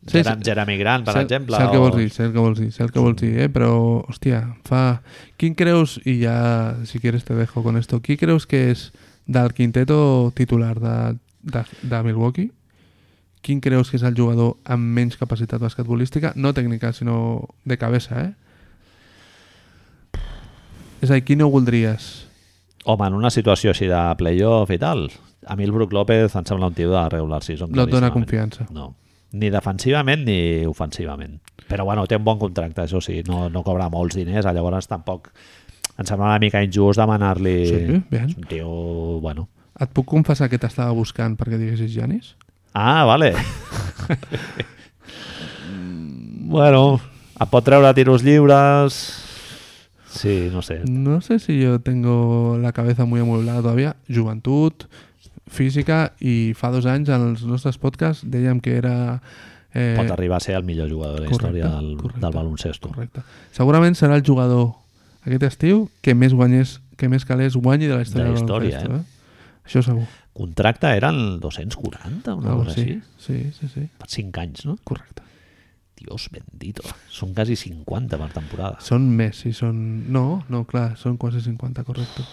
B: Sí,
A: Jer-
B: sí.
A: Jeremy Grant, per
B: Sé-
A: exemple.
B: Sé el que
A: o-
B: vols dir, sé el que vols dir, sé el que vols dir, eh? però, hòstia, fa... Quin creus, i ja, si quieres te dejo con esto, qui creus que és del quinteto titular de, de, de Milwaukee? Quin creus que és el jugador amb menys capacitat basquetbolística? No tècnica, sinó de cabeza, eh? És a dir, qui no voldries?
A: Home, en una situació així de playoff i tal, a mi el Brook López em sembla un tio de regular season.
B: No et dona
A: claríssimament.
B: confiança.
A: No. Ni defensivament ni ofensivament. Però bueno, té un bon contracte, això sí, no, no cobra molts diners, llavors tampoc em sembla una mica injust demanar-li...
B: Sí, bien.
A: És un tio, bueno...
B: Et puc confessar que t'estava buscant perquè diguessis Janis?
A: Ah, vale. bueno, et pot treure tiros lliures... Sí, no sé.
B: Eh, No sé si yo tengo la cabeza muy amueblada todavía. Juventud, física i fa dos anys en els nostres podcasts dèiem que era... Eh,
A: Pot arribar a ser el millor jugador de la
B: correcte,
A: història del,
B: correcte,
A: del baloncesto.
B: Correcte. Segurament serà el jugador aquest estiu que més guanyés, que més calés guanyi de la història
A: De la
B: del
A: història,
B: baloncesto, eh? Això segur.
A: Contracte eren 240, una
B: Algo
A: cosa així.
B: així. Sí, sí, sí.
A: Per 5 anys, no?
B: Correcte.
A: Dios bendito. Són quasi 50 per temporada.
B: Són més, sí, són... No, no, clar, són quasi 50, correcte.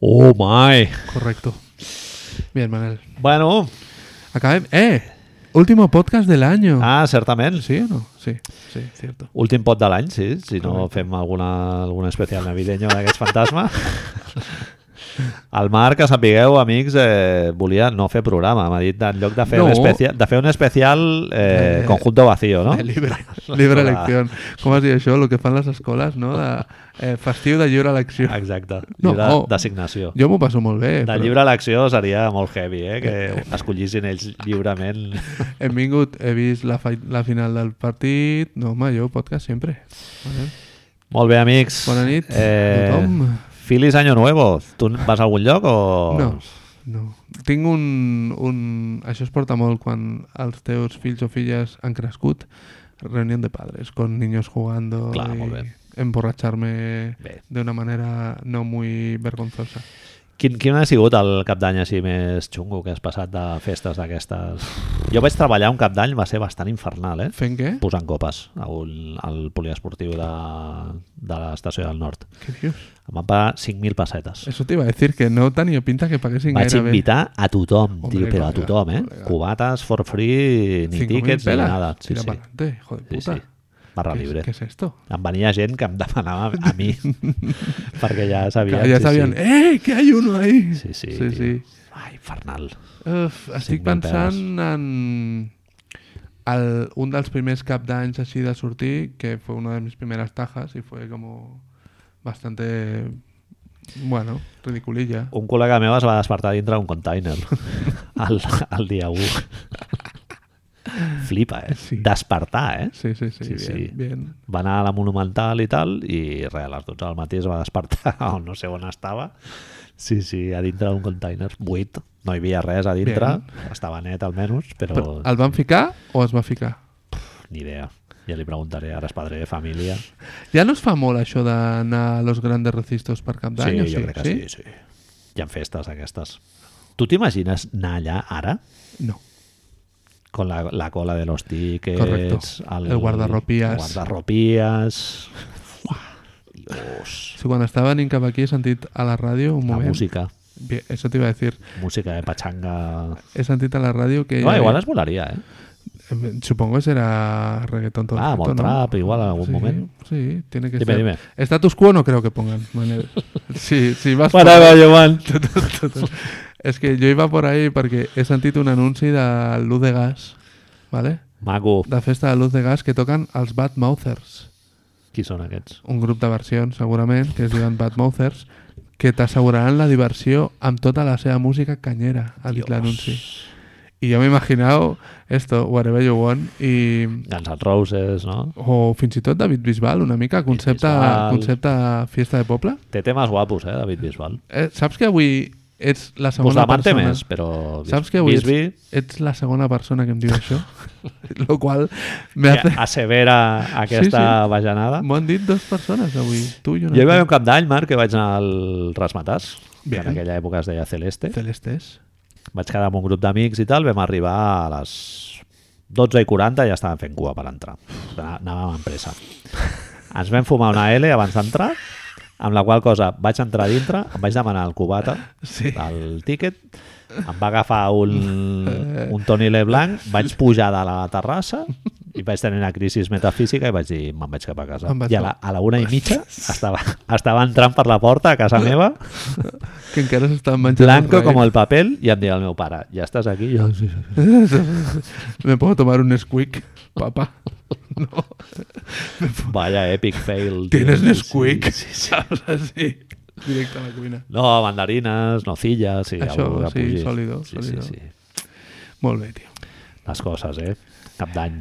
A: Oh my!
B: Correcto. Bien, Manel.
A: Bueno,
B: Acabem. ¡Eh! Último podcast del año.
A: ah, certament.
B: ¿Sí o no? Sí, sí, cierto.
A: Últim pot de l'any, sí. Si no fem alguna, alguna especial navideño d'aquest fantasma. El Marc, que sapigueu, amics, eh, volia no fer programa. M'ha dit, en lloc de fer,
B: No.
A: un, especial, de fer un especial eh,
B: Eh,
A: conjunto vacío, no?
B: Eh, libre, libre elección. Com has dit això? Lo que fan les escoles, no? De, eh, festiu de lliure elecció.
A: Exacte,
B: No.
A: llibre d'assignació.
B: Jo m'ho passo molt bé.
A: De
B: però
A: llibre a l'acció seria molt heavy, eh? Que escollissin ells lliurement.
B: Hem vingut, he vist la, fi- la final del partit... No, home, jo podcast sempre. Vale.
A: Molt bé, amics. Eh,
B: Bona nit a tothom.
A: Feliç Año Nuevo. Tu vas a algun lloc o...?
B: No, no. Tinc un, un... Això es porta molt quan els teus fills o filles han crescut. Reunión de padres, con niños jugando
A: Clar,
B: y
A: molt bé.
B: emborracharme
A: Bé.
B: de una manera no muy vergonzosa.
A: Quin, quin ha sigut el cap d'any així més xungo que has passat de festes d'aquestes? Jo vaig treballar un cap d'any, va ser bastant infernal, eh?
B: ¿Fent què?
A: Posant copes a un, al poliesportiu de, de l'estació del nord.
B: Què dius?
A: Em van pagar 5.000 pessetes.
B: Eso te iba a decir, que no tenia pinta que paguessin
A: Vaig
B: gaire bé.
A: invitar a tothom,
B: Hombre,
A: tio, però a
B: colega,
A: tothom, eh?
B: colega.
A: Cubates for free, ni
B: 5.000
A: tíquets ni
B: pelas.
A: nada. Sí,
B: Tira
A: sí.
B: pa'lante, hijo de
A: sí,
B: puta.
A: sí. Barra
B: ¿Qué es-
A: libre.
B: ¿Qué es esto?
A: Em venia gent que em demanava a
B: [laughs]
A: mi, perquè ja sabien.
B: Clar, ja
A: sí,
B: sabien,
A: Sí,
B: eh, que hay uno ahí!
A: sí. sí,
B: sí,
A: tio.
B: sí.
A: Ai, infernal.
B: Uf,
A: 5.000
B: estic pensant en el, un dels primers cap d'anys així de sortir, que fue una de mis primeras tajas y fue como bastante, bueno, ridiculilla.
A: Un col·lega meu es va despertar dintre d'un container [laughs] el, el dia 1. Flipa, eh?
B: Sí.
A: Despertar, eh?
B: Sí, sí, sí,
A: Sí,
B: bien,
A: sí.
B: bien.
A: Va anar a la Monumental i tal, i res, a les 12 del matí es va despertar, [laughs] o no sé on estava. Sí, sí, a dintre d'un container, buit. No hi havia res a dintre, estava net almenys, però,
B: Però el van ficar o es va ficar?
A: ni idea. Ja li preguntaré, ara és padre de família.
B: Ja no es fa molt això d'anar a los grandes recistos per cap
A: Sí,
B: d'any? o
A: jo crec que sí, sí. Hi ha festes aquestes. Tu t'imagines anar allà, ara,
B: sí? No.
A: con la, la cola de los tickets,
B: Correcto. El guardarropías.
A: guardarropías. Uah, Dios.
B: Sí, quan estava venint cap aquí he sentit a la ràdio un
A: La
B: moment...
A: música,
B: Bien, eso te iba a decir.
A: música de pachanga.
B: He sentit a la ràdio que... hi
A: No,
B: havia-
A: igual es volaria, eh?
B: Em- Supongo que será reggaetón todo
A: Ah,
B: el rato,
A: molt
B: ¿no?
A: trap, igual en algún
B: sí,
A: moment.
B: Sí, tiene que
A: Dime,
B: ser.
A: dime.
B: Status quo no creo que pongan.
A: [laughs]
B: Manel. Sí, sí, vas por
A: Para,
B: [laughs] ahí.
A: Joan.
B: Es que yo iba por ahí porque he sentido un anuncio de Luz de Gas, ¿vale?
A: Maco,
B: La festa de Luz de Gas que tocan als Bad Mouthers.
A: qui són aquests?
B: Un grup de versions, segurament, que es diuen Bad Mouthers, que t'asseguraran la diversió amb tota la seva música canyera, ha dit l'anunci. I jo m'imaginau esto, Whatever You Want, i
A: Guns N' Roses, no?
B: o fins i tot David Bisbal, una mica, concepte,
A: Bisbal.
B: concepte fiesta de poble.
A: Té temes guapos, eh, David Bisbal.
B: Eh, saps que avui ets la
A: Pues
B: segona
A: demante
B: persona...
A: més, però... Bis-
B: Saps que avui
A: Bisbi
B: ets, ets la segona persona que em diu
A: [laughs]
B: això? Lo qual me
A: que
B: hace...
A: assevera aquesta
B: Sí, sí.
A: bajanada.
B: M'ho han dit dos persones avui, tu i una
A: Jo hi va haver
B: altra.
A: un cap d'any, Marc, que vaig anar al Rasmatàs, que
B: Bien.
A: en aquella època es deia Celeste.
B: Celestes.
A: Vaig quedar amb un grup d'amics i tal, vam arribar a les 12 i 40 i ja estàvem fent cua per entrar. Ana- Anàvem amb pressa. Ens vam fumar una L abans d'entrar, amb la qual cosa vaig entrar a dintre, em vaig demanar el cubata,
B: Sí.
A: el tiquet, em va agafar un, un Tony Leblanc, vaig pujar de la terrassa i vaig tenir una crisi metafísica i vaig dir, me'n vaig cap a casa.
B: Em vas
A: I a la, a la una i mitja estava, estava entrant per la porta a casa meva,
B: Que encara s'estan menjant...
A: blanco
B: el
A: com el paper, i em deia el meu pare, ja estàs aquí? Jo, sí, sí.
B: raïm. Me puedo tomar un Nesquik, papá. No.
A: Vaya epic
B: [laughs]
A: fail. tio.
B: [laughs] Tienes
A: Sí,
B: Nesquik.
A: sí,
B: [laughs]
A: sí.
B: Saps? Així. Directe a la cuina.
A: No, mandarines, nocillas... Sí,
B: Això,
A: algo que
B: sí,
A: pugi.
B: sòlido,
A: Sí,
B: sòlido.
A: sí, sí.
B: Molt bé, tio.
A: Les coses, eh? Cap d'any.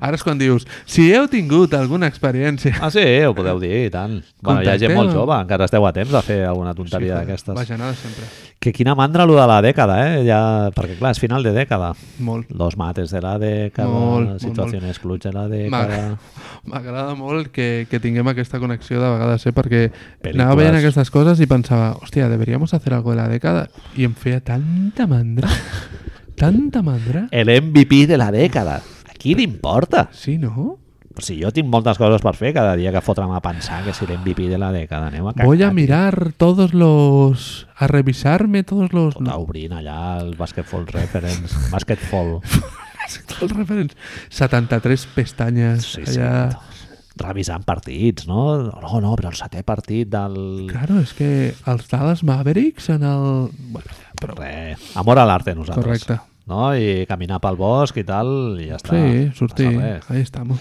B: Ara és quan dius, si heu tingut alguna experiència...
A: Ah, sí, ho podeu dir, i tant. Bueno, hi ha gent
B: Contacteu.
A: molt jove, encara esteu a temps de fer alguna tonteria d'aquestes.
B: Vaginada sempre.
A: Que quina mandra lo de la dècada, eh? Ja, perquè clar, és final de dècada.
B: Molt.
A: Los mates de la dècada,
B: Molt, molt,
A: situacions clutch de la
B: M'agrada
A: dècada...
B: m'agrada molt que, que tinguem aquesta connexió de vegades, eh? perquè
A: Pel·lícules.
B: anava veient aquestes coses i pensava, hòstia, deberíamos hacer algo de la dècada, i em feia tanta
A: [laughs]
B: mandra, tanta mandra.
A: El MVP de la dècada. A qui li importa?
B: Sí, no?
A: Si jo tinc moltes coses per fer cada dia que fotre'm a pensar que si l'MVP de la dècada anem a cagar.
B: Voy a mirar todos los... a revisarme todos los...
A: Tot obrint allà el Basketball Reference, [laughs] Basketball.
B: Todos los referents. 73 pestanyes
A: Sí, sí.
B: allà.
A: Revisant partits, no? No, no, però el setè partit del...
B: Claro, és que els Dallas Mavericks en el... Bueno, però...
A: Re, amor a l'arte nosaltres.
B: Correcte.
A: No? I caminar pel bosc i tal, i ja està.
B: Sí,
A: No
B: sortir.
A: passa res.
B: Ahí estamos.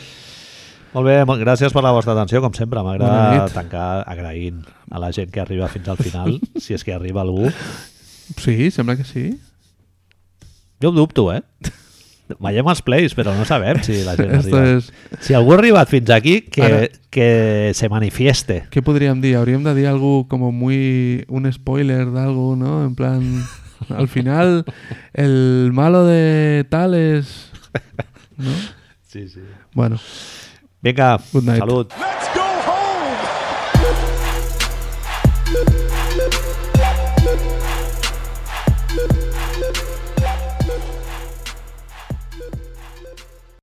A: Molt bé, molt, gràcies per la vostra atenció, com sempre.
B: Bona
A: M'agrada
B: nit.
A: tancar agraint a la gent que arriba fins al final, [laughs] si és que arriba algú.
B: Sí, sembla que sí.
A: Jo ho dubto, eh? Veiem els plays, però no sabem si la gent
B: Esto
A: arriba.
B: es...
A: Si algú ha arribat fins aquí, que,
B: Ara-
A: que se manifieste.
B: ¿Qué podrían decir? Habrían de decir algo como muy... un spoiler de algo, ¿no? En plan... Al final, el malo de tal es... ¿No?
A: Sí, sí.
B: Bueno,
A: Vinga,
B: Good night.
A: salut.
C: Let's go!